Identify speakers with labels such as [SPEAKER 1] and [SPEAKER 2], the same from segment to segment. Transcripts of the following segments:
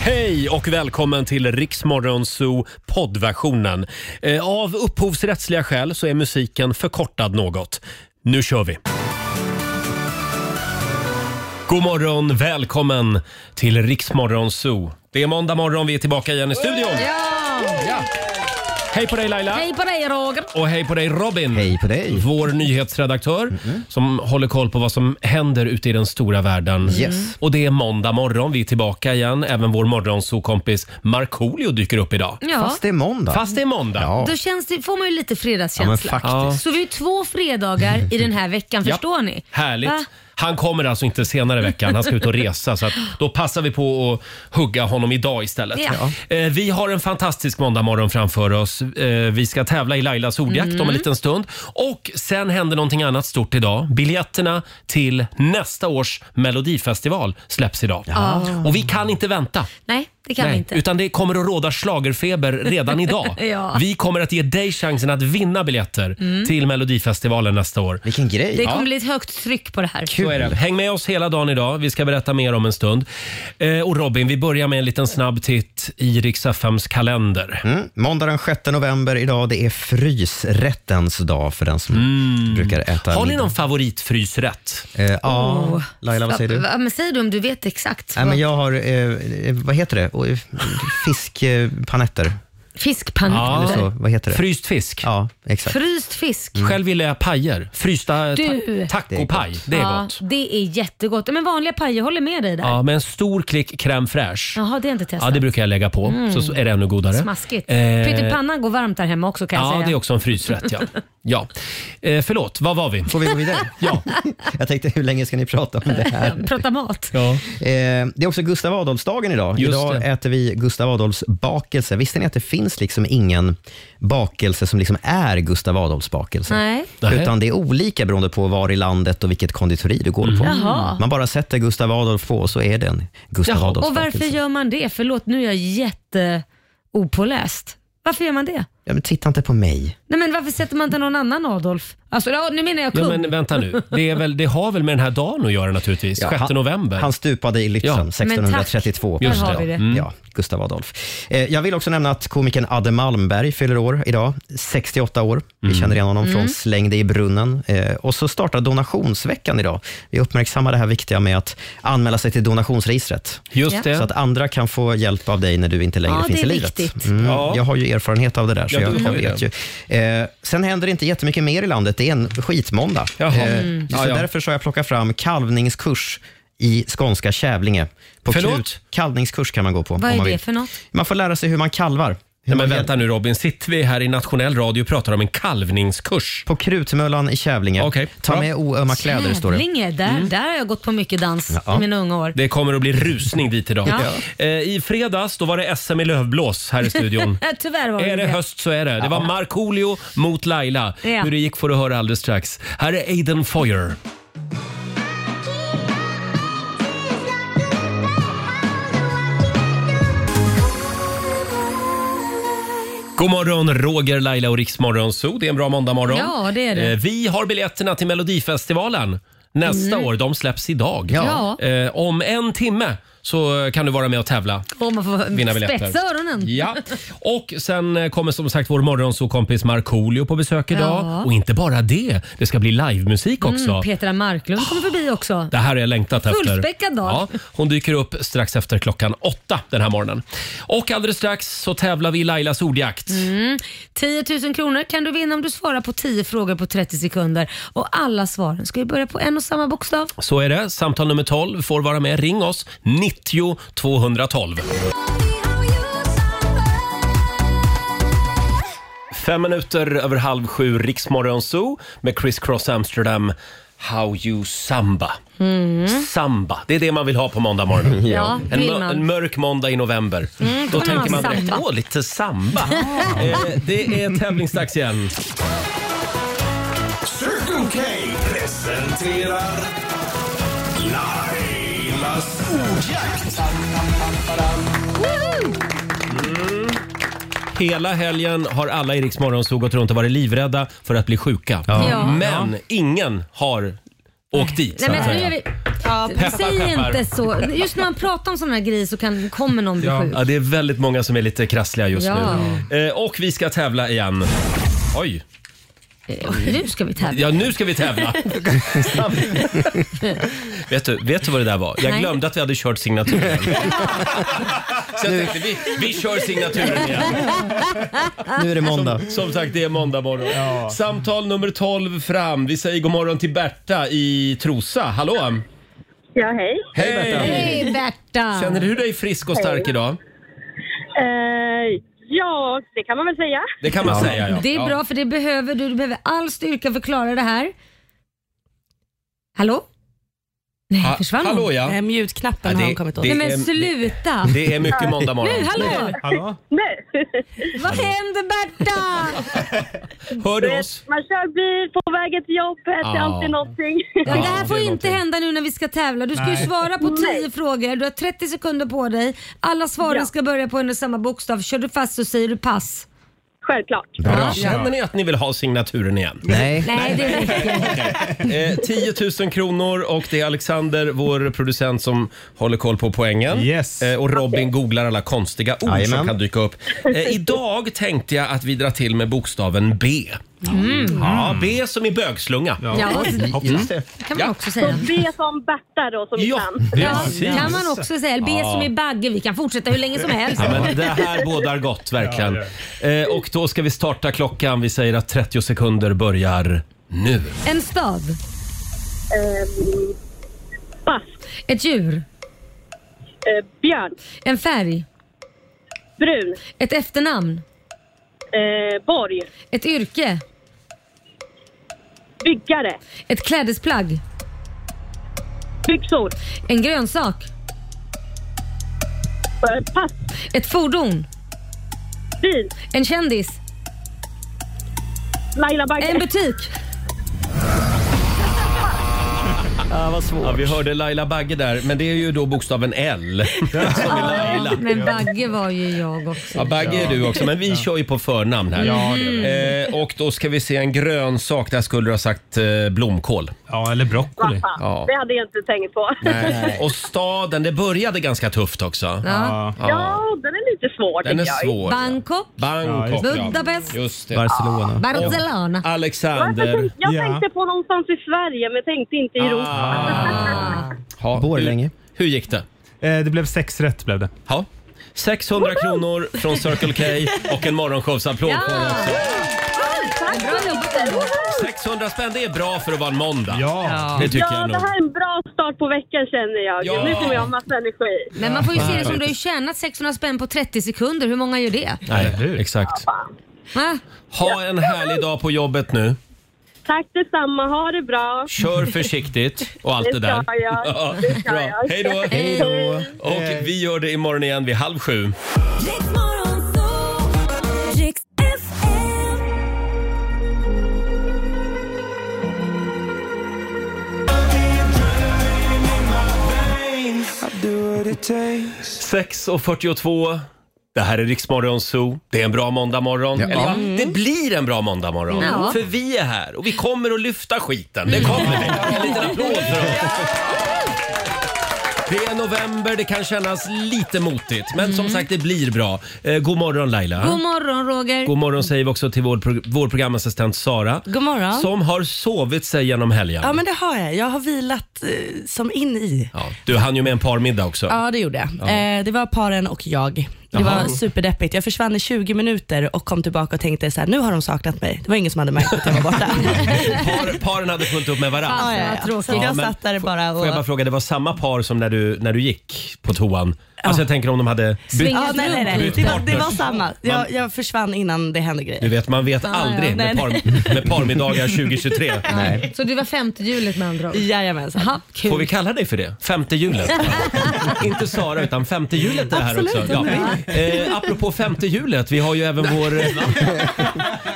[SPEAKER 1] Hej och välkommen till Riksmorgon Zoo poddversionen. Eh, Av upphovsrättsliga skäl så är musiken förkortad något. Nu kör vi! God morgon, välkommen till Riksmorgon Zoo. Det är måndag morgon, vi är tillbaka igen i studion. Ja. Hej på dig Laila!
[SPEAKER 2] Hej på dig Roger!
[SPEAKER 1] Och hej på dig Robin!
[SPEAKER 3] Hej på dig.
[SPEAKER 1] Vår nyhetsredaktör som håller koll på vad som händer ute i den stora världen.
[SPEAKER 3] Yes.
[SPEAKER 1] Och det är måndag morgon, vi är tillbaka igen. Även vår morgonsokompis Markoolio dyker upp idag.
[SPEAKER 2] Ja,
[SPEAKER 3] Fast det är måndag.
[SPEAKER 1] Fast det är måndag.
[SPEAKER 3] Ja.
[SPEAKER 2] då känns det, får man ju lite
[SPEAKER 3] ja, men
[SPEAKER 2] fredagskänsla.
[SPEAKER 3] faktiskt.
[SPEAKER 1] Ja.
[SPEAKER 2] så vi har ju två fredagar i den här veckan,
[SPEAKER 1] Ja.
[SPEAKER 2] förstår ni?
[SPEAKER 1] Härligt.
[SPEAKER 2] Va?
[SPEAKER 1] Han kommer alltså inte senare i veckan, han ska ut och resa. Så att då passar vi på att hugga honom idag istället.
[SPEAKER 2] Ja.
[SPEAKER 1] Eh, Vi har en fantastisk måndagmorgon framför oss. Eh, Vi ska tävla i Lailas ordjakt
[SPEAKER 2] Mm.
[SPEAKER 1] om en liten stund. Och sen händer någonting annat stort idag. Biljetterna till nästa års Melodifestival släpps idag. Och vi kan inte vänta.
[SPEAKER 2] Nej, det kan vi
[SPEAKER 1] Nej,
[SPEAKER 2] inte.
[SPEAKER 1] Utan det kommer att råda schlagerfeber redan idag.
[SPEAKER 2] Ja. Mm.
[SPEAKER 1] Vi kommer att ge dig chansen att vinna biljetter till Melodifestivalen nästa år.
[SPEAKER 3] Vilken grej.
[SPEAKER 2] det kommer bli ett högt tryck på det här.
[SPEAKER 1] Så är det. Häng med oss hela dagen idag. Vi ska berätta mer om en stund. Eh, och Robin, vi börjar med en liten snabb titt i Riksaffems kalender.
[SPEAKER 3] Mm. Måndag den 6 november idag, det är frysrättens dag för den som brukar äta
[SPEAKER 1] Mm. Har ni
[SPEAKER 3] middag.
[SPEAKER 1] någon favoritfrysrätt?
[SPEAKER 3] Eh, ja, Laila vad säger du?
[SPEAKER 2] Va, men säg du om du vet exakt.
[SPEAKER 3] Nej,
[SPEAKER 2] vad-
[SPEAKER 3] men jag har, eh, vad heter det? Oj, Fiskpanetter.
[SPEAKER 2] Fiskpaneler.
[SPEAKER 3] Så, vad heter det?
[SPEAKER 1] Fryst fisk.
[SPEAKER 3] Ja, Mm. exakt.
[SPEAKER 2] Fryst fisk.
[SPEAKER 1] Själv gillar jag pajer. Frysta
[SPEAKER 2] Du.
[SPEAKER 1] ta- tacopaj. Det är gott.
[SPEAKER 2] Ja, det är jättegott. Men vanliga pajer, håller med dig där.
[SPEAKER 1] Ja, med en stor klick crème fraîche.
[SPEAKER 2] Jaha, det är inte testat.
[SPEAKER 1] Ja, det brukar jag lägga på, så, så är det ännu godare.
[SPEAKER 2] Smaskigt.
[SPEAKER 1] Eh,
[SPEAKER 2] Pyttipanna går varmt där hemma också kan jag
[SPEAKER 1] Ja,
[SPEAKER 2] säga.
[SPEAKER 1] det är också en frysrätt. Ja. ja. Eh, förlåt, vad var vi?
[SPEAKER 3] Får vi gå vidare?
[SPEAKER 1] Ja.
[SPEAKER 3] Jag tänkte, hur länge ska ni prata om det här?
[SPEAKER 2] Prata mat.
[SPEAKER 1] Ja.
[SPEAKER 3] Eh, det är också Gustav Adolfsdagen idag.
[SPEAKER 1] Just
[SPEAKER 3] idag
[SPEAKER 1] det.
[SPEAKER 3] äter vi Gustav Adolfs bakelse. Visste ni att det finns liksom ingen bakelse som liksom är Gustav Adolfs bakelse?
[SPEAKER 2] Nej.
[SPEAKER 1] Nähä.
[SPEAKER 3] Utan det är olika beroende på var i landet och vilket konditori du går på.
[SPEAKER 1] Mm.
[SPEAKER 2] Jaha.
[SPEAKER 3] Man bara sätter Gustav Adolf på och så är den Gustav
[SPEAKER 1] Jaha.
[SPEAKER 3] Adolfs
[SPEAKER 2] Och varför
[SPEAKER 3] bakelse.
[SPEAKER 2] gör man det? Förlåt, nu är jag jätteopåläst. Varför gör man det?
[SPEAKER 3] Ja, men titta inte på mig.
[SPEAKER 2] Nej, men varför sätter man inte någon annan Adolf? Alltså, ja, nu menar jag kung.
[SPEAKER 1] Ja, men vänta nu. Det, är väl, det har väl med den här dagen att göra naturligtvis?
[SPEAKER 3] Ja,
[SPEAKER 1] 6
[SPEAKER 3] han-
[SPEAKER 1] november.
[SPEAKER 3] Han stupade i Lützen
[SPEAKER 1] Ja. Men tack.
[SPEAKER 3] 1632.
[SPEAKER 1] Just
[SPEAKER 2] Där har
[SPEAKER 1] det. Mm.
[SPEAKER 2] vi det.
[SPEAKER 3] Ja, Gustav Adolf. Eh, jag vill också nämna att komikern Adde Malmberg fyller år idag, 68 år. Vi
[SPEAKER 1] Mm.
[SPEAKER 3] känner igen honom
[SPEAKER 2] Mm.
[SPEAKER 3] från Släng dig i brunnen. Eh, och så startar donationsveckan idag. Vi uppmärksammar det här viktiga med att anmäla sig till donationsregistret.
[SPEAKER 1] Just
[SPEAKER 2] Ja.
[SPEAKER 1] det.
[SPEAKER 3] Så att andra kan få hjälp av dig när du inte längre
[SPEAKER 2] Ja,
[SPEAKER 3] finns
[SPEAKER 2] det är
[SPEAKER 3] i livet.
[SPEAKER 2] viktigt.
[SPEAKER 3] Mm,
[SPEAKER 1] Ja.
[SPEAKER 3] Jag har ju erfarenhet av det där, så
[SPEAKER 1] Ja,
[SPEAKER 3] jag,
[SPEAKER 1] du
[SPEAKER 3] jag
[SPEAKER 1] har ju
[SPEAKER 3] vet ju. Eh, sen händer det inte jättemycket mer i landet. Det är en skitmåndag. Eh,
[SPEAKER 1] Jaha. Mm.
[SPEAKER 3] Så
[SPEAKER 1] Ja, ja.
[SPEAKER 3] Därför så har jag plockat fram kalvningskurs i skånska Kävlinge. På
[SPEAKER 1] Förlåt?
[SPEAKER 3] Krut. Kalvningskurs kan man gå på.
[SPEAKER 2] Vad
[SPEAKER 3] om
[SPEAKER 2] är
[SPEAKER 3] man
[SPEAKER 2] det
[SPEAKER 3] vill.
[SPEAKER 2] för något?
[SPEAKER 3] Man får lära sig hur man kalvar. Hur
[SPEAKER 1] Nej,
[SPEAKER 3] man
[SPEAKER 1] men vänta nu Robin, sitter vi här i nationell radio och pratar om en kalvningskurs?
[SPEAKER 3] På Krutmöllan i Kävlinge.
[SPEAKER 1] Okej,
[SPEAKER 3] Ta
[SPEAKER 1] bra.
[SPEAKER 3] med oömma kläder, står det. Mm.
[SPEAKER 2] Kävlinge, där, där har jag gått på mycket dans
[SPEAKER 3] Ja.
[SPEAKER 2] i mina unga år.
[SPEAKER 1] Det kommer att bli rusning dit idag.
[SPEAKER 2] Ja.
[SPEAKER 1] Eh, I fredags då var det SM i lövblås här i studion.
[SPEAKER 2] Äh, Tyvärr var
[SPEAKER 1] Är det
[SPEAKER 2] det
[SPEAKER 1] höst så är det. Det var Markoolio mot Laila.
[SPEAKER 2] Ja.
[SPEAKER 1] Hur det gick får du höra alldeles strax. Här är Aiden Foyer. God morgon, Roger, Laila och Riksmorgon Zoo. Det är en bra måndagmorgon.
[SPEAKER 2] Ja, det är det.
[SPEAKER 1] Eh, Vi har biljetterna till Melodifestivalen nästa år. De släpps idag.
[SPEAKER 2] Mm. Ja.
[SPEAKER 1] Eh, Om en timme så kan du vara med och tävla
[SPEAKER 2] Åh, man
[SPEAKER 1] vinna
[SPEAKER 2] får
[SPEAKER 1] biljetter.
[SPEAKER 2] spetsa öronen.
[SPEAKER 1] Ja. Och sen eh, kommer som sagt vår morgonsokompis Markoolio på besök idag.
[SPEAKER 2] Ja.
[SPEAKER 1] Och inte bara det, det ska bli livemusik också.
[SPEAKER 2] Mm, Petra Marklund kommer
[SPEAKER 3] Ah.
[SPEAKER 2] förbi också.
[SPEAKER 1] det här har jag längtat efter.
[SPEAKER 2] Fullspäckad dag.
[SPEAKER 1] Ja, hon dyker upp strax efter klockan åtta den här morgonen. Och alldeles strax så tävlar vi i Lailas ordjakt.
[SPEAKER 2] Mm. 10 000 kronor kan du vinna om du svarar på 10 frågor på 30 sekunder. Och alla svaren ska ju börja på en och samma bokstav.
[SPEAKER 1] Så är det. Samtal nummer 12 får vara med. Ring oss, 90 212. Fem minuter över halv sju, Riksmorgon Zoo med Chris Cross Amsterdam. How you samba. Samba, det är det man vill ha på måndag morgon.
[SPEAKER 2] Mm. Ja,
[SPEAKER 1] En,
[SPEAKER 2] vill
[SPEAKER 1] mö-
[SPEAKER 2] man. Mm,
[SPEAKER 1] en mörk måndag i november. Då
[SPEAKER 2] man
[SPEAKER 1] tänker man
[SPEAKER 2] ha
[SPEAKER 1] direkt,
[SPEAKER 2] samba.
[SPEAKER 1] åh lite samba. eh, det är tävlingsdags igen.
[SPEAKER 4] Circle K presenterar Lailas ordjakt.
[SPEAKER 1] Hela helgen har alla i Riksmorgon Zoo gått runt och varit livrädda för att bli sjuka.
[SPEAKER 2] Ja.
[SPEAKER 1] Men ingen har åk dit så
[SPEAKER 2] Nej,
[SPEAKER 1] att
[SPEAKER 2] men nu är
[SPEAKER 1] säga.
[SPEAKER 2] vi...
[SPEAKER 5] Ja,
[SPEAKER 1] Peppar,
[SPEAKER 2] Säg
[SPEAKER 1] peppar.
[SPEAKER 2] inte så. Just när man pratar om sådana här grejer så kan, kommer någon bli sjuk.
[SPEAKER 1] Ja, det är väldigt många som är lite krassliga just
[SPEAKER 2] Ja.
[SPEAKER 1] nu. Eh, och vi ska tävla igen. Oj,
[SPEAKER 2] Nu ska vi tävla.
[SPEAKER 1] ja nu ska vi tävla. vet, du, vet du vad det där var? Jag
[SPEAKER 2] Nej.
[SPEAKER 1] glömde att vi hade kört signaturen. Så jag tänkte, vi, vi kör signaturen igen.
[SPEAKER 3] Nu är
[SPEAKER 2] Ah.
[SPEAKER 3] det måndag.
[SPEAKER 1] Som sagt, det är måndag morgon. Samtal nummer 12 fram. Vi säger god morgon till Berta i Trosa. Hallå!
[SPEAKER 6] Ja, hej.
[SPEAKER 1] Hej!
[SPEAKER 2] Hej Berta!
[SPEAKER 1] Känner du dig frisk och stark idag?
[SPEAKER 6] Eh, ja, det kan man väl säga.
[SPEAKER 1] Det kan man säga ja.
[SPEAKER 2] Det är
[SPEAKER 1] Ja.
[SPEAKER 2] bra för det behöver du. Du behöver all styrka för att klara det här. Hallå? Nej,
[SPEAKER 1] Ha-
[SPEAKER 2] försvann hon?
[SPEAKER 1] Hallå ja.
[SPEAKER 5] Eh, Mjutknappen
[SPEAKER 1] Ja, det-
[SPEAKER 5] har hon kommit åt.
[SPEAKER 1] det-
[SPEAKER 2] Nej
[SPEAKER 1] Em,
[SPEAKER 2] men sluta!
[SPEAKER 1] Det är mycket måndag morgon.
[SPEAKER 2] Nu, hallå!
[SPEAKER 3] Hallå?
[SPEAKER 6] Nej.
[SPEAKER 2] Vad händer Berta?
[SPEAKER 1] Hör du oss?
[SPEAKER 6] Man kör bil på vägen till jobbet,
[SPEAKER 1] Ah.
[SPEAKER 6] det är alltid någonting.
[SPEAKER 2] Ja, det här
[SPEAKER 1] det
[SPEAKER 2] får
[SPEAKER 1] är
[SPEAKER 2] inte
[SPEAKER 1] någonting.
[SPEAKER 2] hända nu när vi ska tävla. Du ska ju svara på 10 frågor. Du har 30 sekunder på dig. Alla svaren ska börja på en och samma bokstav. Kör du fast så säger du pass.
[SPEAKER 6] Självklart.
[SPEAKER 1] Bra. Känner ni att ni vill ha signaturen igen?
[SPEAKER 3] Nej.
[SPEAKER 2] Nej, det räcker.
[SPEAKER 1] Eh, 10 000 kronor och det är Alexander, vår producent, som håller koll på poängen.
[SPEAKER 7] Yes.
[SPEAKER 1] Eh, och Robin googlar alla konstiga ord som
[SPEAKER 3] Jajamän.
[SPEAKER 1] kan dyka upp. Eh, idag tänkte jag att vi drar till med bokstaven B.
[SPEAKER 2] Mm.
[SPEAKER 1] Ja, B som i bögslunga. Ja,
[SPEAKER 2] Ja,
[SPEAKER 1] Mm.
[SPEAKER 3] Just det.
[SPEAKER 2] det kan man
[SPEAKER 1] Ja.
[SPEAKER 2] också säga.
[SPEAKER 6] Be som Berta då, som ja. kan.
[SPEAKER 2] Ja,
[SPEAKER 1] precis.
[SPEAKER 2] kan man också säga. Eller B som i bagge. Vi kan fortsätta hur länge som helst.
[SPEAKER 1] Ja, men det här bådar gott verkligen. Eh, och då ska vi starta klockan. Vi säger att 30 sekunder börjar nu.
[SPEAKER 2] En stad.
[SPEAKER 6] Ehm, pass.
[SPEAKER 2] Ett djur.
[SPEAKER 6] Eh, björn.
[SPEAKER 2] En färg.
[SPEAKER 6] Brun.
[SPEAKER 2] Ett efternamn.
[SPEAKER 6] Eh, borg.
[SPEAKER 2] Ett yrke.
[SPEAKER 6] Byggare.
[SPEAKER 2] Ett klädesplagg.
[SPEAKER 6] Byxor.
[SPEAKER 2] En grönsak.
[SPEAKER 6] Eh, pass.
[SPEAKER 2] Ett fordon.
[SPEAKER 6] Bil.
[SPEAKER 2] En kändis.
[SPEAKER 6] Laila Bagge.
[SPEAKER 2] En butik.
[SPEAKER 1] Ja, vi hörde Laila Bagge där, men det är ju då bokstaven L. Som är Laila.
[SPEAKER 2] Men bagge var ju jag också.
[SPEAKER 1] Ja, Bagge är du också, men vi kör ju på förnamn här. Eh, och då ska vi se en grönsak. Där skulle du ha sagt eh, blomkål.
[SPEAKER 7] Ja, eller broccoli.
[SPEAKER 6] Fan,
[SPEAKER 1] Ja.
[SPEAKER 6] Det hade jag inte tänkt på.
[SPEAKER 1] Och staden, det började ganska tufft också.
[SPEAKER 2] Ja.
[SPEAKER 7] Ja.
[SPEAKER 6] Ja, den är lite svår
[SPEAKER 1] Den är
[SPEAKER 6] tycker jag.
[SPEAKER 1] svår.
[SPEAKER 2] Bangkok.
[SPEAKER 1] Bangkok,
[SPEAKER 2] Ja,
[SPEAKER 1] ja.
[SPEAKER 2] just det. Budapest.
[SPEAKER 1] Just det.
[SPEAKER 3] Barcelona.
[SPEAKER 2] Barcelona.
[SPEAKER 6] Jag
[SPEAKER 1] Alexander.
[SPEAKER 6] tänkte, jag
[SPEAKER 7] Ja.
[SPEAKER 6] tänkte på någonstans i Sverige, men tänkte inte i Europa.
[SPEAKER 1] Ah. Ha,
[SPEAKER 3] Borlänge.
[SPEAKER 1] Hur, hur gick det?
[SPEAKER 7] Eh, Det blev sex rätt blev det.
[SPEAKER 1] Ja. 600 kronor från Circle K och en morgonshowsapplåd på den också.
[SPEAKER 2] Bra jobbat ändå.
[SPEAKER 1] 600 spänn, det är bra för att vara en måndag.
[SPEAKER 7] Ja.
[SPEAKER 1] Det tycker
[SPEAKER 6] Ja,
[SPEAKER 1] jag
[SPEAKER 6] det
[SPEAKER 1] nog.
[SPEAKER 6] här är en bra start på veckan känner jag.
[SPEAKER 1] Ja.
[SPEAKER 6] Nu kommer jag ha massa energi.
[SPEAKER 2] Men man får ju se det som du har ju tjänat 600 spänn på 30 sekunder. Hur många gör det?
[SPEAKER 1] Nej, exakt.
[SPEAKER 2] Va?
[SPEAKER 1] Ha en härlig dag på jobbet nu.
[SPEAKER 6] Tack detsamma, ha det bra.
[SPEAKER 1] Kör försiktigt och allt det
[SPEAKER 6] Det
[SPEAKER 1] där.
[SPEAKER 6] ska jag. Det ska
[SPEAKER 1] Bra.
[SPEAKER 6] jag.
[SPEAKER 1] Hej då!
[SPEAKER 2] Hej då.
[SPEAKER 1] Och
[SPEAKER 5] Eh.
[SPEAKER 1] vi gör det imorgon igen vid halv sju. Sex och 42. Det här är Riksmorgon Zoo. Det är en bra måndagmorgon. Eller ja,
[SPEAKER 5] Mm.
[SPEAKER 1] det blir en bra måndagmorgon.
[SPEAKER 2] Ja.
[SPEAKER 1] För vi är här och vi kommer att lyfta skiten. Det kommer
[SPEAKER 5] Mm.
[SPEAKER 1] vi. En liten applåd för oss. Det är november, det kan kännas lite motigt. Men
[SPEAKER 5] Mm.
[SPEAKER 1] som sagt, det blir bra. Eh, god morgon Laila.
[SPEAKER 2] God morgon Roger.
[SPEAKER 1] God morgon säger vi också till vår, prog- vår programassistent Sara.
[SPEAKER 5] God morgon.
[SPEAKER 1] Som har sovit sig genom helgen.
[SPEAKER 5] Ja, men det har jag. Jag har vilat eh, som in i.
[SPEAKER 1] Ja, du hann ju med en parmiddag också.
[SPEAKER 5] Ja, det gjorde jag. Eh, det var paren och jag. Det var superdeppigt. Jag försvann i 20 minuter och kom tillbaka och tänkte så här, nu har de saknat mig. Det var ingen som hade märkt att jag var borta.
[SPEAKER 1] Par, paren hade fullt upp med varandra.
[SPEAKER 5] ja,
[SPEAKER 2] vad
[SPEAKER 5] ja, ja.
[SPEAKER 2] tråkigt.
[SPEAKER 5] Så jag
[SPEAKER 1] men
[SPEAKER 5] satt där bara och...
[SPEAKER 1] Får jag bara fråga, det var samma par som när du, när du gick på toan? Alltså jag tänker om de hade... Bytt,
[SPEAKER 2] Svingat
[SPEAKER 5] Ja, nej, nej, nej.
[SPEAKER 2] runt
[SPEAKER 5] Det,
[SPEAKER 2] lite.
[SPEAKER 5] var, det var samma. Jag, jag försvann innan det hände
[SPEAKER 1] du
[SPEAKER 5] grejer.
[SPEAKER 1] vet, man vet aldrig
[SPEAKER 5] ja.
[SPEAKER 1] med,
[SPEAKER 5] Nej,
[SPEAKER 1] par, med parmiddagar 2023.
[SPEAKER 2] Så du var femte hjulet med andra ord?
[SPEAKER 5] Jajamensan.
[SPEAKER 2] Jaha, kul.
[SPEAKER 1] Får vi kalla dig för det? Femte hjulet. Inte Sara, utan femte hjulet är det här
[SPEAKER 5] Absolut,
[SPEAKER 1] också. Eh, apropå femte hjulet, vi har ju även vår, eh,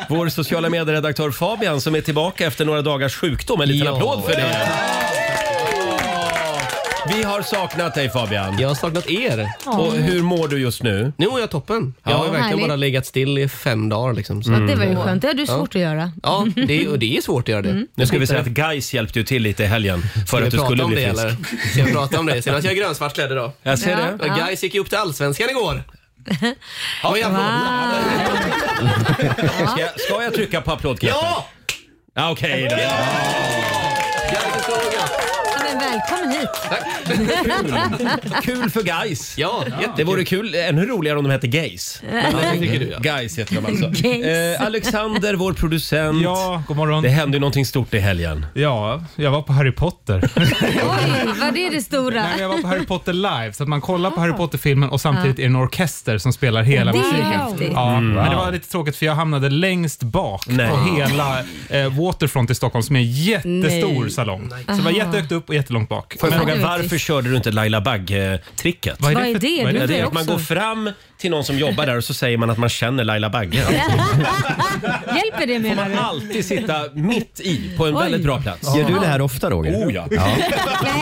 [SPEAKER 1] vår sociala medieredaktör Fabian som är tillbaka efter några dagars sjukdom. En liten
[SPEAKER 3] Ja.
[SPEAKER 1] applåd för det. Vi har saknat dig Fabian.
[SPEAKER 2] Mm.
[SPEAKER 8] Jag har saknat er.
[SPEAKER 1] Och hur mår du just nu?
[SPEAKER 8] Nu är jag toppen. Jag har verkligen
[SPEAKER 2] härligt.
[SPEAKER 8] bara legat still i fem dagar. Liksom. Så.
[SPEAKER 2] Det var ju skönt. Det hade du svårt att göra.
[SPEAKER 8] Ja, det är, och det är svårt att göra
[SPEAKER 2] Mm.
[SPEAKER 8] det.
[SPEAKER 1] Nu ska vi säga att Gais hjälpte ju till lite i helgen för
[SPEAKER 8] Ska
[SPEAKER 1] att
[SPEAKER 8] vi
[SPEAKER 1] du
[SPEAKER 8] prata
[SPEAKER 1] skulle
[SPEAKER 8] om
[SPEAKER 1] bli
[SPEAKER 8] det
[SPEAKER 1] frisk.
[SPEAKER 8] eller? Ska vi prata om det? Senast jag är grönsvart klädd idag.
[SPEAKER 1] Jag ser
[SPEAKER 2] Ja.
[SPEAKER 1] det.
[SPEAKER 8] Ja. Guys gick ju upp till Allsvenskan igår. Ja, jag
[SPEAKER 1] Ska jag, ska jag trycka på applådknappen?
[SPEAKER 8] ja!
[SPEAKER 1] Ja! Okej. då.
[SPEAKER 8] Gais är så bra.
[SPEAKER 2] Ja, men välkommen hit.
[SPEAKER 1] Kul för Gais.
[SPEAKER 8] Ja,
[SPEAKER 1] Det
[SPEAKER 8] jättekul.
[SPEAKER 1] vore kul, ännu roligare om de hette Gays.
[SPEAKER 8] Ja, det tycker du ja.
[SPEAKER 1] Guys heter de alltså.
[SPEAKER 2] Gays.
[SPEAKER 1] Eh, Alexander, vår producent.
[SPEAKER 7] Ja, god morgon.
[SPEAKER 1] Det hände ju någonting stort i helgen.
[SPEAKER 7] Ja, jag var på Harry Potter.
[SPEAKER 2] Oj, var det det stora?
[SPEAKER 7] Nej, men jag var på Harry Potter live, så att man kollar
[SPEAKER 5] Ah.
[SPEAKER 7] på Harry Potter-filmen och samtidigt är det en orkester som spelar hela
[SPEAKER 2] Det är
[SPEAKER 7] musiken.
[SPEAKER 2] häftigt.
[SPEAKER 7] Ja,
[SPEAKER 5] Mm.
[SPEAKER 7] men det var lite tråkigt för jag hamnade längst bak
[SPEAKER 1] Nej.
[SPEAKER 7] på hela eh, Waterfront i Stockholm som är en jättestor
[SPEAKER 5] Nej.
[SPEAKER 7] salong. Så det var jättehögt upp och jättelångt bak.
[SPEAKER 1] Får jag
[SPEAKER 2] Men-
[SPEAKER 1] fråga, varför körde du inte Laila Bagge-tricket?
[SPEAKER 7] Vad
[SPEAKER 2] Vad är
[SPEAKER 7] för-
[SPEAKER 2] det?
[SPEAKER 1] Ja,
[SPEAKER 2] Du-
[SPEAKER 1] det är att
[SPEAKER 2] också.
[SPEAKER 1] man går fram till någon som jobbar där och så säger man att man känner Laila Bagge.
[SPEAKER 2] Hjälper det menar du?
[SPEAKER 1] Alltid sitta mitt i på en
[SPEAKER 2] Oj.
[SPEAKER 1] väldigt bra plats.
[SPEAKER 3] Gör du det här ofta Roger?
[SPEAKER 1] Oh ja.
[SPEAKER 2] Nej,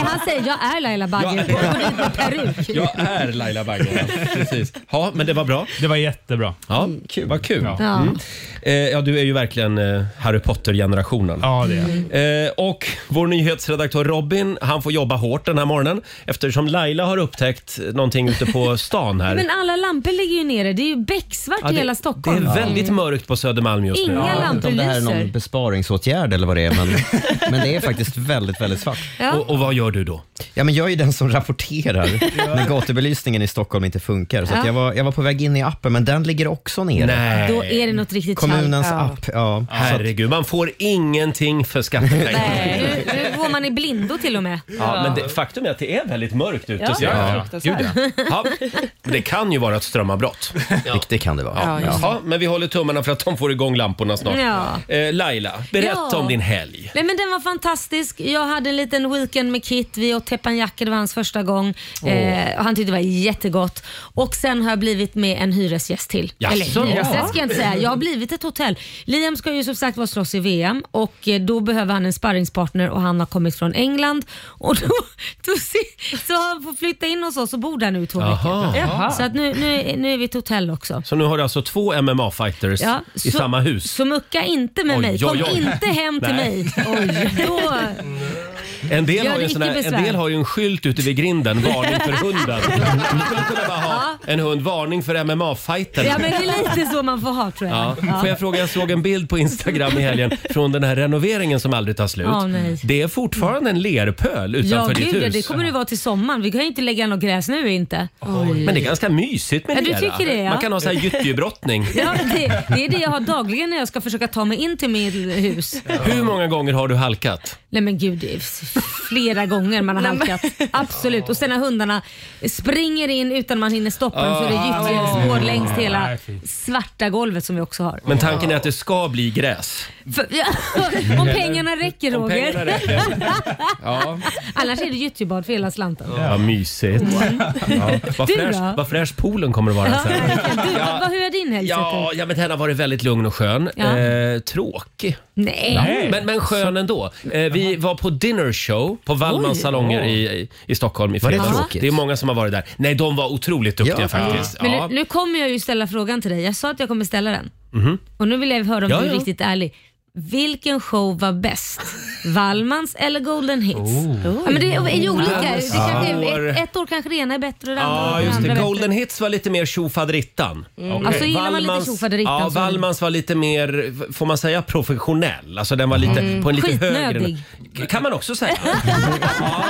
[SPEAKER 2] han säger jag är Laila Bagge.
[SPEAKER 1] Ja.
[SPEAKER 2] Går dit med peruk.
[SPEAKER 1] Jag är Laila Bagge. ja. Precis. Ja, men det var bra.
[SPEAKER 7] Det var jättebra.
[SPEAKER 1] Ja, kul. Vad kul.
[SPEAKER 7] Ja.
[SPEAKER 2] Ja.
[SPEAKER 1] Eh, ja, du är ju verkligen eh, Harry Potter-generationen.
[SPEAKER 7] Ja, det är
[SPEAKER 5] Mm.
[SPEAKER 1] Eh, och vår nyhetsredaktör Robin, han får jobba hårt den här morgonen eftersom Laila har upptäckt någonting ute på stan här.
[SPEAKER 2] Men alla lampor ligger ju nere. Det är ju becksvart
[SPEAKER 1] Ja,
[SPEAKER 2] i
[SPEAKER 1] det-
[SPEAKER 2] hela Stockholm.
[SPEAKER 1] Det är väldigt mörkt på Södermalm just nu.
[SPEAKER 2] Inga
[SPEAKER 3] Jag vet inte
[SPEAKER 2] lampor
[SPEAKER 3] om det här är
[SPEAKER 2] lyser.
[SPEAKER 3] någon besparingsåtgärd eller vad det är, men, men det är faktiskt väldigt, väldigt svart.
[SPEAKER 2] Ja.
[SPEAKER 1] Och, och vad gör du då?
[SPEAKER 3] Ja, men jag är ju den som rapporterar när gatubelysningen i Stockholm inte funkar. Så att
[SPEAKER 2] Ja.
[SPEAKER 3] jag, var, jag var på väg in i appen, men den ligger också nere.
[SPEAKER 1] Nej.
[SPEAKER 2] Då är det något riktigt
[SPEAKER 3] Kommunens
[SPEAKER 2] kallt.
[SPEAKER 3] app, ja. Så att,
[SPEAKER 1] Herregud, man får ingenting för skattepengar.
[SPEAKER 2] Nej, nu, nu går man i blindo till och med.
[SPEAKER 1] Ja, men det, faktum är att det är väldigt mörkt ute.
[SPEAKER 5] Ja,
[SPEAKER 1] ser jag.
[SPEAKER 5] det är
[SPEAKER 1] Ja.
[SPEAKER 5] fruktansvärt.
[SPEAKER 1] Gud, ja. Ja. Det kan ju vara ett strömavbrott.
[SPEAKER 3] det, det kan det vara.
[SPEAKER 5] Ja, just det.
[SPEAKER 1] Jaha, men vi håller tummarna för att de får igång lamporna snart.
[SPEAKER 2] Ja.
[SPEAKER 1] Eh, Laila, berätta
[SPEAKER 2] Ja.
[SPEAKER 1] om din helg.
[SPEAKER 2] Nej, men den var fantastisk. Jag hade en liten weekend med Kit. Vi åt teppanjacka, det var hans första gång. Eh, och han tyckte det var jättegott. Och sen har jag blivit med en hyresgäst till.
[SPEAKER 1] Jaså?
[SPEAKER 2] Eller hyresgäst ska jag inte säga. Jag har blivit ett hotell. Liam ska ju som sagt vara slåss i VM och eh, då behöver han en sparringspartner och han har kommit från England. Och då, då, si- så han får flytta in hos oss och bor där nu i två
[SPEAKER 1] Jaha.
[SPEAKER 2] veckor. Så att nu, nu, nu är vi ett hotell också.
[SPEAKER 1] Så nu har du alltså två MMA-fighters
[SPEAKER 2] Ja,
[SPEAKER 1] i
[SPEAKER 2] så-
[SPEAKER 1] samma hus.
[SPEAKER 2] Så mucka inte med
[SPEAKER 1] Oj,
[SPEAKER 2] mig. Kom
[SPEAKER 1] oj, oj.
[SPEAKER 2] inte hem till
[SPEAKER 1] Nej.
[SPEAKER 2] mig. Oj, då,
[SPEAKER 1] En del,
[SPEAKER 2] Gör
[SPEAKER 1] har ju en,
[SPEAKER 2] icke
[SPEAKER 1] sån här, en
[SPEAKER 2] besvär.
[SPEAKER 1] del har ju en skylt ute vid grinden, varning för hunden. Du skulle kunna bara ha en hund, varning för MMA-fighter.
[SPEAKER 2] Ja men det är lite så man får ha tror jag.
[SPEAKER 1] Ja. Får jag fråga, jag såg en bild på Instagram i helgen från den här renoveringen som aldrig tar slut.
[SPEAKER 2] Åh, nej.
[SPEAKER 1] det är fortfarande en lerpöl utanför ditt
[SPEAKER 2] gud, ja,
[SPEAKER 1] hus.
[SPEAKER 2] det kommer det vara till sommaren. Vi kan ju inte lägga något gräs nu inte.
[SPEAKER 1] Men det är ganska mysigt med
[SPEAKER 2] Ja, du
[SPEAKER 1] lera.
[SPEAKER 2] tycker det, ja.
[SPEAKER 1] Man kan ha så här gyttjebrottning.
[SPEAKER 2] Ja, det, det är det jag har dagligen när jag ska försöka ta mig in till mitt hus.
[SPEAKER 1] Hur många gånger har du halkat?
[SPEAKER 2] Nej men gud, det är flera gånger man har halkat. Absolut. Och sen när hundarna springer in utan man hinner stoppa dem så är det
[SPEAKER 1] Ah.
[SPEAKER 2] gyttjelspår längs hela svarta golvet som vi också har.
[SPEAKER 1] Men tanken är att det ska bli gräs.
[SPEAKER 2] För, ja, om pengarna räcker
[SPEAKER 1] Om pengarna
[SPEAKER 2] Roger.
[SPEAKER 1] räcker. Ja,
[SPEAKER 2] Annars är det gyttjebad för hela slanten.
[SPEAKER 1] vad mysigt. Ja. Vad,
[SPEAKER 2] Du
[SPEAKER 1] fräsch,
[SPEAKER 2] då?
[SPEAKER 1] vad fräsch poolen kommer att vara
[SPEAKER 2] Ja,
[SPEAKER 1] sen.
[SPEAKER 2] verkligen. du, vad, vad- hur är din helg sett
[SPEAKER 1] Ja,
[SPEAKER 2] ut?
[SPEAKER 1] ja, men den har varit väldigt lugn och skön.
[SPEAKER 2] Ja.
[SPEAKER 1] Eh, tråkig.
[SPEAKER 2] Nej.
[SPEAKER 1] Men, men skön ändå. Eh, vi var på dinner show på Wallmans salonger i, i Stockholm i
[SPEAKER 3] Var det
[SPEAKER 1] fredags.
[SPEAKER 3] tråkigt?
[SPEAKER 1] är många som har varit där. Nej, de var otroligt duktiga
[SPEAKER 3] Ja.
[SPEAKER 1] faktiskt.
[SPEAKER 2] Men
[SPEAKER 1] Ja.
[SPEAKER 2] nu, nu kommer jag ju ställa frågan till dig. Jag sa att jag kommer ställa den. Och nu vill jag höra om
[SPEAKER 1] Ja,
[SPEAKER 2] du är
[SPEAKER 1] ja.
[SPEAKER 2] riktigt ärlig. Vilken show var bäst? Wallmans eller Golden Hits? Ja, men det är är ju olika. Det kanske är, ett, ett år kanske det ena är bättre och det andra,
[SPEAKER 1] Ja, just
[SPEAKER 2] andra
[SPEAKER 1] det.
[SPEAKER 2] bättre.
[SPEAKER 1] Golden Hits var lite mer tjofaderittan.
[SPEAKER 7] Okej.
[SPEAKER 2] Alltså, gillar man lite
[SPEAKER 1] Wallmans-
[SPEAKER 2] tjofaderittan
[SPEAKER 1] Ja,
[SPEAKER 2] så-
[SPEAKER 1] Wallmans var lite mer, får man säga professionell? Alltså den var lite, på en lite högre...
[SPEAKER 2] Mm. Skitnödig.
[SPEAKER 1] Kan man också säga. ja.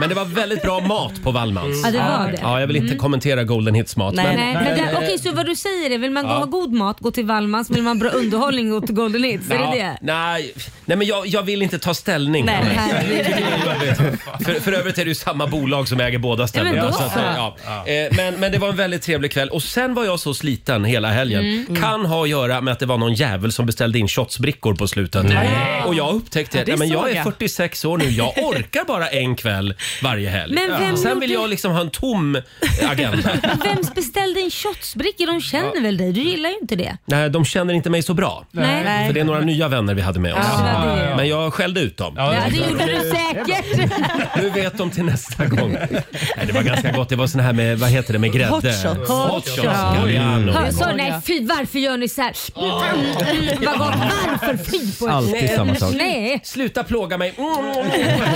[SPEAKER 1] Men det var väldigt bra mat på Wallmans.
[SPEAKER 2] Ja, det var det. Mm.
[SPEAKER 1] Ja, jag vill inte kommentera Golden Hits mat.
[SPEAKER 5] Nej.
[SPEAKER 1] Men,
[SPEAKER 2] Nej, men där, okej, så vad du säger är, vill man ha god mat, gå till Wallmans. Vill man ha bra underhållning, gå till Golden Hits. Är det det?
[SPEAKER 1] Nej, nej men jag, jag vill inte ta ställning.
[SPEAKER 5] Nej.
[SPEAKER 1] Anders.
[SPEAKER 2] Herregud.
[SPEAKER 1] För, för övrigt är det ju samma bolag som äger båda ställena.
[SPEAKER 2] Ja, men då
[SPEAKER 1] så att,
[SPEAKER 2] så.
[SPEAKER 1] eh, ja. Eh, men, men det var en väldigt trevlig kväll och sen var jag så sliten hela helgen.
[SPEAKER 2] Mm.
[SPEAKER 1] Kan ha att göra med att det var någon jävel som beställde in shotsbrickor på slutet.
[SPEAKER 2] Mm.
[SPEAKER 1] Och jag upptäckte att
[SPEAKER 5] det
[SPEAKER 1] nej, men jag
[SPEAKER 5] såg
[SPEAKER 1] är
[SPEAKER 5] jag.
[SPEAKER 1] 46 år nu. Jag orkar bara en kväll varje helg.
[SPEAKER 2] Men vem
[SPEAKER 1] Sen
[SPEAKER 2] gjorde-
[SPEAKER 1] vill jag liksom ha en tom agenda.
[SPEAKER 2] Vem beställde en shotsbricka? De känner väl dig? Du gillar ju inte det.
[SPEAKER 1] nej, de känner inte mig så bra.
[SPEAKER 2] Nej.
[SPEAKER 1] För det är några nya vänner vi hade med oss.
[SPEAKER 2] Ja, det är-
[SPEAKER 1] Men jag skällde ut dem.
[SPEAKER 7] Ja,
[SPEAKER 2] Ja, det gjorde du säkert.
[SPEAKER 1] Nu vet de till nästa gång. Nej, det var ganska gott. Det var sån här med, vad heter det, med grädde?
[SPEAKER 5] Hot shots.
[SPEAKER 1] Hot
[SPEAKER 2] Hot
[SPEAKER 1] shots,
[SPEAKER 2] shots.
[SPEAKER 1] Galliano.
[SPEAKER 2] Ha, Så, nej fy varför gör ni så här? Mm, mm, vad gott. Varför fy på er?
[SPEAKER 3] Alltid samma sak.
[SPEAKER 2] Nej.
[SPEAKER 1] Sluta plåga mig! Mm.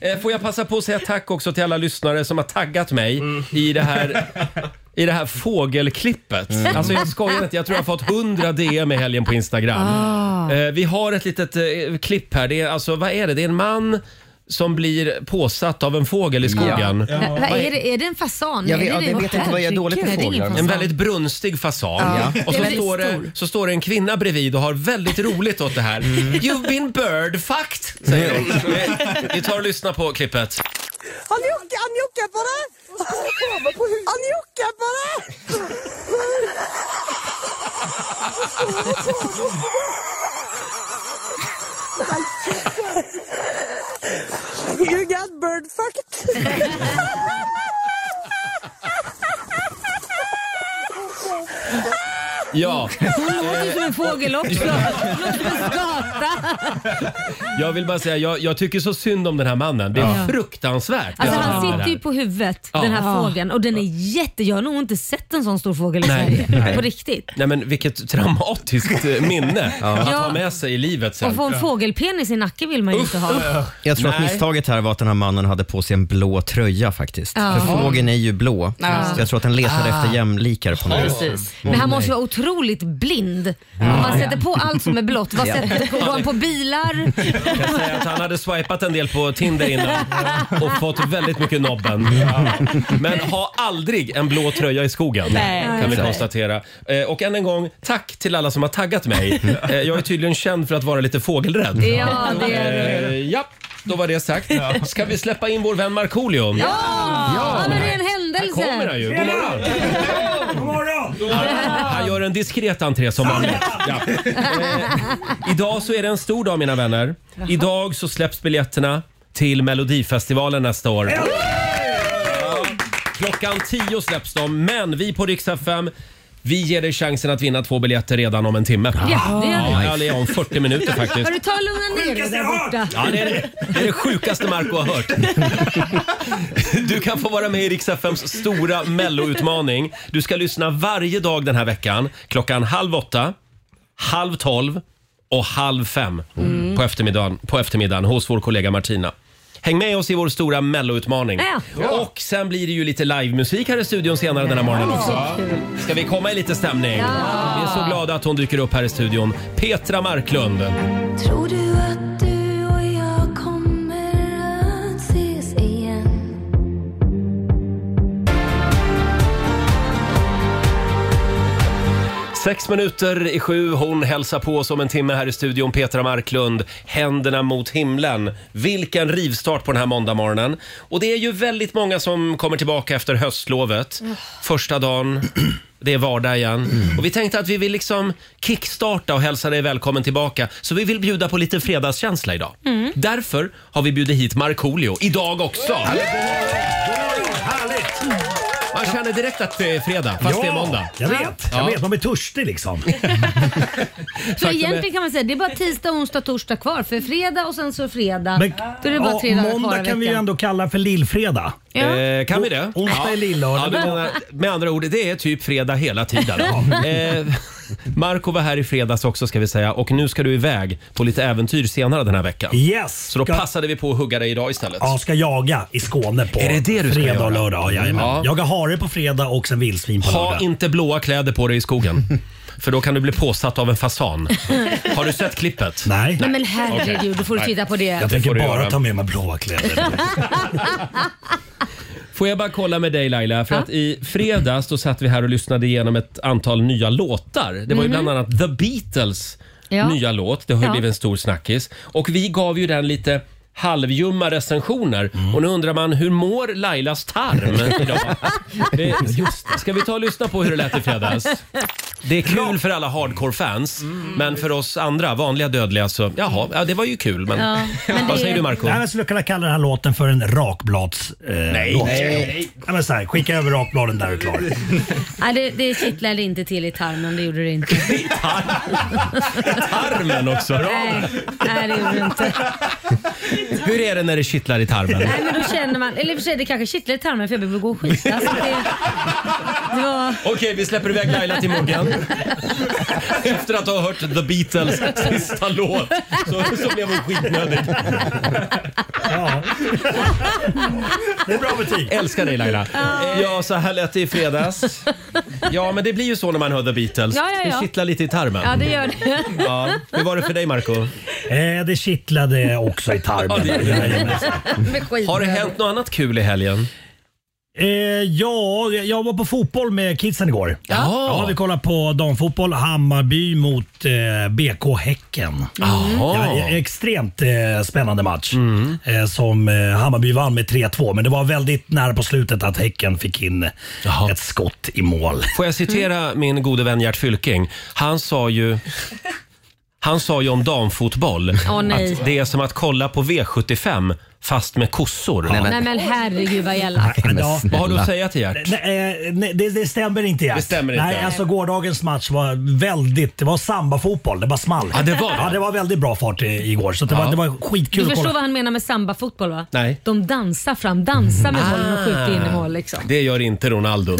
[SPEAKER 1] Eh, Får jag passa på att säga tack också till alla lyssnare som har taggat mig i det här i det här fågelklippet. Alltså jag skojar inte, jag tror jag har fått 100 DM i helgen på Instagram. Eh, vi har ett litet eh, klipp här. Det är, alltså, vad är det? Det är en man som blir påsatt av en fågel i skogen.
[SPEAKER 2] Vad är, det, är det en fasan?
[SPEAKER 3] Jag
[SPEAKER 2] Är
[SPEAKER 3] vet-
[SPEAKER 2] det
[SPEAKER 3] jag
[SPEAKER 2] det?
[SPEAKER 3] vet inte vad jag är dålig på
[SPEAKER 2] Herregud. Nej, det är ingen
[SPEAKER 3] fåglar.
[SPEAKER 1] En
[SPEAKER 2] fasan.
[SPEAKER 1] väldigt brunstig fasan. Och
[SPEAKER 2] Alltså- Det är
[SPEAKER 1] så
[SPEAKER 2] väldigt
[SPEAKER 1] står, det,
[SPEAKER 2] stor.
[SPEAKER 1] så står det en kvinna bredvid och har väldigt roligt åt det här.
[SPEAKER 2] Mm.
[SPEAKER 1] You've been bird fucked, säger hon. Vi- Vi tar och lyssnar på klippet.
[SPEAKER 9] Han juckar, han juckar på det! Han juckar på det! You got bird fucked!
[SPEAKER 1] Ja,
[SPEAKER 2] Hon låter som en fågel också. Hon låter som en skata.
[SPEAKER 1] jag vill bara säga, jag, jag tycker så synd om den här mannen. Det är
[SPEAKER 2] Ja.
[SPEAKER 1] fruktansvärt. det
[SPEAKER 2] Alltså
[SPEAKER 1] som
[SPEAKER 2] han
[SPEAKER 1] händer
[SPEAKER 2] sitter
[SPEAKER 1] här.
[SPEAKER 2] ju på huvudet
[SPEAKER 1] Ja.
[SPEAKER 2] den här fågeln och den är jätte... Jag har nog inte sett en sån stor fågel i
[SPEAKER 1] Nej.
[SPEAKER 2] Sverige. På riktigt.
[SPEAKER 1] Nej men vilket traumatiskt eh, minne att
[SPEAKER 2] Ja.
[SPEAKER 1] ha med sig i livet
[SPEAKER 2] Och
[SPEAKER 1] sen.
[SPEAKER 2] få en fågelpenis i nacken vill man ju inte ha.
[SPEAKER 3] Jag tror att
[SPEAKER 1] Nej.
[SPEAKER 3] misstaget här var att den här mannen hade på sig en blå tröja faktiskt.
[SPEAKER 2] Ja.
[SPEAKER 3] För fågeln är ju blå. Så jag tror att den letade efter jämlikar på något vis.
[SPEAKER 2] Men han måste vara otroligt blind. Om man sätter på allt som är blått. Vad sätter, går han på bilar?
[SPEAKER 1] Jag kan säga att han hade swipat en del på Tinder innan och fått väldigt mycket nobben. Men ha aldrig en blå tröja i skogen
[SPEAKER 5] Nej.
[SPEAKER 1] kan vi konstatera. Eh, Och än en gång, tack till alla som har taggat mig. Eh, Jag är tydligen känd för att vara lite fågelrädd.
[SPEAKER 2] Ja, det är...
[SPEAKER 1] Eh, Ja, då var det sagt. Ska vi släppa in vår vän Markoolio?
[SPEAKER 2] Ja! ja, men det är en
[SPEAKER 1] Här
[SPEAKER 2] händelse.
[SPEAKER 1] kommer han ju. God morgon!
[SPEAKER 4] God morgon!
[SPEAKER 1] Han gör en diskret entré som vanligt. Ja. Eh, idag så är det en stor dag mina vänner. Idag så släpps biljetterna till Melodifestivalen nästa år. Ja. Klockan 10 släpps de, men vi på Rix FM vi ger dig chansen att vinna två biljetter redan om en timme.
[SPEAKER 2] Ja, det gör vi.
[SPEAKER 1] Ja, eller om 40 minuter faktiskt.
[SPEAKER 2] Har du tagit lugna ner dig där borta?
[SPEAKER 1] Ja, det, är det, det är det sjukaste Marco har hört. Du kan få vara med i Rix FMs stora melloutmaning. Du ska lyssna varje dag den här veckan klockan halv åtta, halv tolv och halv fem på, eftermiddagen, på eftermiddagen hos vår kollega Martina. Häng med oss i vår stora melloutmaning.
[SPEAKER 2] Ja.
[SPEAKER 1] Och sen blir det ju lite livemusik här i studion senare den här morgonen också. Ska vi komma i lite stämning? Vi är så glada att hon dyker upp här i studion. Petra Marklund.
[SPEAKER 9] Tror du att du och jag kommer att ses igen?
[SPEAKER 1] Sex minuter i sju, hon hälsar på oss om en timme här i studion. Petra Marklund, händerna mot himlen. Vilken rivstart på den här måndagmorgonen. Och det är ju väldigt många som kommer tillbaka efter höstlovet. Första dagen, det är vardag igen. Och vi tänkte att vi vill liksom kickstarta och hälsa dig välkommen tillbaka. Så vi vill bjuda på lite fredagskänsla idag. Därför har vi bjudit hit Markoolio idag också.
[SPEAKER 4] Härligt!
[SPEAKER 1] Man känner direkt att det är fredag, fast det är måndag.
[SPEAKER 4] Jag vet, jag vet. Man blir törstig liksom.
[SPEAKER 2] Så egentligen kan man säga det är bara tisdag, onsdag, torsdag kvar. För fredag och sen så fredag.
[SPEAKER 4] Men,
[SPEAKER 2] Då är det bara tre dagar kvar
[SPEAKER 4] måndag
[SPEAKER 2] i
[SPEAKER 4] kan vi ju
[SPEAKER 2] veckan.
[SPEAKER 4] ändå kalla för lillfredag.
[SPEAKER 2] Ja.
[SPEAKER 1] Eh, kan vi det?
[SPEAKER 4] Onsdag är
[SPEAKER 1] Ja,
[SPEAKER 4] lillördag.
[SPEAKER 1] du menar, med andra ord, det är typ fredag hela tiden. eh, Marco var här i fredags också ska vi säga och nu ska du iväg på lite äventyr senare den här veckan.
[SPEAKER 4] Yes!
[SPEAKER 1] Så då
[SPEAKER 4] ska-
[SPEAKER 1] passade vi på att hugga dig idag istället.
[SPEAKER 4] Ja, ska jaga i Skåne på
[SPEAKER 1] Är det det du ska
[SPEAKER 4] fredag och
[SPEAKER 1] göra?
[SPEAKER 4] lördag. Ja,
[SPEAKER 1] Ja.
[SPEAKER 4] ja. Jaga hare på fredag och sen vildsvin på
[SPEAKER 1] Ha
[SPEAKER 4] lördag.
[SPEAKER 1] inte blåa kläder på dig i skogen. För då kan du bli påsatt av en fasan. Har du sett klippet?
[SPEAKER 4] Nej,
[SPEAKER 2] Nej men herregud, då får du titta på det.
[SPEAKER 4] jag
[SPEAKER 1] får
[SPEAKER 4] tänker
[SPEAKER 1] du
[SPEAKER 4] bara
[SPEAKER 1] göra.
[SPEAKER 4] ta med mig blåa kläder.
[SPEAKER 1] Får jag bara kolla med dig Laila, för att i fredags då satt vi här och lyssnade igenom ett antal nya låtar. Det var ju bland annat The Beatles
[SPEAKER 2] Mhm. Ja.
[SPEAKER 1] nya låt. Det har ju
[SPEAKER 2] Ja.
[SPEAKER 1] blivit en stor snackis. Och vi gav ju den lite halvljumma recensioner. Och nu undrar man, hur mår Lailas tarm idag? Eh, Ska vi ta och lyssna på hur det lät i fredags? Mm. Det är kul för alla hardcore-fans, men för oss andra, vanliga dödliga, så jaha, ja, det var ju kul. Men,
[SPEAKER 2] Ja, men
[SPEAKER 1] vad
[SPEAKER 2] det-
[SPEAKER 1] säger du Marco?
[SPEAKER 4] Nej, men jag skulle kunna kalla den här låten för en rakblads... Eh, nej, låt. nej. Men så här, skicka över rakbladen där och klar.
[SPEAKER 2] Nej, det, det kittlade inte till i tarmen, det gjorde det inte.
[SPEAKER 1] Tarmen också!
[SPEAKER 2] Nej, nej det gjorde det inte.
[SPEAKER 1] Hur är det när det kittlar i tarmen?
[SPEAKER 2] Nej men då känner man, eller i och för sig det kanske kittlar i tarmen för jag behöver gå och skita. Alltså, det, det var,
[SPEAKER 1] Okej, vi släpper iväg Laila till morgon. Efter att ha hört The Beatles sista låt så, så blev hon skitnödig.
[SPEAKER 4] Det är bra betyg.
[SPEAKER 1] Älskar dig Laila. Ja, så här lät det i fredags. Ja, men det blir ju så när man hör The Beatles.
[SPEAKER 2] Ja, ja, ja.
[SPEAKER 1] Det kittlar lite i
[SPEAKER 2] ja
[SPEAKER 1] tarmen.
[SPEAKER 2] det gör det.
[SPEAKER 1] Ja. Hur var det för dig Marco?
[SPEAKER 4] Eh, det kittlade också i
[SPEAKER 1] Ja,
[SPEAKER 4] tarmen.
[SPEAKER 1] det-
[SPEAKER 4] Jajamän.
[SPEAKER 2] Med skit.
[SPEAKER 1] Har det hänt något annat kul i helgen?
[SPEAKER 4] eh, ja, jag var på fotboll med kidsen igår. Ja, vi kollar på damfotboll. Hammarby mot eh, BK Häcken. Ja,
[SPEAKER 1] Mm. Jaha. Mm.
[SPEAKER 4] e- extremt eh, spännande match eh, som eh, Hammarby vann med 3-2. Men det var väldigt nära på slutet att Häcken fick in
[SPEAKER 1] Jaha.
[SPEAKER 4] ett skott i mål.
[SPEAKER 1] Får jag citera
[SPEAKER 2] Mm.
[SPEAKER 1] min gode vän Gert Fylking? Han sa ju... Han sa ju om damfotboll
[SPEAKER 2] Åh, nej.
[SPEAKER 1] att det är som att kolla på V75 fast med kossor.
[SPEAKER 2] Nej men herregud vad elakt.
[SPEAKER 4] Men
[SPEAKER 3] Men
[SPEAKER 4] ja.
[SPEAKER 1] Vad har du
[SPEAKER 3] snälla.
[SPEAKER 1] att säga till Gert?
[SPEAKER 4] Nej, eh, nej, det, det stämmer inte Gert.
[SPEAKER 1] Det stämmer inte.
[SPEAKER 4] Nej, alltså gårdagens match var väldigt, det var sambafotboll. Det bara small.
[SPEAKER 1] Ja, det var det.
[SPEAKER 4] Ja, det var väldigt bra fart i, igår. Så det,
[SPEAKER 1] Ja.
[SPEAKER 4] var, det var
[SPEAKER 2] Du
[SPEAKER 4] skitkul att
[SPEAKER 2] förstår
[SPEAKER 4] kolla.
[SPEAKER 2] vad han menar med samba-fotboll va?
[SPEAKER 1] Nej.
[SPEAKER 2] De dansar fram, dansar med bollen
[SPEAKER 4] Ah.
[SPEAKER 2] och skjuter in i mål liksom.
[SPEAKER 1] Det gör inte Ronaldo.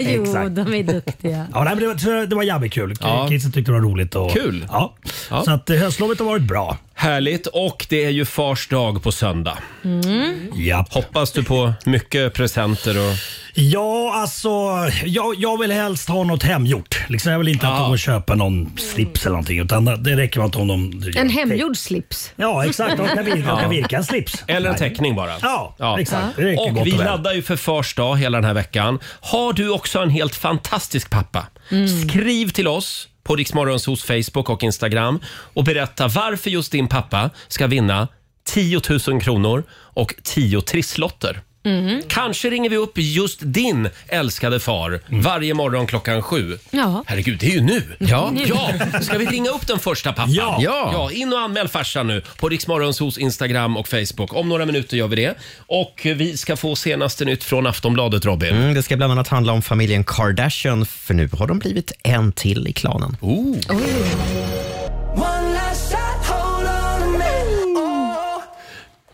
[SPEAKER 2] Jo,
[SPEAKER 4] Exakt.
[SPEAKER 2] de är duktiga.
[SPEAKER 4] Ja, nej, men det, var, så det var jävligt kul.
[SPEAKER 1] Ja.
[SPEAKER 4] Kidsen tyckte det var roligt. Och,
[SPEAKER 1] Kul.
[SPEAKER 4] Ja.
[SPEAKER 1] Ja.
[SPEAKER 4] Så att eh, höstlovet har varit bra.
[SPEAKER 1] Härligt. Och det är ju fars dag på söndag.
[SPEAKER 4] Ja.
[SPEAKER 1] Hoppas du på mycket presenter och...
[SPEAKER 4] Ja, alltså jag, jag vill helst ha något hemgjort. Liksom, jag vill inte att de går och köper någon slips eller någonting. Utan det räcker med att de... de
[SPEAKER 2] En hemgjord slips.
[SPEAKER 4] Ja, exakt. De kan virka, de kan virka en slips.
[SPEAKER 1] Eller en
[SPEAKER 4] Nej.
[SPEAKER 1] teckning bara.
[SPEAKER 4] Ja, exakt. Det räcker gott
[SPEAKER 1] Och
[SPEAKER 4] och
[SPEAKER 1] vi
[SPEAKER 4] väl.
[SPEAKER 1] laddar ju för fars dag hela den här veckan. Har du också en helt fantastisk pappa? Skriv till oss på Riksmorgonsos Facebook och Instagram och berätta varför just din pappa ska vinna 10 000 kronor och 10 trisslotter. Kanske ringer vi upp just din älskade far
[SPEAKER 4] Mm.
[SPEAKER 1] varje morgon klockan sju.
[SPEAKER 2] Ja.
[SPEAKER 1] Herregud, det är ju nu! Ja. ja! Ska vi ringa upp den första pappan?
[SPEAKER 4] Ja.
[SPEAKER 1] Ja. in och anmäl farsan nu på Riksmorgonsos Instagram och Facebook. Om några minuter gör vi det. Och vi ska få senaste nytt från Aftonbladet, Robin.
[SPEAKER 3] Mm, det ska bland annat handla om familjen Kardashian, för nu har de blivit en till i klanen.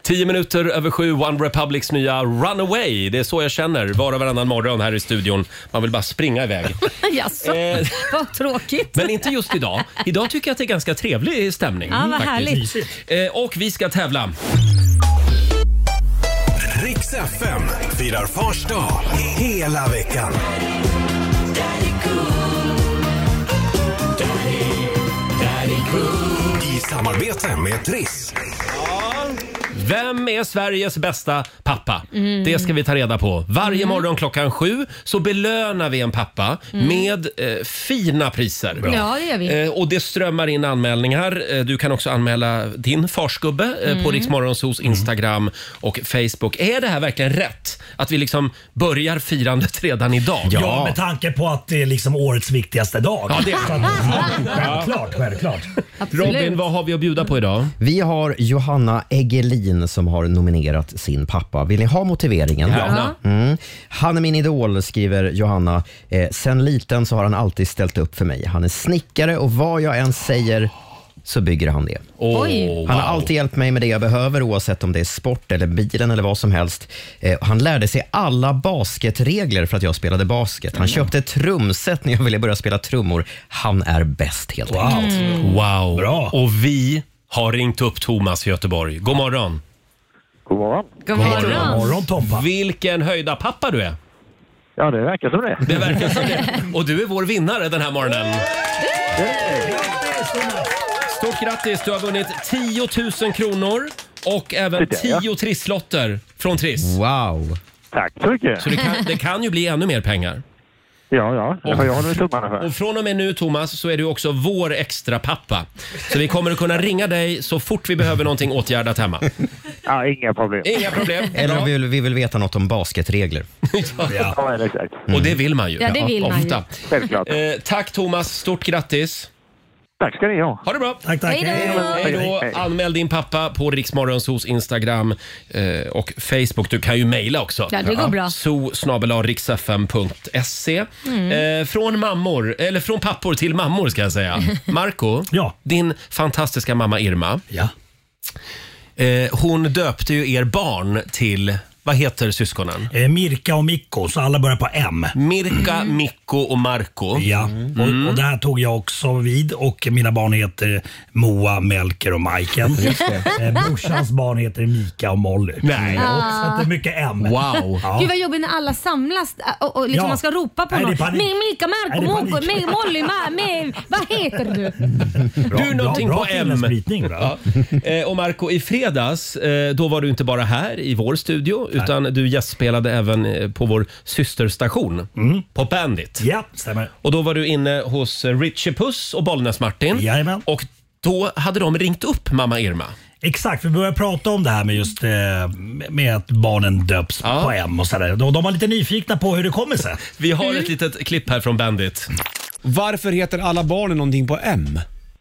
[SPEAKER 1] Tio minuter över sju, One Republics nya Runaway. Det är så jag känner var och varannan morgon här i studion. Man vill bara springa iväg.
[SPEAKER 2] Jaså,
[SPEAKER 1] Eh,
[SPEAKER 2] vad tråkigt.
[SPEAKER 1] Men inte just idag. Idag tycker jag att det är ganska trevlig stämning.
[SPEAKER 2] Ja, vad härligt.
[SPEAKER 1] Eh, Och vi ska tävla.
[SPEAKER 10] Riks FM firar Fars dag hela veckan. I samarbete med Triss.
[SPEAKER 1] Vem är Sveriges bästa pappa? Det ska vi ta reda på. Varje
[SPEAKER 2] Mm.
[SPEAKER 1] morgon klockan sju så belönar vi en pappa med eh, fina priser.
[SPEAKER 2] Ja, det gör vi.
[SPEAKER 1] Eh, och det strömmar in anmälningar. Eh, du kan också anmäla din farsgubbe eh,
[SPEAKER 2] Mm.
[SPEAKER 1] på Riksmorgonsos Instagram och Facebook. Är det här verkligen rätt? Att vi liksom börjar firandet redan idag?
[SPEAKER 4] Ja. med tanke på att det är liksom årets viktigaste dag. Ja, det är Självklart, självklart.
[SPEAKER 1] Robin,
[SPEAKER 2] Absolut.
[SPEAKER 1] vad har vi att bjuda på idag?
[SPEAKER 3] Vi har Johanna Eggelin som har nominerat sin pappa. Vill ni ha motiveringen?
[SPEAKER 1] Johanna?
[SPEAKER 3] Mm. Han är min idol, skriver Johanna. Eh, sen liten så har han alltid ställt upp för mig. Han är snickare och vad jag än säger så bygger han det.
[SPEAKER 1] Åh,
[SPEAKER 2] Oj.
[SPEAKER 1] wow.
[SPEAKER 3] Han har alltid hjälpt mig med det jag behöver oavsett om det är sport eller bilen eller vad som helst. Eh, han lärde sig alla basketregler för att jag spelade basket.
[SPEAKER 1] Mm.
[SPEAKER 3] Han köpte ett trumset när jag ville börja spela trummor. Han är bäst helt enkelt.
[SPEAKER 4] Wow.
[SPEAKER 1] Mm.
[SPEAKER 2] Mm.
[SPEAKER 1] Wow.
[SPEAKER 4] Bra.
[SPEAKER 1] Och vi har ringt upp Thomas i Göteborg. God morgon.
[SPEAKER 11] God morgon.
[SPEAKER 2] God
[SPEAKER 4] God
[SPEAKER 2] morgon.
[SPEAKER 4] morgon Tompa.
[SPEAKER 1] Vilken höjda pappa du är.
[SPEAKER 11] Ja, det verkar som det.
[SPEAKER 1] Det verkar som det. Och du är vår vinnare den här morgonen. Stort grattis! Du har vunnit 10 000 kronor och även
[SPEAKER 11] Det där, ja.
[SPEAKER 1] 10 trisslotter från Triss.
[SPEAKER 3] Wow.
[SPEAKER 11] Tack så mycket.
[SPEAKER 1] Så det kan, det kan ju bli ännu mer pengar.
[SPEAKER 11] Ja, ja. Det har jag hållit tummarna för.
[SPEAKER 1] Och från och med nu Thomas så är du också vår extra pappa. Så vi kommer att kunna ringa dig så fort vi behöver någonting åtgärdat hemma.
[SPEAKER 11] Ja, inga problem.
[SPEAKER 1] Inga problem.
[SPEAKER 3] Eller om vi vill, vi vill veta något om basketregler.
[SPEAKER 1] Ja.
[SPEAKER 11] Ja, exakt.
[SPEAKER 1] Och det vill man ju.
[SPEAKER 2] Ja, det vill man ju.
[SPEAKER 1] Ofta.
[SPEAKER 11] Självklart.
[SPEAKER 1] Eh, tack Thomas, stort grattis.
[SPEAKER 11] Tack ska ni ha.
[SPEAKER 1] Ha det bra!
[SPEAKER 4] Tack, tack.
[SPEAKER 2] Hej då.
[SPEAKER 1] Hej då! Anmäl din pappa på Riksmorgonsos Instagram eh, och Facebook. Du kan ju mejla också.
[SPEAKER 2] Ja, det går bra.
[SPEAKER 1] So
[SPEAKER 2] Mm.
[SPEAKER 1] eh, Från mammor, eller från pappor till mammor ska jag säga. Marco,
[SPEAKER 4] Ja.
[SPEAKER 1] din fantastiska mamma Irma.
[SPEAKER 4] Ja.
[SPEAKER 1] Eh, hon döpte ju er barn till, vad heter syskonen?
[SPEAKER 4] Eh, Mirka och Mikko, så alla börjar på M.
[SPEAKER 1] Mirka, Mikko och Marco.
[SPEAKER 4] Ja,
[SPEAKER 1] Mm.
[SPEAKER 4] och, och där tog jag också vid och mina barn heter Moa, Melker och Majken. Eh, brorsans barn heter Mika och Molly.
[SPEAKER 1] Nej. Ah.
[SPEAKER 4] Så att det är mycket M.
[SPEAKER 1] Wow.
[SPEAKER 4] Ja.
[SPEAKER 2] Gud vad jobbigt när alla samlas äh, och, och liksom
[SPEAKER 4] Ja.
[SPEAKER 2] man ska ropa på
[SPEAKER 4] Nej, det är
[SPEAKER 2] någon.
[SPEAKER 4] panik.
[SPEAKER 2] Med Mika,
[SPEAKER 4] Nej,
[SPEAKER 2] Marko,
[SPEAKER 4] det är
[SPEAKER 2] Monko,
[SPEAKER 4] panik. Mm,
[SPEAKER 2] med Molly, ma, med, vad heter du?
[SPEAKER 4] Bra,
[SPEAKER 1] Du, någonting
[SPEAKER 4] bra,
[SPEAKER 1] på
[SPEAKER 4] bra
[SPEAKER 1] M.
[SPEAKER 4] finlandsbrytning, bra.
[SPEAKER 1] Ja. Eh, Och Marco, i fredags eh, då var du inte bara här i vår studio utan du gästspelade även eh, på vår systerstation
[SPEAKER 8] Mm.
[SPEAKER 1] Pop Bandit.
[SPEAKER 4] Ja, stämmer.
[SPEAKER 1] Och då var du inne hos eh, Richie Puss och Bollnäs-Martin.
[SPEAKER 4] Jajamän.
[SPEAKER 1] Och då hade de ringt upp mamma Irma.
[SPEAKER 4] Exakt, för vi började prata om det här med just eh, med att barnen döps
[SPEAKER 1] Ja.
[SPEAKER 4] på M och sådär. De, de var lite nyfikna på hur det kommer sig.
[SPEAKER 1] Vi har
[SPEAKER 8] Mm.
[SPEAKER 1] ett litet klipp här från Bandit.
[SPEAKER 8] Varför heter alla barnen någonting på M?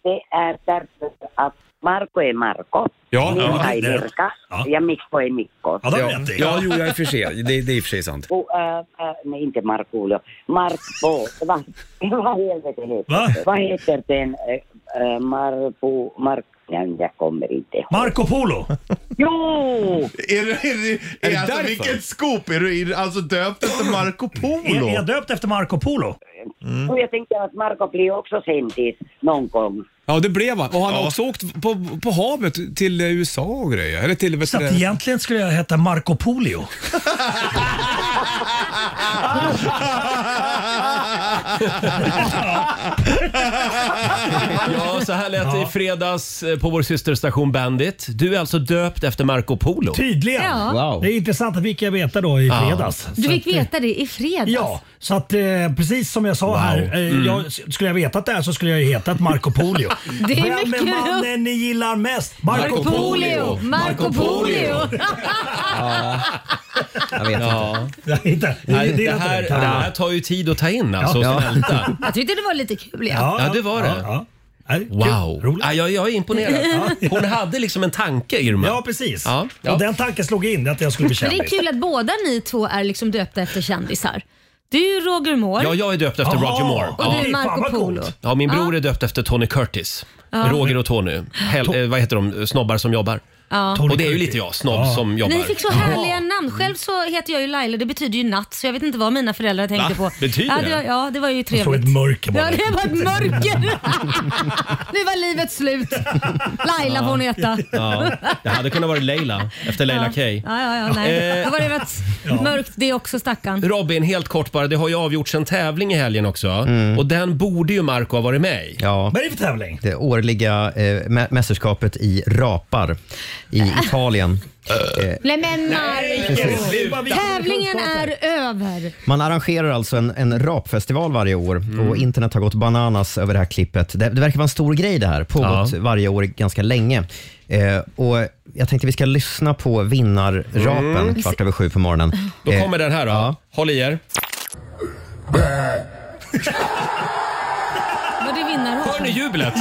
[SPEAKER 12] Det är därför att Marko är Marko,
[SPEAKER 8] Ja,
[SPEAKER 12] Mirka är
[SPEAKER 4] det-
[SPEAKER 12] Mirka
[SPEAKER 4] ja.
[SPEAKER 12] ja Mikko är Mikko.
[SPEAKER 4] Ja, de vet det.
[SPEAKER 8] ja jo, jag är för sig. Det, det är i och för sig sant.
[SPEAKER 12] Och, äh, äh, nej, inte Markoolio. Marko, vad, vad helvete heter
[SPEAKER 4] Va?
[SPEAKER 12] det? Vad heter den? Äh, äh, Marko, Mark... Nej, jag kommer inte ihåg.
[SPEAKER 4] Marco Polo.
[SPEAKER 12] Jo!
[SPEAKER 13] Är du, är du, är
[SPEAKER 8] det
[SPEAKER 13] alltså,
[SPEAKER 8] därför?
[SPEAKER 13] vilket scoop! Är du är du alltså döpt efter Marco
[SPEAKER 4] Är, är jag
[SPEAKER 13] Polo?
[SPEAKER 4] döpt efter Marco Polo?
[SPEAKER 12] Och jag tänkte att Marko blir också kändis någon gång.
[SPEAKER 8] Ja, det blev han. Och han har också åkt på, på havet till eh, USA och grejer. Eller till vet
[SPEAKER 4] Så
[SPEAKER 8] du,
[SPEAKER 4] att
[SPEAKER 8] det-
[SPEAKER 4] egentligen skulle jag heta Marco Polio.
[SPEAKER 1] Ja, så här lät det i fredags eh, på vår systerstation Bandit. Du är alltså döpt efter Marco Polo.
[SPEAKER 4] Tydligen.
[SPEAKER 2] Ja.
[SPEAKER 4] Det är intressant att vi fick jag veta då i fredags.
[SPEAKER 2] Du
[SPEAKER 4] Så
[SPEAKER 2] fick
[SPEAKER 4] att, eh,
[SPEAKER 2] veta det i fredags.
[SPEAKER 4] Ja, så att eh, precis som jag sa här. Eh,
[SPEAKER 1] Mm.
[SPEAKER 4] jag, skulle jag vetat det här så skulle jag ju hetat Marco Polio.
[SPEAKER 2] Det är
[SPEAKER 4] Vem
[SPEAKER 2] mycket
[SPEAKER 4] är mannen ni gillar mest? Marco
[SPEAKER 2] Marco Polio,
[SPEAKER 4] Polio!
[SPEAKER 2] Marco Polio.
[SPEAKER 3] Jag vet inte.
[SPEAKER 1] Ja.
[SPEAKER 4] Nej, inte.
[SPEAKER 1] Nej,
[SPEAKER 4] gillar
[SPEAKER 1] det,
[SPEAKER 4] inte
[SPEAKER 1] här,
[SPEAKER 4] det.
[SPEAKER 1] det här tar ju tid att ta in alltså, och smälta.
[SPEAKER 2] Jag tyckte det var lite kul. Ja.
[SPEAKER 1] Ja, det var det.
[SPEAKER 4] ja. Nej, kul.
[SPEAKER 1] Wow!
[SPEAKER 4] Roligt.
[SPEAKER 1] Ja, jag, jag är imponerad. Hon hade liksom en tanke, Irma.
[SPEAKER 4] Ja, precis.
[SPEAKER 1] Ja, ja.
[SPEAKER 4] Och den tanken slog in att jag skulle bli
[SPEAKER 2] Men det
[SPEAKER 4] kändis.
[SPEAKER 2] är kul att båda ni två är liksom döpta efter kändisar. Du är ju Roger Moore
[SPEAKER 1] ja, jag är döpt efter
[SPEAKER 4] Jaha.
[SPEAKER 1] Roger Moore.
[SPEAKER 4] Och
[SPEAKER 2] och du
[SPEAKER 1] Ja.
[SPEAKER 2] är
[SPEAKER 4] Oj, fan,
[SPEAKER 2] Marco
[SPEAKER 4] vad
[SPEAKER 2] Polo.
[SPEAKER 4] coolt.
[SPEAKER 1] ja, min bror är döpt efter Tony Curtis. Roger och Tony. Hel, eh, vad heter de? Snobbar som jobbar.
[SPEAKER 2] Ja.
[SPEAKER 1] Och det är ju lite jag, snobb som jobbar.
[SPEAKER 2] Ni fick så härliga namn. Själv så heter jag ju Laila, det betyder ju natt så jag vet inte vad mina föräldrar tänkte
[SPEAKER 1] Va?
[SPEAKER 2] på.
[SPEAKER 1] Betyder
[SPEAKER 2] ja, det?
[SPEAKER 1] det?
[SPEAKER 2] Var, ja, det var ju
[SPEAKER 4] Jag såg
[SPEAKER 2] trevligt.
[SPEAKER 4] ett mörker bara.
[SPEAKER 2] Ja, det var ett mörker. nu var livet slut. Laila får hon heta.
[SPEAKER 1] Ja, det hade kunnat vara Leila, efter Leila Kay.
[SPEAKER 2] Ja, ja, ja, nej.
[SPEAKER 1] Eh.
[SPEAKER 2] Då var det rätt mörkt det också stackarn.
[SPEAKER 1] Robin, helt kort bara. Det har ju avgjorts en tävling i helgen också. Och den borde ju Marco ha varit med i.
[SPEAKER 3] Ja.
[SPEAKER 4] Vad är det för tävling?
[SPEAKER 3] det årliga eh, mä- mästerskapet i rapar i Italien.
[SPEAKER 2] Nej men Marcus!
[SPEAKER 4] Sluta.
[SPEAKER 2] Tävlingen är över.
[SPEAKER 3] Man arrangerar alltså en, en rapfestival varje år
[SPEAKER 1] Mm.
[SPEAKER 3] och internet har gått bananas över det här klippet. Det, det verkar vara en stor grej det här, pågått
[SPEAKER 1] Ja.
[SPEAKER 3] varje år ganska länge. Eh, och jag tänkte vi ska lyssna på vinnarrapen kvart över sju på morgonen.
[SPEAKER 1] Mm. Då
[SPEAKER 3] Eh,
[SPEAKER 1] kommer den här då. Håll i er.
[SPEAKER 2] Var det vinnarhopp?
[SPEAKER 1] Hör ni jublet?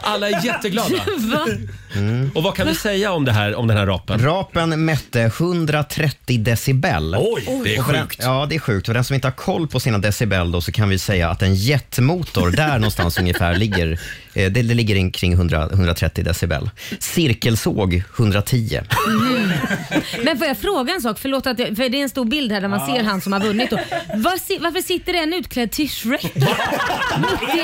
[SPEAKER 1] Alla är jätteglada.
[SPEAKER 2] Va?
[SPEAKER 1] Och vad kan vi säga om, det här, om den här rapen?
[SPEAKER 3] Rapen mätte 130 decibel.
[SPEAKER 4] Oj!
[SPEAKER 1] Det är
[SPEAKER 3] Och för den-
[SPEAKER 1] sjukt.
[SPEAKER 3] Ja, det är sjukt. Och den som inte har koll på sina decibel då, så kan vi säga att en jetmotor, där någonstans ungefär ligger, eh, det, det ligger in kring 100, 130 decibel. Cirkelsåg 110.
[SPEAKER 2] Men får jag fråga en sak? Förlåt att jag, för det är en stor bild här där
[SPEAKER 1] Ah.
[SPEAKER 2] man ser han som har vunnit. Då. Var, si- varför sitter en utklädd till Shrek? Mitt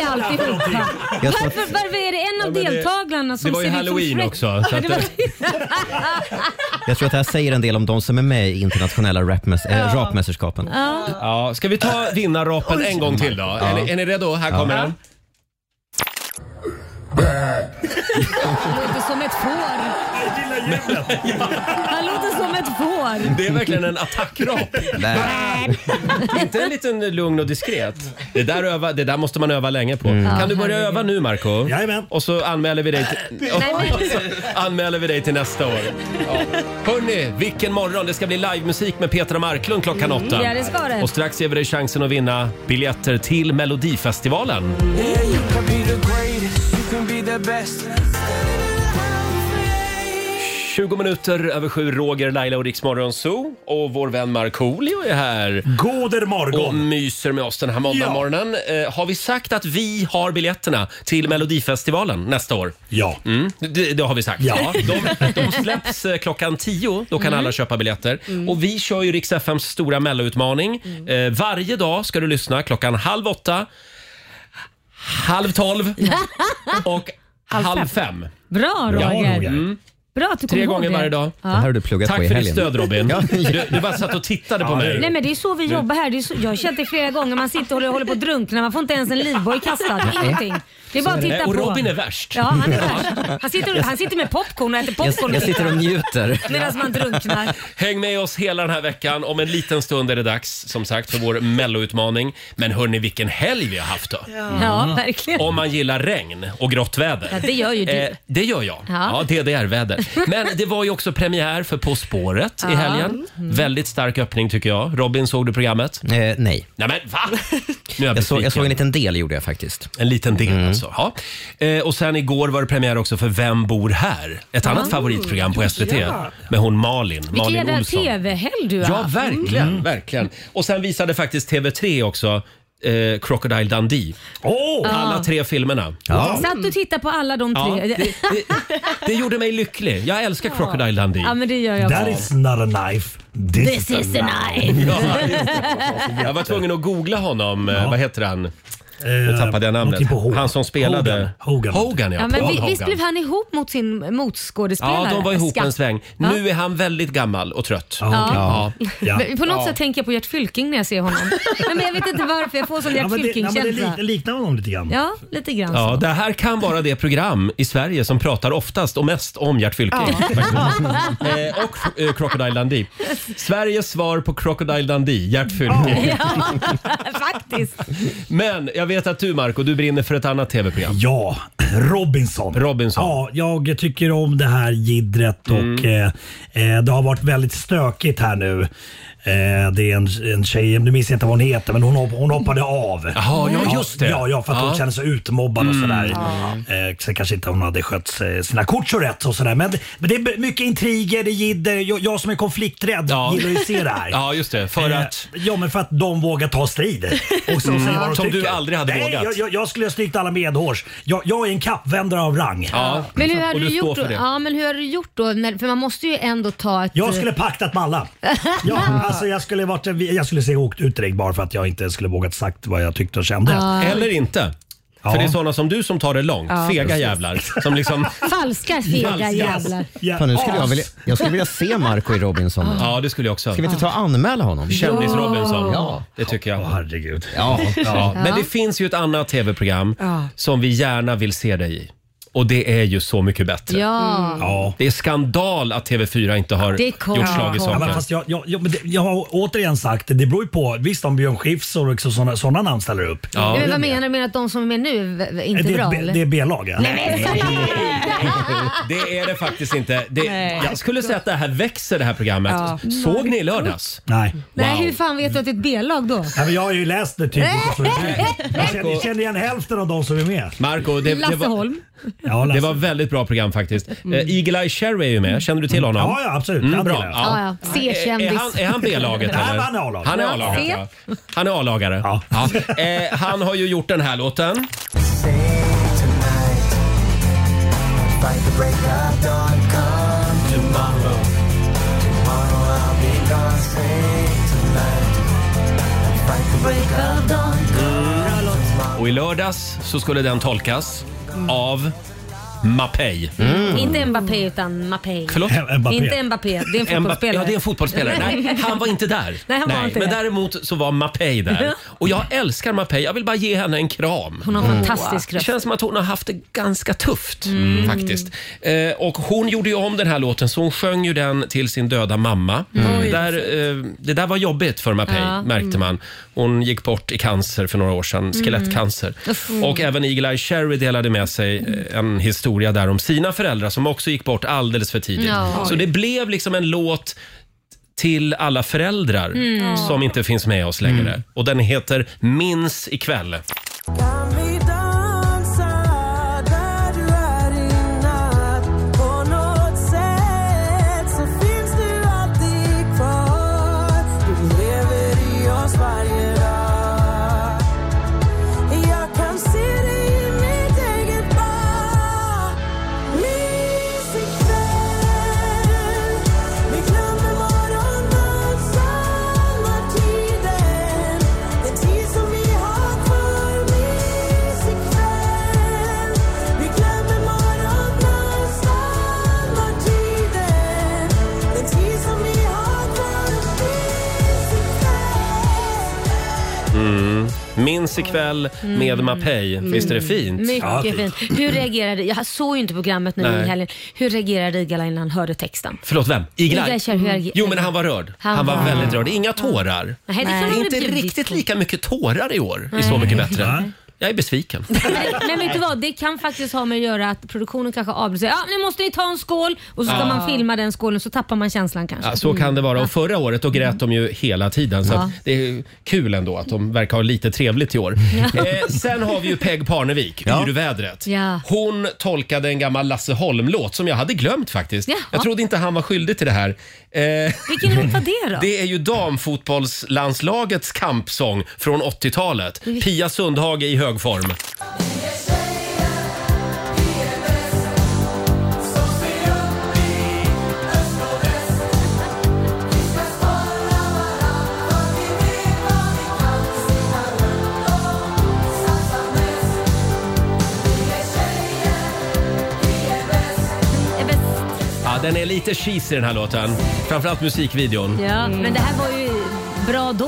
[SPEAKER 2] i alltihopa.
[SPEAKER 3] Jag tror-
[SPEAKER 2] Varför, varför är det en av
[SPEAKER 1] men det-
[SPEAKER 2] deltagarna som
[SPEAKER 1] det var ju
[SPEAKER 2] ser ut
[SPEAKER 1] Halloween
[SPEAKER 2] som Shrek?
[SPEAKER 1] också, så
[SPEAKER 2] Ja,
[SPEAKER 1] att
[SPEAKER 2] det var,
[SPEAKER 3] Jag tror att det här säger en del om de som är med i internationella rapmäs- äh, rapmästerskapen.
[SPEAKER 1] Ja, ska vi ta vinnarrapen en gång till då? Är, ni, är ni redo? Här kommer den.
[SPEAKER 2] Låter som ett får. Jag gillar
[SPEAKER 1] ljudet.
[SPEAKER 2] Han låter som ett får.
[SPEAKER 1] Det är verkligen en attackrap. Inte en liten lugn och diskret. Det där, öva, det där måste man öva länge på.
[SPEAKER 2] Mm. Ja,
[SPEAKER 1] Kan du börja
[SPEAKER 2] herregud.
[SPEAKER 1] öva nu Marco? Jajamän. Och så anmäler vi dig till,
[SPEAKER 2] Nej, men-
[SPEAKER 1] och så anmäler vi dig till nästa år. Ja. Hörni, vilken morgon! Det ska bli livemusik med Petra Marklund klockan
[SPEAKER 2] Mm.
[SPEAKER 1] åtta.
[SPEAKER 2] Ja, det ska det.
[SPEAKER 1] Och strax ger vi dig chansen att vinna biljetter till Melodifestivalen. Tjugo minuter över sju, Roger, Laila och Riksmorgon Zoo. Och vår vän Markoolio är här.
[SPEAKER 4] Goder morgon.
[SPEAKER 1] Och myser med oss den här måndagmorgonen. Eh, har vi sagt att vi har biljetterna till Melodifestivalen nästa år?
[SPEAKER 4] Ja.
[SPEAKER 1] Mm, det, det har vi sagt.
[SPEAKER 4] Ja.
[SPEAKER 1] de, de släpps eh, klockan tio. Då kan alla köpa biljetter. Och vi kör ju Rix FMs stora melloutmaning. Eh, varje dag ska du lyssna klockan halv åtta, halv tolv och halv,
[SPEAKER 2] fem.
[SPEAKER 1] fem.
[SPEAKER 2] Bra Roger. Bra att du kom
[SPEAKER 1] Mm. Tre
[SPEAKER 2] ihåg
[SPEAKER 1] gånger
[SPEAKER 2] det.
[SPEAKER 1] varje dag.
[SPEAKER 2] Ja.
[SPEAKER 1] Tack
[SPEAKER 3] på i
[SPEAKER 1] för ditt
[SPEAKER 3] helgen.
[SPEAKER 1] stöd Robin.
[SPEAKER 3] Ja.
[SPEAKER 1] du, du bara satt och tittade på mig.
[SPEAKER 2] Nej men det är så vi jobbar här. Det är så, jag har känt det flera gånger. Man sitter och håller, håller på att drunkna. Man får inte ens en livboj kastad. Ingenting. Det är bara att titta
[SPEAKER 1] Eh, Och
[SPEAKER 2] på.
[SPEAKER 1] Robin är värst.
[SPEAKER 2] Ja, han är värst. Han sitter, han sitter med popcorn och äter popcorn
[SPEAKER 1] njuter.
[SPEAKER 2] medan man drunknar.
[SPEAKER 1] Häng med oss hela den här veckan. Om en liten stund är det dags som sagt för vår melloutmaning. Men hörni, vilken helg vi har haft då.
[SPEAKER 2] Ja, verkligen.
[SPEAKER 1] Om man gillar regn och grått väder. Eh,
[SPEAKER 2] Ja, det gör ju du.
[SPEAKER 1] det gör jag.
[SPEAKER 2] Ja.
[SPEAKER 1] Ja, DDR-väder. Men det var ju också premiär för På spåret i
[SPEAKER 2] Ja. Mm.
[SPEAKER 1] helgen. Väldigt stark öppning tycker jag. Robin, såg du programmet?
[SPEAKER 3] Eh, nej.
[SPEAKER 1] Nej men va? Nu är
[SPEAKER 3] Jag, såg, jag såg en Mm.
[SPEAKER 1] besviken.
[SPEAKER 3] liten del gjorde jag faktiskt.
[SPEAKER 1] En liten del alltså. Ja. Eh, och sen igår var det premiär också för Vem bor här? Ett annat
[SPEAKER 2] Oh.
[SPEAKER 1] favoritprogram på SVT
[SPEAKER 2] Ja.
[SPEAKER 1] med hon Malin.
[SPEAKER 2] Vilken
[SPEAKER 1] Malin
[SPEAKER 2] jävla
[SPEAKER 1] Olsson.
[SPEAKER 2] TV-helg du har
[SPEAKER 1] Ja,
[SPEAKER 2] haft.
[SPEAKER 1] verkligen,
[SPEAKER 2] mm.
[SPEAKER 1] verkligen. Och sen visade faktiskt TV3 också eh, Crocodile Dundee.
[SPEAKER 2] Ja.
[SPEAKER 1] Alla tre filmerna.
[SPEAKER 2] Satt och tittade på alla de
[SPEAKER 1] Ja,
[SPEAKER 2] tre.
[SPEAKER 1] det- Det gjorde mig lycklig. Jag älskar Crocodile Dundee.
[SPEAKER 2] Ja, men det gör jag
[SPEAKER 4] That
[SPEAKER 2] också.
[SPEAKER 4] is not a knife. This,
[SPEAKER 2] This is a knife.
[SPEAKER 1] Jag var tvungen att googla honom. Eh, Vad heter han? Nu tappade jag
[SPEAKER 2] Eh,
[SPEAKER 1] namnet.
[SPEAKER 4] någonting på H.
[SPEAKER 1] Han som spelade...
[SPEAKER 4] Hogan.
[SPEAKER 1] Hogan, ja.
[SPEAKER 2] Ja, men
[SPEAKER 1] Paul
[SPEAKER 2] vi- visst
[SPEAKER 1] Hogan.
[SPEAKER 2] blev han ihop mot sin motskådespelare?
[SPEAKER 1] Ja, de var ihop en
[SPEAKER 2] Skatt.
[SPEAKER 1] sväng.
[SPEAKER 2] Ja.
[SPEAKER 1] Nu är han väldigt gammal och trött.
[SPEAKER 2] Ja. Men På något
[SPEAKER 1] Ja.
[SPEAKER 2] sätt tänker jag på Gert Fylking när jag ser honom. Nej, men jag vet inte varför, jag får sån
[SPEAKER 4] Ja,
[SPEAKER 2] Gert
[SPEAKER 4] men det, ja, men det
[SPEAKER 2] Fylking-känsla.
[SPEAKER 4] lik- liknar honom lite grann.
[SPEAKER 2] Ja, lite grann så.
[SPEAKER 1] Ja, det här kan vara det program i Sverige som pratar oftast och mest om Gert Fylking. Eh, och eh, Crocodile Dundee. Sveriges svar på Crocodile Dundee, Gert Fylking.
[SPEAKER 2] faktiskt.
[SPEAKER 1] Men jag vet att du Marco, du brinner för ett annat tv-program.
[SPEAKER 4] Ja, Robinson.
[SPEAKER 1] Robinson.
[SPEAKER 4] Ja, jag tycker om det här jiddret och
[SPEAKER 1] Mm.
[SPEAKER 4] eh, eh, det har varit väldigt stökigt här nu. Eh, det är en, en tjej, nu minns jag inte vad hon heter, men hon, hopp, hon hoppade av.
[SPEAKER 1] Jaha, ja, just det.
[SPEAKER 4] Ja, ja för att
[SPEAKER 1] Ja.
[SPEAKER 4] hon kände sig utmobbad och
[SPEAKER 1] Mm.
[SPEAKER 4] sådär.
[SPEAKER 1] Ja.
[SPEAKER 4] Eh, sen kanske inte hon hade skött sig- sina kort så rätt och sådär. Men, men det är b- mycket intriger, det är jidder. Jag, jag som är konflikträdd gillar ju att se det här.
[SPEAKER 1] Ja, just det. För
[SPEAKER 4] Eh,
[SPEAKER 1] att...
[SPEAKER 4] Ja, men för att de vågar ta strid. Och så
[SPEAKER 1] Mm.
[SPEAKER 4] säger vad de
[SPEAKER 1] Som du
[SPEAKER 4] tycker.
[SPEAKER 1] aldrig hade
[SPEAKER 4] Nej,
[SPEAKER 1] vågat.
[SPEAKER 4] Jag, jag, jag skulle ha strykt alla medhårs. Jag, jag är en kappvändare av rang.
[SPEAKER 1] Ja.
[SPEAKER 2] Men hur har du, gjort då? Ja, men hur har du gjort då? När, för man måste ju ändå ta ett...
[SPEAKER 4] Jag skulle paktat med alla. Ja, alltså jag, skulle varit, jag skulle se åkt ut direkt bara för att jag inte skulle vågat sagt vad jag tyckte och kände.
[SPEAKER 2] Ja.
[SPEAKER 1] Eller inte. För det är sådana som du som tar det långt.
[SPEAKER 2] Ja.
[SPEAKER 1] Fega
[SPEAKER 2] Precis.
[SPEAKER 1] jävlar. Som liksom...
[SPEAKER 2] eh, Falska fega jävlar.
[SPEAKER 3] Fan, nu skulle jag, vilja, jag skulle vilja se Marco i Robinson.
[SPEAKER 1] Ja, det skulle jag också.
[SPEAKER 3] Ska vi inte ta och anmäla honom?
[SPEAKER 1] Kändis-Robinson.
[SPEAKER 3] Ja.
[SPEAKER 1] Det tycker jag.
[SPEAKER 4] herregud.
[SPEAKER 3] Ja.
[SPEAKER 1] Ja.
[SPEAKER 3] Ja.
[SPEAKER 1] Men det finns ju ett annat tv-program
[SPEAKER 2] Ja.
[SPEAKER 1] som vi gärna vill se dig i. Och det är ju Så mycket bättre.
[SPEAKER 2] Ja. Mm.
[SPEAKER 1] Det är skandal att TV4 inte har
[SPEAKER 2] Det kommer.
[SPEAKER 1] gjort slag i
[SPEAKER 4] Ja,
[SPEAKER 1] saken.
[SPEAKER 4] men fast jag, jag, jag, men det, jag har återigen sagt, det beror ju på. Visst om Björn Skifs och liksom sådana, sådana namn ställer upp.
[SPEAKER 2] Nej, men vad menar du? Menar att de som är med nu är inte
[SPEAKER 4] det,
[SPEAKER 2] bra?
[SPEAKER 4] är B-
[SPEAKER 2] eller?
[SPEAKER 4] det är B-lag. ja.
[SPEAKER 1] Det är det faktiskt inte. Det,
[SPEAKER 2] Nej.
[SPEAKER 1] jag skulle säga att det här växer det här programmet.
[SPEAKER 2] Ja.
[SPEAKER 1] Såg ni i lördags?
[SPEAKER 4] Nej.
[SPEAKER 2] Nej, hur fan vet du att det är ett B-lag då?
[SPEAKER 4] Nej, men jag har ju läst det tydligt. och så vidare. Jag känner, jag känner igen hälften av de som är med.
[SPEAKER 1] Marco, det, det,
[SPEAKER 2] Lasse
[SPEAKER 1] var,
[SPEAKER 2] Holm. Mm.
[SPEAKER 1] det var väldigt bra program faktiskt. Eh, Eagle-Eye Cherry är ju med. Känner du till honom?
[SPEAKER 4] Ja, ja, absolut.
[SPEAKER 1] Mm,
[SPEAKER 4] Han
[SPEAKER 1] bra.
[SPEAKER 4] gillar jag.
[SPEAKER 2] Ja, ja. C-kändis.
[SPEAKER 1] Är han, är han B-laget
[SPEAKER 4] Nej,
[SPEAKER 1] eller?
[SPEAKER 4] han är A-laget.
[SPEAKER 1] Han är
[SPEAKER 2] Ja,
[SPEAKER 1] A-laget,
[SPEAKER 2] se.
[SPEAKER 1] ja. Han är A-lagare. Ja. Eh, han har ju gjort den här låten. Och i lördags så skulle den tolkas av Mapei.
[SPEAKER 4] Mm.
[SPEAKER 2] Inte Mbappé utan Mapei.
[SPEAKER 1] Förlåt? Eh, Mbappé.
[SPEAKER 2] Inte Mbappé, det är en
[SPEAKER 1] Mbappé-
[SPEAKER 2] fotbollsspelare.
[SPEAKER 1] Ja, det är en fotbollsspelare. Nej, han var inte där.
[SPEAKER 2] Nej, han var inte
[SPEAKER 1] men
[SPEAKER 2] det.
[SPEAKER 1] däremot så var Mapei där. Och jag älskar Mapei. Jag vill bara ge henne en kram.
[SPEAKER 2] Hon har en fantastisk
[SPEAKER 1] Det
[SPEAKER 2] röst.
[SPEAKER 1] känns som att hon har haft det ganska tufft
[SPEAKER 2] Mm.
[SPEAKER 1] faktiskt. Eh, och hon gjorde ju om den här låten så hon sjöng ju den till sin döda mamma.
[SPEAKER 2] Mm.
[SPEAKER 1] Där, eh, det där var jobbigt för Mapei
[SPEAKER 2] Ja,
[SPEAKER 1] märkte
[SPEAKER 2] mm.
[SPEAKER 1] man. Hon gick bort i cancer för några år sedan, skelettcancer.
[SPEAKER 2] Uff. Mm.
[SPEAKER 1] Och även Eagle-Eye Cherry delade med sig eh, en historia där om sina föräldrar som också gick bort alldeles för tidigt.
[SPEAKER 2] Ja.
[SPEAKER 1] Så det blev liksom en låt till alla föräldrar
[SPEAKER 2] Mm.
[SPEAKER 1] som inte finns med oss längre. Och den heter Minns ikväll. Mm. Minns ikväll
[SPEAKER 2] Mm.
[SPEAKER 1] med Mapei. Visst är det fint?
[SPEAKER 2] Mycket fint. Hur reagerade, jag såg ju inte programmet nu
[SPEAKER 1] Nej.
[SPEAKER 2] i helgen. Hur reagerade Igala innan han hörde texten?
[SPEAKER 1] Förlåt, vem?
[SPEAKER 2] Eagle-Eye
[SPEAKER 1] Iglar?
[SPEAKER 2] Cherry, hur reagerade-
[SPEAKER 1] Mm. Jo, men han var rörd.
[SPEAKER 2] Han
[SPEAKER 1] Han, var
[SPEAKER 2] var-
[SPEAKER 1] väldigt rörd. Inga tårar.
[SPEAKER 2] Nej, det kan han
[SPEAKER 1] inte
[SPEAKER 2] väl bli-
[SPEAKER 1] riktigt lika mycket tårar i år i Så
[SPEAKER 2] Nej.
[SPEAKER 1] mycket bättre. Jag är besviken.
[SPEAKER 2] Nej, men vet du vad? Det kan faktiskt ha med att göra att produktionen kanske avbryter. Ja, nu måste ni ta en skål och så ska
[SPEAKER 1] Ja.
[SPEAKER 2] man filma den skålen så tappar man känslan kanske.
[SPEAKER 1] Ja, så kan det vara. Och förra året då grät de ju hela tiden. Så
[SPEAKER 2] Ja.
[SPEAKER 1] att det är kul ändå att de verkar ha lite trevligt i år.
[SPEAKER 2] Ja.
[SPEAKER 1] Eh, sen har vi ju Peg Parnevik, Yrvädret.
[SPEAKER 2] Ja.
[SPEAKER 1] Hon tolkade en gammal Lasse Holm-låt som jag hade glömt faktiskt.
[SPEAKER 2] Jaha.
[SPEAKER 1] Jag trodde inte han var skyldig till det här. Eh,
[SPEAKER 2] Vilken låt var det då?
[SPEAKER 1] Det är ju damfotbollslandslagets kampsång från 80-talet. Pia Sundhage i hög form. Ja, den är lite cheesy den här låten. Framförallt musikvideon.
[SPEAKER 2] Ja, men det här var ju bra då.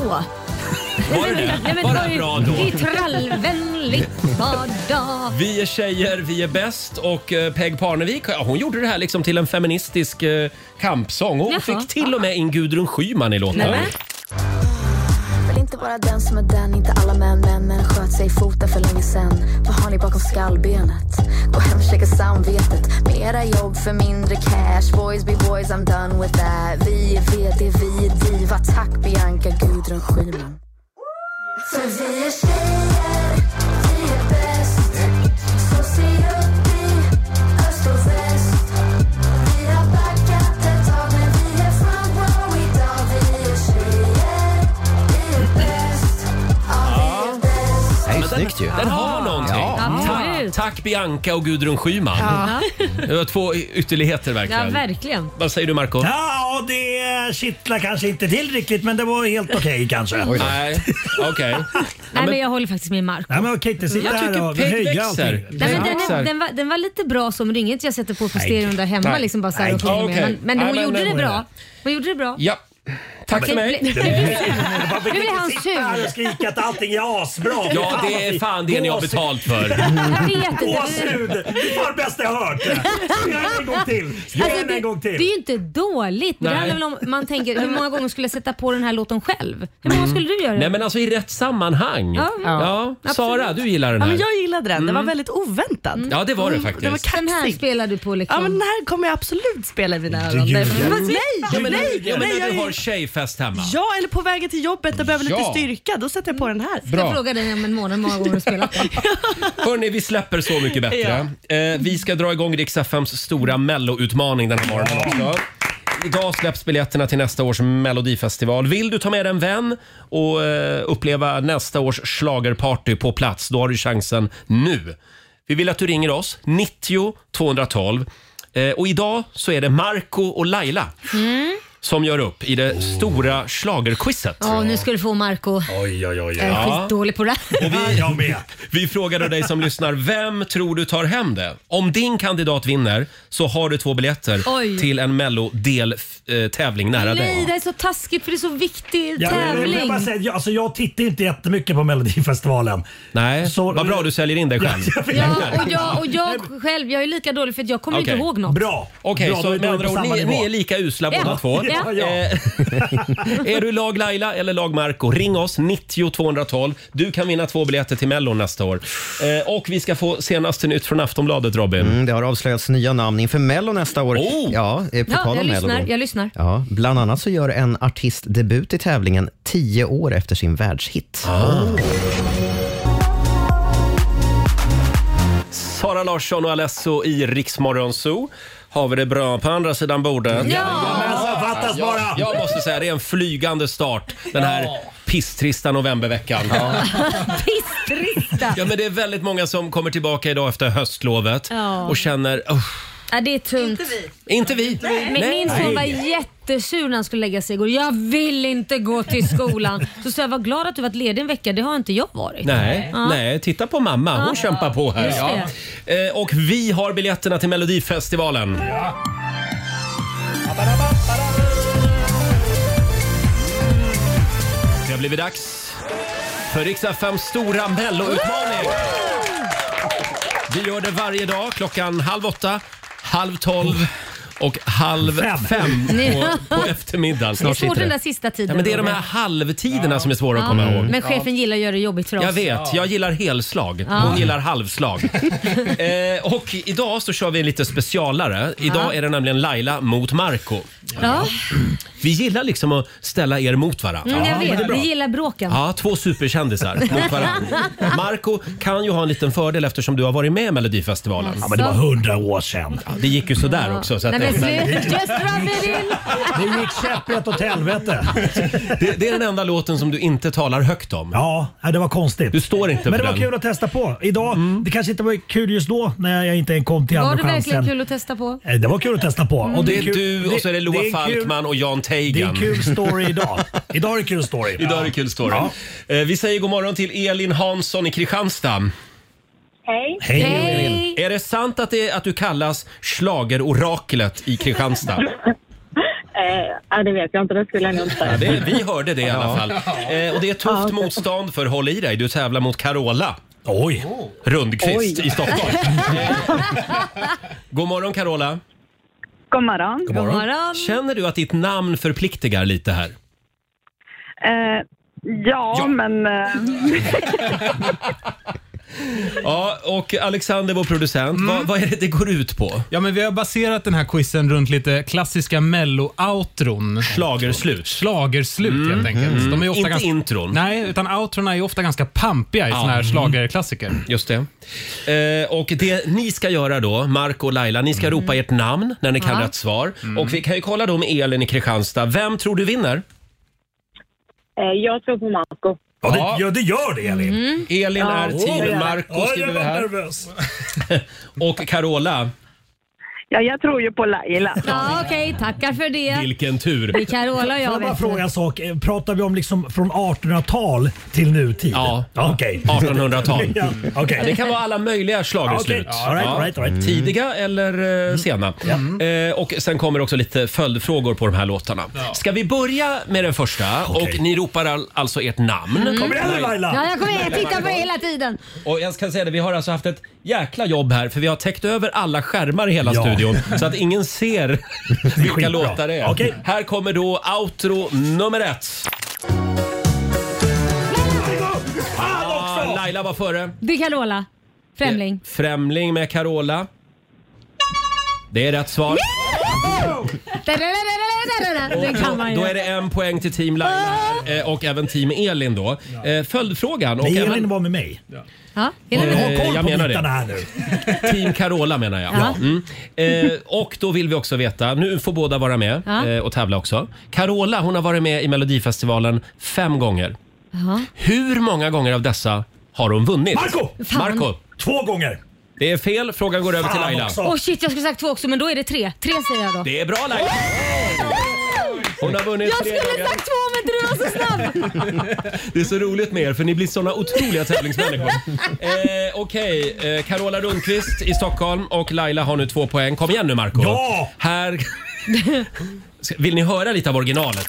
[SPEAKER 1] Var det det?
[SPEAKER 2] Nej, men
[SPEAKER 1] Var det
[SPEAKER 2] ju
[SPEAKER 1] bra då?
[SPEAKER 2] Det är trallvänligt vardag.
[SPEAKER 1] Vi är tjejer, vi är bäst och eh, Peg Parnevik ja, hon gjorde det här liksom till en feministisk eh, kampsång. Hon
[SPEAKER 9] Jaha.
[SPEAKER 1] fick till och med in Gudrun Schyman i låten.
[SPEAKER 9] Nämen. Vill inte vara den som är den, inte alla män. Männen sköt sig i foten för länge sen. Vad har ni bakom skallbenet? Gå hem, checka samvetet. Med era jobb för mindre cash. Boys be boys, I'm done with that. Vi är VD, vi är diva. Tack Bianca Gudrun Schyman. För vi är tjejer, vi är bäst. Så se upp i öst och väst. Vi har backat ett tag, men vi är front row idag. Vi är tjejer, vi är bäst. Ja, vi är bäst.
[SPEAKER 1] Ja, men
[SPEAKER 3] är snyggt ju.
[SPEAKER 1] Den, den har någonting.
[SPEAKER 9] Ja.
[SPEAKER 1] Ta- tack Bianca och Gudrun Schyman.
[SPEAKER 2] Ja.
[SPEAKER 1] Det var två y- ytterligheter
[SPEAKER 2] Ja,
[SPEAKER 1] verkligen.
[SPEAKER 2] verkligen.
[SPEAKER 1] Vad säger du Marco?
[SPEAKER 4] Ja, det kittlar kanske inte till riktigt men det var helt okej kanske.
[SPEAKER 1] Nej, okej.
[SPEAKER 2] Nej, men jag håller faktiskt med Marco.
[SPEAKER 4] Nej men okej, inte sitta
[SPEAKER 1] Jag
[SPEAKER 4] här
[SPEAKER 1] tycker
[SPEAKER 4] och
[SPEAKER 1] Peg
[SPEAKER 4] höja
[SPEAKER 1] växer.
[SPEAKER 4] allting.
[SPEAKER 2] Nej, men den,
[SPEAKER 1] Exakt.
[SPEAKER 2] är, den, var, den var lite bra som ringet jag sätter på på
[SPEAKER 1] Nej.
[SPEAKER 2] stereon där hemma.
[SPEAKER 1] Nej.
[SPEAKER 2] Liksom bara så här
[SPEAKER 1] Nej.
[SPEAKER 2] och sjunger
[SPEAKER 1] Okej.
[SPEAKER 2] med. Men, men
[SPEAKER 1] Nej,
[SPEAKER 2] hon
[SPEAKER 1] men
[SPEAKER 2] gjorde
[SPEAKER 1] den
[SPEAKER 2] det
[SPEAKER 1] var
[SPEAKER 2] bra.
[SPEAKER 1] det.
[SPEAKER 2] Hon gjorde det bra.
[SPEAKER 1] Ja. Tack för mig.
[SPEAKER 2] Nu blir han
[SPEAKER 4] Sitta här och
[SPEAKER 2] sur.
[SPEAKER 4] skrika att allting är asbra.
[SPEAKER 1] Ja, det är fan det ni har
[SPEAKER 4] Gåshud.
[SPEAKER 1] betalt för.
[SPEAKER 2] Jag vet inte.
[SPEAKER 4] Gåshud! Det var det bästa jag hört. Gör den en gång till. Gör
[SPEAKER 2] Alltså,
[SPEAKER 4] den
[SPEAKER 2] det,
[SPEAKER 4] en gång
[SPEAKER 2] det
[SPEAKER 4] till.
[SPEAKER 2] är ju inte dåligt. Det
[SPEAKER 1] Nej.
[SPEAKER 2] handlar väl om, man tänker, hur många gånger skulle jag sätta på den här låten själv? Hur många skulle du göra det?
[SPEAKER 1] Mm. Nej men alltså i rätt sammanhang.
[SPEAKER 2] Ja, ja.
[SPEAKER 1] Sara, du gillar den
[SPEAKER 5] Ja,
[SPEAKER 1] här.
[SPEAKER 5] men jag gillade den. Den var
[SPEAKER 1] Mm.
[SPEAKER 5] väldigt oväntad. Mm.
[SPEAKER 1] Ja, det var det
[SPEAKER 5] Den var
[SPEAKER 1] faktiskt.
[SPEAKER 5] kaxig.
[SPEAKER 2] Den här spelar du på liksom.
[SPEAKER 5] Ja, men den här kommer jag absolut spela i mina öron.
[SPEAKER 1] ljuger.
[SPEAKER 5] Därför-
[SPEAKER 1] Du
[SPEAKER 5] Nej,
[SPEAKER 1] Ja,
[SPEAKER 5] nej,
[SPEAKER 1] men,
[SPEAKER 5] nej.
[SPEAKER 1] ja, men när
[SPEAKER 5] jag
[SPEAKER 1] du
[SPEAKER 5] är-
[SPEAKER 1] har tjejfest hemma.
[SPEAKER 5] Ja, eller på vägen till jobbet där jag behöver
[SPEAKER 1] Ja.
[SPEAKER 5] lite styrka. Då sätter jag på den här.
[SPEAKER 1] Bra.
[SPEAKER 2] Jag frågar dig om en månad många gånger du spelat den.
[SPEAKER 1] Hörni, vi släpper Så mycket bättre. Eh, vi ska dra igång Rix FMs stora melloutmaning den här morgonen också. Idag släpps biljetterna till nästa års melodifestival. Vill du ta med en vän och eh, uppleva nästa års schlagerparty på plats, då har du chansen nu. Vi vill att du ringer oss, 90 212. Eh, och idag så är det Marco och Laila. som gör upp i det stora schlagerquizet.
[SPEAKER 2] Ja, nu ska du få Marco.
[SPEAKER 1] Oj, oj, oj.
[SPEAKER 2] Jag är skitdålig på det här.
[SPEAKER 1] Jag med. Vi frågade dig som lyssnar, vem tror du tar hem det? Om din kandidat vinner så har du två biljetter
[SPEAKER 2] Oj.
[SPEAKER 1] till en Mello-deltävling nära
[SPEAKER 2] Nej,
[SPEAKER 1] dig.
[SPEAKER 2] det är så taskigt för det är så viktig
[SPEAKER 4] Ja, men
[SPEAKER 2] tävling.
[SPEAKER 4] jag, bara säga, jag, alltså, jag tittar inte jättemycket på Melodifestivalen.
[SPEAKER 1] Nej, vad bra du säljer in dig själv.
[SPEAKER 2] Ja, och jag, och jag själv, jag är lika dålig för att jag kommer
[SPEAKER 1] Okej.
[SPEAKER 2] inte ihåg något.
[SPEAKER 1] Okej,
[SPEAKER 4] Bra,
[SPEAKER 1] så
[SPEAKER 4] då är
[SPEAKER 1] med
[SPEAKER 4] vi
[SPEAKER 1] andra
[SPEAKER 4] på
[SPEAKER 1] ord,
[SPEAKER 4] samma
[SPEAKER 1] ni,
[SPEAKER 4] nivå.
[SPEAKER 1] ni är lika usla
[SPEAKER 2] Ja,
[SPEAKER 1] båda två.
[SPEAKER 2] ja.
[SPEAKER 4] Ja.
[SPEAKER 1] Eh, är du lag Laila eller lag Marco? ring oss 90 212. Du kan vinna två biljetter till Mellon nästa år. Eh, och vi ska få senaste nytt från Aftonbladet, Robin.
[SPEAKER 3] Mm, det har avslöjats nya namn inför Mello nästa år.
[SPEAKER 1] Oh!
[SPEAKER 3] Ja, eh, på
[SPEAKER 2] Ja,
[SPEAKER 3] tal
[SPEAKER 2] jag
[SPEAKER 3] om Mello.
[SPEAKER 2] lyssnar.
[SPEAKER 3] då.
[SPEAKER 2] Jag lyssnar.
[SPEAKER 3] Ja, bland annat så gör en artist debut i tävlingen tio år efter sin världshit.
[SPEAKER 1] Sara Larsson och Alesso i Riksmorgon Zoo. Har vi det bra på andra sidan bordet?
[SPEAKER 4] Jajamensan, Alltså, fattas bara!
[SPEAKER 1] Jag, jag måste säga, det är en flygande start den här pisstrista novemberveckan.
[SPEAKER 2] Pisstrista.
[SPEAKER 1] Ja, men det är väldigt många som kommer tillbaka idag efter höstlovet
[SPEAKER 2] Ja.
[SPEAKER 1] och känner "Uff,
[SPEAKER 2] Ja, det är tungt. Inte
[SPEAKER 1] vi. Inte vi.
[SPEAKER 2] Nej. Men
[SPEAKER 1] Nej.
[SPEAKER 2] min son var
[SPEAKER 1] Nej.
[SPEAKER 2] jättesur när han skulle lägga sig igår. Jag vill inte gå till skolan. Så sa jag, var glad att du varit ledig en vecka. Det har inte jag varit.
[SPEAKER 1] Nej,
[SPEAKER 2] Ja.
[SPEAKER 1] nej, titta på mamma. Hon
[SPEAKER 2] Ja.
[SPEAKER 1] kämpar på här.
[SPEAKER 2] Just det.
[SPEAKER 1] Eh, Och vi har biljetterna till Melodifestivalen. Det har blivit dags för Riksdag 5 stora Mello-utmaning. Vi gör det varje dag klockan halv åtta, halv tolv och halv fem, på, på eftermiddagen.
[SPEAKER 2] Det är svårt den där sista tiden.
[SPEAKER 1] Ja, men det är de
[SPEAKER 2] Roger.
[SPEAKER 1] här halvtiderna som är svåra att
[SPEAKER 2] Ja.
[SPEAKER 1] komma ihåg.
[SPEAKER 2] Men chefen gillar att göra det jobbigt för oss.
[SPEAKER 1] Jag vet, jag gillar helslag.
[SPEAKER 2] Ja.
[SPEAKER 1] Hon gillar halvslag. eh, och idag så kör vi en lite specialare. Idag
[SPEAKER 2] Ja.
[SPEAKER 1] är det nämligen Laila mot Marco
[SPEAKER 2] Ja.
[SPEAKER 1] Vi gillar liksom att ställa er mot varandra.
[SPEAKER 2] Mm, jag
[SPEAKER 1] Ja, men det är
[SPEAKER 2] vet,
[SPEAKER 1] bra.
[SPEAKER 2] vi gillar bråken.
[SPEAKER 1] Ja, två superkändisar mot varandra. Marco kan ju ha en liten fördel eftersom du har varit med i Melodifestivalen.
[SPEAKER 2] Ja, men det var
[SPEAKER 1] hundra år sedan. det gick ju sådär också. Så att
[SPEAKER 2] Nej, men
[SPEAKER 1] det-
[SPEAKER 2] sluta, just rub it in.
[SPEAKER 4] Det gick käpprätt åt helvete.
[SPEAKER 1] det, det är den enda låten som du inte talar högt om.
[SPEAKER 4] Ja, det var konstigt.
[SPEAKER 1] Du står inte
[SPEAKER 4] Men
[SPEAKER 1] för
[SPEAKER 4] det var
[SPEAKER 1] den. Mm.
[SPEAKER 4] kul att testa på. Idag, det kanske inte var kul just då när jag inte ens kom till
[SPEAKER 2] Var
[SPEAKER 4] Andra
[SPEAKER 2] det verkligen
[SPEAKER 4] chansen.
[SPEAKER 2] kul att Mm. testa på?
[SPEAKER 4] Eh, Det var kul att testa på.
[SPEAKER 1] Och det är
[SPEAKER 4] kul-
[SPEAKER 1] du och så är det Loa
[SPEAKER 4] en kul-
[SPEAKER 1] Falkman och Jan Teigen.
[SPEAKER 4] Det är en kul story idag. Idag är det kul story.
[SPEAKER 1] Idag är det kul story.
[SPEAKER 4] Ja.
[SPEAKER 1] Eh, Vi säger god morgon till Elin Hansson i Kristianstad.
[SPEAKER 6] Hej.
[SPEAKER 1] Är det sant att, det, att du kallas schlageroraklet i Kristianstad?
[SPEAKER 6] Eh, ja, det vet jag inte. Det skulle jag nog inte
[SPEAKER 1] Ja,
[SPEAKER 6] säga.
[SPEAKER 1] det, vi hörde det i alla fall. Eh, och det är ett tufft motstånd för håll i dig. Du tävlar mot Carola. Oj! Rundqvist
[SPEAKER 6] Oj.
[SPEAKER 1] i Stockholm. Eh, God morgon Carola.
[SPEAKER 6] God morgon.
[SPEAKER 1] Känner du att ditt namn förpliktigar lite här?
[SPEAKER 6] Eh, ja, men... Eh,
[SPEAKER 1] Ja, och Alexander vår producent, vad, vad är det det går ut på?
[SPEAKER 7] Ja, men vi har baserat den här quizen runt lite klassiska mello-outron.
[SPEAKER 1] Schlagerslut.
[SPEAKER 7] Schlagerslut helt enkelt.
[SPEAKER 1] mm.
[SPEAKER 7] De är ofta
[SPEAKER 1] Inte
[SPEAKER 7] ganska...
[SPEAKER 1] intron.
[SPEAKER 7] Nej, utan outrona är ofta ganska pampiga i
[SPEAKER 1] Ja.
[SPEAKER 7] såna här
[SPEAKER 1] Mm.
[SPEAKER 7] schlagerklassiker.
[SPEAKER 1] Just det. Eh, och det ni ska göra då, Marco och Laila, ni ska
[SPEAKER 4] Mm.
[SPEAKER 1] ropa ert namn när ni kan
[SPEAKER 6] Ja.
[SPEAKER 1] rätt svar. Och vi kan ju kolla då med Elin i Kristianstad. Vem tror du vinner?
[SPEAKER 6] eh, jag tror på Marco.
[SPEAKER 1] Ja, det, gör det Elin.
[SPEAKER 2] Mm.
[SPEAKER 1] Elin
[SPEAKER 6] Ja.
[SPEAKER 1] är team
[SPEAKER 6] Oj,
[SPEAKER 1] Marco
[SPEAKER 6] oj,
[SPEAKER 1] skriver
[SPEAKER 6] jag
[SPEAKER 1] vi
[SPEAKER 6] var
[SPEAKER 1] här. och Carola,
[SPEAKER 6] Ja, jag tror ju på Laila.
[SPEAKER 2] Ja, okej. Tackar för det.
[SPEAKER 1] vilken tur.
[SPEAKER 2] Det är Carola och jag
[SPEAKER 4] Får jag bara
[SPEAKER 2] vet
[SPEAKER 4] fråga en sak? Eh, Pratar vi om liksom från 1800-tal till nutid? Ja. Okej.
[SPEAKER 1] 1800-tal.
[SPEAKER 4] ja, okej.
[SPEAKER 1] Ja, det kan vara alla möjliga schlagerslut.
[SPEAKER 4] Okej. All right, all right, all right. Mm.
[SPEAKER 1] Ja. Tidiga eller eh, sena. Eh, och sen kommer också lite följdfrågor på de här låtarna. Ska vi börja med den första? Och ni ropar all, alltså ert namn.
[SPEAKER 2] Mm. Ja, jag kommer
[SPEAKER 1] Laila
[SPEAKER 2] att titta
[SPEAKER 1] varje
[SPEAKER 2] på det
[SPEAKER 1] gång.
[SPEAKER 2] hela tiden.
[SPEAKER 1] Och jag ska säga det, vi har alltså haft ett jäkla jobb här för vi har täckt över alla skärmar i hela
[SPEAKER 4] Ja.
[SPEAKER 1] studion så att ingen ser vilka
[SPEAKER 4] skitbra.
[SPEAKER 1] låtar det är.
[SPEAKER 4] Okej.
[SPEAKER 1] Här kommer då outro nummer ett. Ah, Laila var före.
[SPEAKER 2] Det är Carola. Främling.
[SPEAKER 1] Främling med Carola. Det är rätt svar.
[SPEAKER 2] Det kan man
[SPEAKER 1] Då är
[SPEAKER 2] ju.
[SPEAKER 1] det en poäng till team Laila här, eh, och även team Elin då. Eh, Följdfrågan. Och
[SPEAKER 4] Nej, Elin
[SPEAKER 1] även,
[SPEAKER 4] var med mig.
[SPEAKER 2] Ja,
[SPEAKER 4] Har
[SPEAKER 2] är det
[SPEAKER 1] Eh,
[SPEAKER 4] koll
[SPEAKER 1] jag
[SPEAKER 4] på
[SPEAKER 1] menar det.
[SPEAKER 4] bitarna här nu?
[SPEAKER 1] Team Carola menar jag.
[SPEAKER 2] Ja.
[SPEAKER 1] Mm. Eh, och då vill vi också veta, nu får båda vara med
[SPEAKER 2] Ja.
[SPEAKER 1] eh, och tävla också. Carola hon har varit med i Melodifestivalen fem gånger.
[SPEAKER 2] Ja.
[SPEAKER 1] Hur många gånger av dessa har hon vunnit?
[SPEAKER 4] Marco! Fan.
[SPEAKER 1] Marco!
[SPEAKER 4] Två gånger!
[SPEAKER 1] Det är fel. Frågan går över till
[SPEAKER 4] Fan
[SPEAKER 1] Laila.
[SPEAKER 4] också.
[SPEAKER 2] Åh shit, jag skulle sagt två också men då är det tre. Tre säger jag då.
[SPEAKER 1] Det är bra Laila! Hon har vunnit
[SPEAKER 2] Jag
[SPEAKER 1] tre
[SPEAKER 2] skulle
[SPEAKER 1] dagar.
[SPEAKER 2] sagt två om inte du var så snabb.
[SPEAKER 1] Det är så roligt med er för ni blir såna otroliga tävlingsmänniskor. Eh, Okej, eh, Carola Rundqvist i Stockholm och Laila har nu två poäng. Kom igen nu Marco
[SPEAKER 4] Ja!
[SPEAKER 1] Här... Ska- Vill ni höra lite av originalet?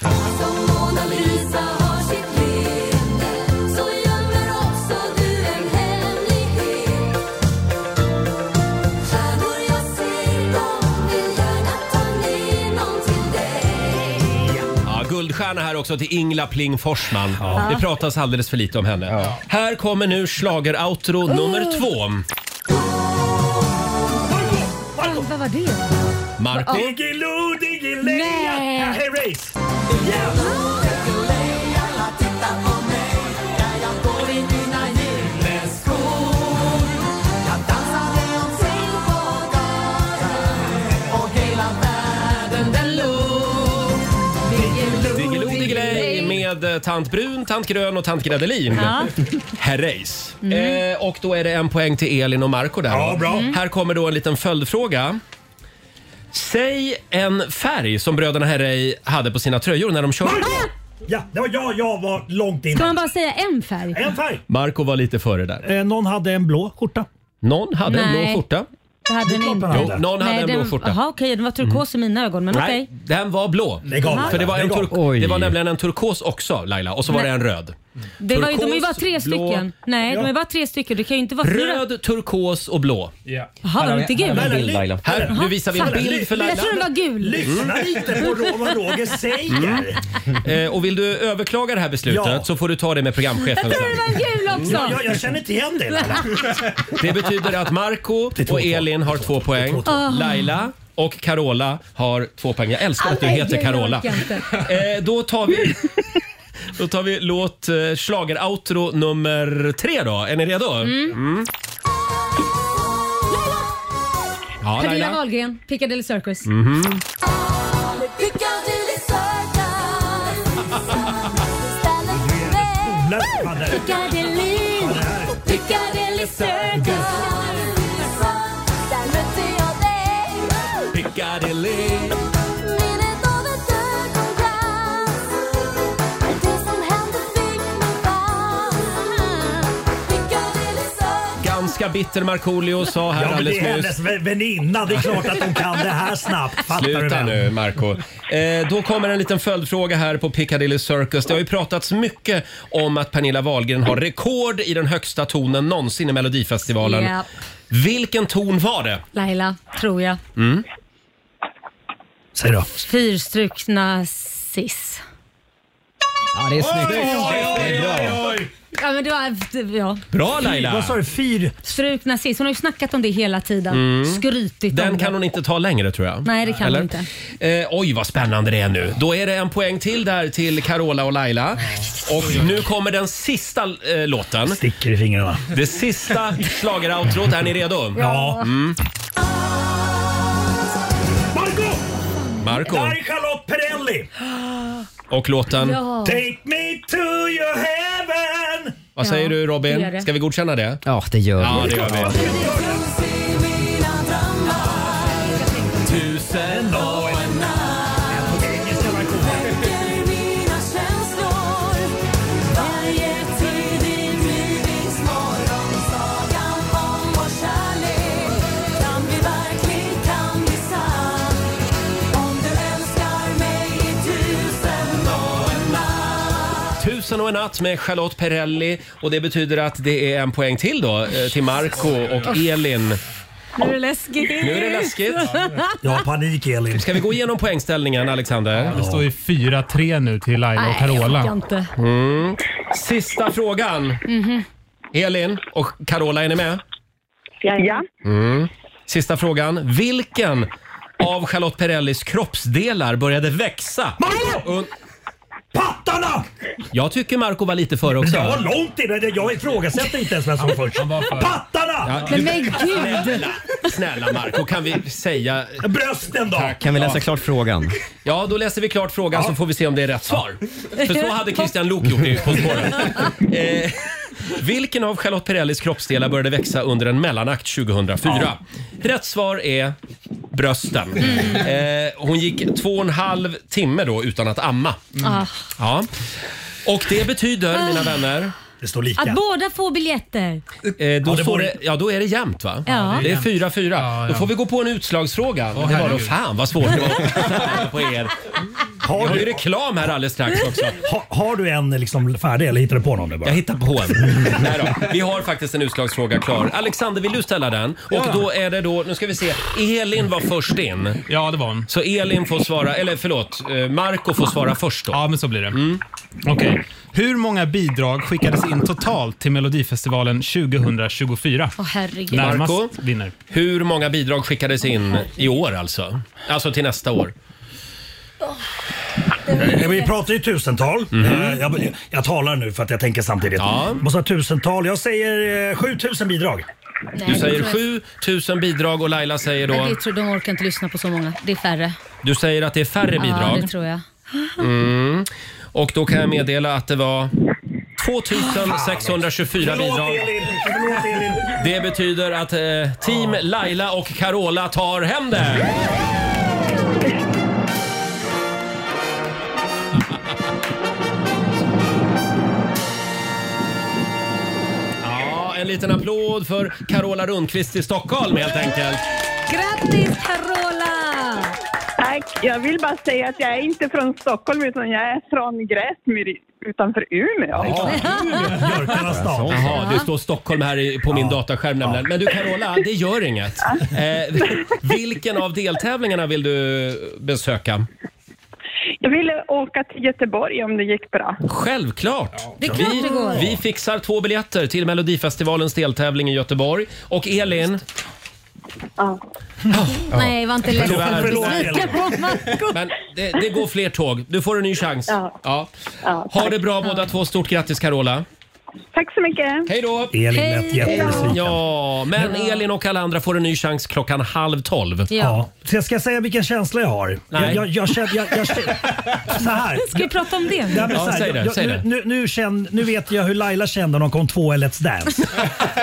[SPEAKER 1] Ja, guldstjärna här också till Ingla Pling Forsman.
[SPEAKER 2] Ja.
[SPEAKER 1] Det pratas alldeles för lite om henne. Här kommer nu slager outro nummer två.
[SPEAKER 2] Fan, Vad var det?
[SPEAKER 1] Marco.
[SPEAKER 4] Diggiloo, diggiley,
[SPEAKER 2] Nej.
[SPEAKER 4] ja, hey, race.
[SPEAKER 2] Oh,
[SPEAKER 1] Diggiloo diggiley med eh, tant Brun, tant Grön och tant Gredelin.
[SPEAKER 2] Ja. Mm.
[SPEAKER 1] Herreys. Eh, och då är det en poäng till Elin och Marco där.
[SPEAKER 4] Ja,
[SPEAKER 1] då.
[SPEAKER 4] bra.
[SPEAKER 1] Här kommer då en liten följdfråga. Säg en färg som bröderna Herrey hade på sina tröjor när de körde.
[SPEAKER 4] Ja, det var jag. Jag var långt
[SPEAKER 2] Ska man
[SPEAKER 4] innan.
[SPEAKER 2] bara säga en färg?
[SPEAKER 4] En färg.
[SPEAKER 1] Marco var lite före där.
[SPEAKER 4] Eh, någon hade en blå skjorta.
[SPEAKER 1] Någon hade en
[SPEAKER 2] Nej.
[SPEAKER 1] blå skjorta.
[SPEAKER 2] Det hade den inte.
[SPEAKER 1] Jo, någon hade en blå
[SPEAKER 2] den-
[SPEAKER 1] skjorta.
[SPEAKER 2] Jaha, okej. Den var turkos i mina ögon, men okej.
[SPEAKER 1] Mm. Nej, den var blå.
[SPEAKER 4] Lägg av,
[SPEAKER 1] För det var, en
[SPEAKER 4] Laila. Lägg av.
[SPEAKER 1] turk- det var
[SPEAKER 4] Oj.
[SPEAKER 1] nämligen en turkos också Laila och så var
[SPEAKER 2] Nej.
[SPEAKER 1] det en röd.
[SPEAKER 2] Det var ju, de är ju bara
[SPEAKER 1] Turkos,
[SPEAKER 2] tre
[SPEAKER 1] blå-
[SPEAKER 2] stycken. Nej, de är bara tre stycken. Det kan ju inte vara fyra.
[SPEAKER 1] Röd, turkos och blå.
[SPEAKER 2] Jaha, var de inte gul?
[SPEAKER 1] Här, nu visar vi en
[SPEAKER 2] Fattar.
[SPEAKER 1] bild för Laila.
[SPEAKER 2] Jag tror den var gul.
[SPEAKER 4] Lyssna lite på Ro- vad Roger
[SPEAKER 2] Mm.
[SPEAKER 4] säger.
[SPEAKER 1] Eh, och vill du överklaga det här beslutet
[SPEAKER 4] Ja.
[SPEAKER 1] så får du ta det med programchefen
[SPEAKER 2] Jag tror
[SPEAKER 1] sen.
[SPEAKER 2] den var gul också.
[SPEAKER 4] Ja, jag, jag känner inte igen det. Laila.
[SPEAKER 1] Det betyder att Marco och Elin har två poäng.
[SPEAKER 2] Ah.
[SPEAKER 1] Laila och Carola har två poäng. Jag älskar att du
[SPEAKER 2] Nej,
[SPEAKER 1] heter
[SPEAKER 2] jag
[SPEAKER 1] Carola.
[SPEAKER 2] orkar inte.
[SPEAKER 1] Eh, då tar vi... Då tar vi låt eh, slager outro nummer tre då. Är ni redo? Mm. Ja,
[SPEAKER 2] Pernilla
[SPEAKER 1] Laila.
[SPEAKER 2] Wahlgren, Piccadilly Circus.
[SPEAKER 1] Mhm.
[SPEAKER 9] Piccadilly, Piccadilly Circus. Där mötte jag dig.
[SPEAKER 1] Piccadilly.
[SPEAKER 9] Minnet av en död kongress. Men det som hände fick mig fast. Piccadilly Circus.
[SPEAKER 1] Ganska bitter Markoolio sa här
[SPEAKER 4] Ja, men det
[SPEAKER 1] alldeles
[SPEAKER 4] är
[SPEAKER 1] nyss.
[SPEAKER 4] hennes vä- väninna. Det är klart att hon kan det här snabbt. Fattar du
[SPEAKER 1] Sluta
[SPEAKER 4] väl?
[SPEAKER 1] nu Marco. Eh, då kommer en liten följdfråga här på Piccadilly Circus. Det har ju pratats mycket om att Pernilla Wahlgren har rekord i den högsta tonen någonsin i Melodifestivalen.
[SPEAKER 2] Japp.
[SPEAKER 1] Vilken ton var det?
[SPEAKER 2] Laila, tror jag.
[SPEAKER 1] Mm.
[SPEAKER 4] Säg då.
[SPEAKER 2] Fyrstrukna sis.
[SPEAKER 3] Ja, det är snyggt.
[SPEAKER 2] Ja, men det var... Ja.
[SPEAKER 1] Bra Laila!
[SPEAKER 4] Fy- Vad sa du? Fyr?
[SPEAKER 2] Strukna sis. Hon har ju snackat om det hela tiden.
[SPEAKER 1] Mm.
[SPEAKER 2] Skrytit om
[SPEAKER 1] Den
[SPEAKER 2] det.
[SPEAKER 1] kan hon inte ta längre tror jag.
[SPEAKER 2] Nej, det kan hon inte.
[SPEAKER 1] Eh, oj, vad spännande det är nu. Då är det en poäng till där till Carola och Laila. Och nu kommer den sista eh, låten.
[SPEAKER 4] Sticker i fingrarna.
[SPEAKER 1] Det sista schlageroutrot. Är ni redo?
[SPEAKER 4] Ja.
[SPEAKER 1] Mm.
[SPEAKER 4] Marco!
[SPEAKER 1] Marco
[SPEAKER 4] Där är Charlotte Perrelli.
[SPEAKER 1] och låten.
[SPEAKER 2] Ja.
[SPEAKER 4] Take me to your heaven.
[SPEAKER 1] Vad säger
[SPEAKER 2] Ja,
[SPEAKER 1] du
[SPEAKER 2] det gör det.
[SPEAKER 1] Robin? Ska vi godkänna det?
[SPEAKER 3] Ja, det gör
[SPEAKER 1] Ja,
[SPEAKER 3] vi.
[SPEAKER 1] det gör vi. Tusen och en Tusen och en natt med Charlotte Perrelli och det betyder att det är en poäng till då eh, till Marco och Elin.
[SPEAKER 2] Nu är det läskigt.
[SPEAKER 1] Nu är det läskigt.
[SPEAKER 4] Jag har panik Elin.
[SPEAKER 1] Ska vi gå igenom poängställningen Alexander?
[SPEAKER 7] Det står ju 4-3 nu till Laila och
[SPEAKER 2] Nej, jag orkar
[SPEAKER 7] Carola.
[SPEAKER 2] inte.
[SPEAKER 1] Mm. Sista frågan.
[SPEAKER 2] Mhm.
[SPEAKER 1] Elin och Carola, är ni med?
[SPEAKER 6] Ja.
[SPEAKER 1] Mm. Sista frågan. Vilken av Charlotte Perrellis kroppsdelar började växa?
[SPEAKER 4] Marco!
[SPEAKER 1] Und-
[SPEAKER 4] Pattarna!
[SPEAKER 1] Jag tycker Marco var lite före också.
[SPEAKER 4] Jag var långt innan. Jag ifrågasätter inte ens vem som var först. Pattarna!
[SPEAKER 1] Ja,
[SPEAKER 2] Men, men gud!
[SPEAKER 1] Snälla, snälla Marco, kan vi säga...
[SPEAKER 4] Brösten då?
[SPEAKER 3] Kan vi läsa
[SPEAKER 1] Ja.
[SPEAKER 3] klart frågan?
[SPEAKER 1] Ja, då läser vi klart frågan så får vi se om det är rätt svar. För så hade Christian Lok gjort det På spåret. Eh, vilken av Charlotte Perrellis kroppsdelar började växa under en mellanakt 2004? Rätt svar är brösten. Eh, hon gick två och en halv timme då utan att amma.
[SPEAKER 2] Ah.
[SPEAKER 1] Ja. Och det betyder, mina
[SPEAKER 2] Ah.
[SPEAKER 1] vänner... Det står
[SPEAKER 2] Att båda får biljetter.
[SPEAKER 1] Eh, då,
[SPEAKER 2] Ja,
[SPEAKER 1] ja,
[SPEAKER 2] det
[SPEAKER 1] står
[SPEAKER 2] borde-
[SPEAKER 1] det, ja, då är det jämnt va?
[SPEAKER 2] Ja.
[SPEAKER 1] Det är 4-4. Då
[SPEAKER 7] ja.
[SPEAKER 1] får vi gå på en utslagsfråga. det var då,
[SPEAKER 7] herregud.
[SPEAKER 1] fan vad svårt det var på er. Har har ju reklam här alldeles strax också.
[SPEAKER 4] Ha, har du en liksom färdig eller hittar du på någon nu bara? Jag
[SPEAKER 1] hittar på en. Nej då, vi har faktiskt en utslagsfråga klar. Alexander, vill du ställa den? Och
[SPEAKER 7] Ja.
[SPEAKER 1] då är det då, nu ska vi se, Elin var först in.
[SPEAKER 7] Ja, det var hon.
[SPEAKER 1] Så Elin får svara, eller förlåt, eh, Marco får svara först då.
[SPEAKER 7] Ja, men så blir det. Okej. Hur många bidrag skickades in totalt till Melodifestivalen 2024?
[SPEAKER 2] Åh herregud.
[SPEAKER 7] Närmast
[SPEAKER 1] Marco,
[SPEAKER 7] vinner.
[SPEAKER 1] hur många bidrag skickades in i år alltså? Alltså till nästa år.
[SPEAKER 4] Eh, Vi pratar ju tusental.
[SPEAKER 1] Mhm.
[SPEAKER 4] Eh, Jag, jag talar nu för att jag tänker samtidigt. Måste ha tusental. Jag säger eh, 7000 bidrag.
[SPEAKER 1] Du säger 7000 bidrag och Laila säger
[SPEAKER 14] Nej,
[SPEAKER 1] då,
[SPEAKER 14] det tror, de orkar inte lyssna på så många. Det är färre.
[SPEAKER 1] du säger att det är färre
[SPEAKER 14] Ja,
[SPEAKER 1] bidrag.
[SPEAKER 14] det tror jag.
[SPEAKER 1] Mm. Och då kan jag meddela att det var 2624 bidrag. Det betyder att eh, team Laila och Carola tar hem det. Ja, En liten applåd för Carola Rundqvist i Stockholm helt enkelt.
[SPEAKER 2] Grattis Carola!
[SPEAKER 6] Tack! Jag vill bara säga att jag är inte från Stockholm utan jag är från Gräsmyr utanför Umeå.
[SPEAKER 1] Jaha, det står Stockholm här i- på min dataskärm nämligen. Men du Carola, det gör inget. Eh, vilken av deltävlingarna vill du besöka?
[SPEAKER 6] Jag ville åka till Göteborg om det gick bra.
[SPEAKER 1] Självklart!
[SPEAKER 6] Det är klart
[SPEAKER 1] vi,
[SPEAKER 6] det går.
[SPEAKER 1] vi fixar två biljetter till Melodifestivalens deltävling i Göteborg. Och Elin,
[SPEAKER 2] Nej, var inte ledsen.
[SPEAKER 1] Förlåt, förlåt,
[SPEAKER 2] Besviken på Marco.
[SPEAKER 1] Men det, det går fler tåg. Du får en ny chans.
[SPEAKER 2] Ja.
[SPEAKER 1] Ha det bra båda två. Stort grattis Carola.
[SPEAKER 6] Tack så mycket!
[SPEAKER 1] Hej då!
[SPEAKER 4] Elin lät Hej. jättebesviken.
[SPEAKER 1] Ja, men
[SPEAKER 4] Ja.
[SPEAKER 1] Elin och alla andra får en ny chans klockan halv tolv.
[SPEAKER 4] Ja. Så jag ska säga vilken känsla jag har.
[SPEAKER 1] Nej.
[SPEAKER 4] Jag, jag, jag känner... Jag, jag, känner- så här.
[SPEAKER 2] Ska vi prata om det?
[SPEAKER 4] Nej, men så här,
[SPEAKER 1] säg det,
[SPEAKER 4] jag,
[SPEAKER 1] säg
[SPEAKER 4] nu,
[SPEAKER 1] det.
[SPEAKER 4] Nu, nu, känn, nu vet jag hur Laila kände när hon kom två i Let's Dance.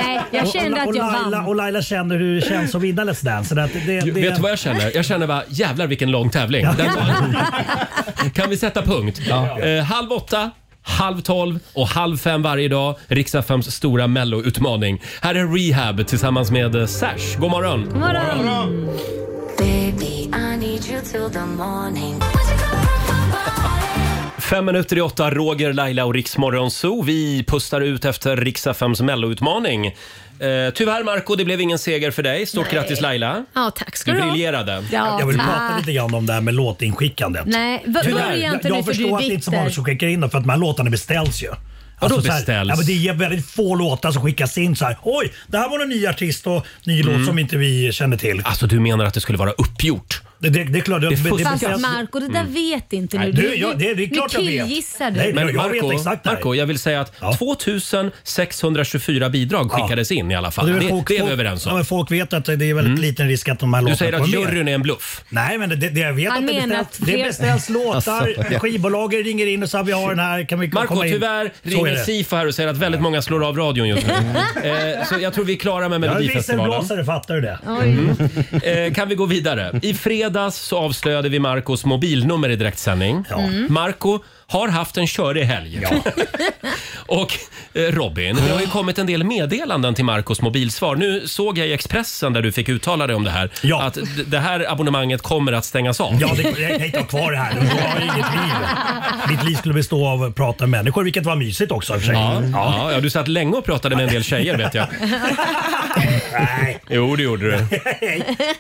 [SPEAKER 2] Nej, jag
[SPEAKER 4] Och-
[SPEAKER 2] kände
[SPEAKER 4] och,
[SPEAKER 2] att jag
[SPEAKER 4] Laila,
[SPEAKER 2] vann.
[SPEAKER 4] Och Laila känner hur det känns att vinna Let's Dance. Så det, det, det,
[SPEAKER 1] Vet du vad jag känner? Jag känner bara, jävlar vilken lång tävling. Där var- kan vi sätta punkt? Eh, halv åtta, halv tolv och halv fem varje dag. Riks-FMs stora melloutmaning. Här är Rehab tillsammans med eh, Sash. God morgon!
[SPEAKER 9] God morgon. Baby, I need you till the morning.
[SPEAKER 1] Fem minuter i åtta, Roger, Laila och Riksmorgon Zoo. Vi pustar ut efter Riks-FMs melloutmaning. Eh, tyvärr Marco, det blev ingen seger för dig. Stort
[SPEAKER 14] Nej.
[SPEAKER 1] grattis Laila.
[SPEAKER 14] Ja, tack ska
[SPEAKER 1] Du
[SPEAKER 14] du ha.
[SPEAKER 1] briljerade.
[SPEAKER 14] Ja,
[SPEAKER 4] Jag vill
[SPEAKER 14] tack.
[SPEAKER 4] prata lite grann om det här med låtinskickandet.
[SPEAKER 14] Nej, v-
[SPEAKER 4] Tyvärr.
[SPEAKER 14] börja inte nu,
[SPEAKER 4] jag, jag
[SPEAKER 14] för du är
[SPEAKER 4] förstår att det inte är så många
[SPEAKER 14] bitter.
[SPEAKER 4] som skickar in dem för att de här låtarna beställs ju. Alltså
[SPEAKER 1] Vadå
[SPEAKER 4] så här-
[SPEAKER 1] beställs?
[SPEAKER 4] Ja, men det är väldigt få låtar som skickas in så här. Oj, det här var en ny artist och ny
[SPEAKER 1] Mm.
[SPEAKER 4] låt som inte vi känner till.
[SPEAKER 1] Alltså du menar att det skulle vara uppgjort?
[SPEAKER 4] Det, det, det är klart. Det, det, det
[SPEAKER 2] Fast
[SPEAKER 4] beställs-
[SPEAKER 2] Marco, det där vet inte
[SPEAKER 4] Mm. Nej,
[SPEAKER 2] du.
[SPEAKER 4] du, jag- det- det är klart
[SPEAKER 2] nu
[SPEAKER 4] jag vet.
[SPEAKER 2] killgissar du.
[SPEAKER 4] Nej,
[SPEAKER 1] Men
[SPEAKER 4] jag vet
[SPEAKER 1] Marco,
[SPEAKER 4] exakt det här.
[SPEAKER 1] Marco, jag vill säga att 2624 bidrag skickades in i alla fall. Det,
[SPEAKER 4] Och är väl
[SPEAKER 1] det, är vi
[SPEAKER 4] folk,
[SPEAKER 1] överens
[SPEAKER 4] Ja,
[SPEAKER 1] om. Mm.
[SPEAKER 4] men folk vet att det är väldigt liten risk att de här
[SPEAKER 1] Du
[SPEAKER 4] låtarna
[SPEAKER 1] säger att
[SPEAKER 4] kommer med.
[SPEAKER 1] juryn är en bluff.
[SPEAKER 4] Nej, men det, det, jag vet
[SPEAKER 2] Han
[SPEAKER 4] att det
[SPEAKER 2] menar
[SPEAKER 4] beställs,
[SPEAKER 2] att
[SPEAKER 4] det
[SPEAKER 2] fler-
[SPEAKER 4] beställs låtar,
[SPEAKER 1] Alltså, ja.
[SPEAKER 4] skivbolagen ringer in och säger vi har den här, kan vi
[SPEAKER 1] Marco,
[SPEAKER 4] komma in?
[SPEAKER 1] tyvärr
[SPEAKER 4] Så
[SPEAKER 1] ringer
[SPEAKER 4] är det.
[SPEAKER 1] Sifo här och säger att väldigt många slår av radion just nu. eh, så jag tror vi är klara med
[SPEAKER 4] Jag är
[SPEAKER 1] Melodifestivalen.
[SPEAKER 4] visselblåsare, fattar du det?
[SPEAKER 1] Mm. Eh, kan vi gå vidare? I fredags så avslöjade vi Marcos mobilnummer i direktsändning.
[SPEAKER 2] Mm.
[SPEAKER 1] Marco har haft en körig helg. och eh, Robin, det har ju kommit en del meddelanden till Marcos mobilsvar. Nu såg jag i Expressen där du fick uttala dig om det här, att d- det här abonnemanget kommer att stängas av.
[SPEAKER 4] Ja, det, jag kan inte ha kvar det här. Jag har inget liv. Mitt liv skulle bestå av att prata med människor, vilket var mysigt också i och för sig. Mm.
[SPEAKER 1] Ja, ja. ja, du satt länge och pratade med en del tjejer vet jag.
[SPEAKER 4] Nej.
[SPEAKER 1] Jo, det gjorde du.
[SPEAKER 4] Jag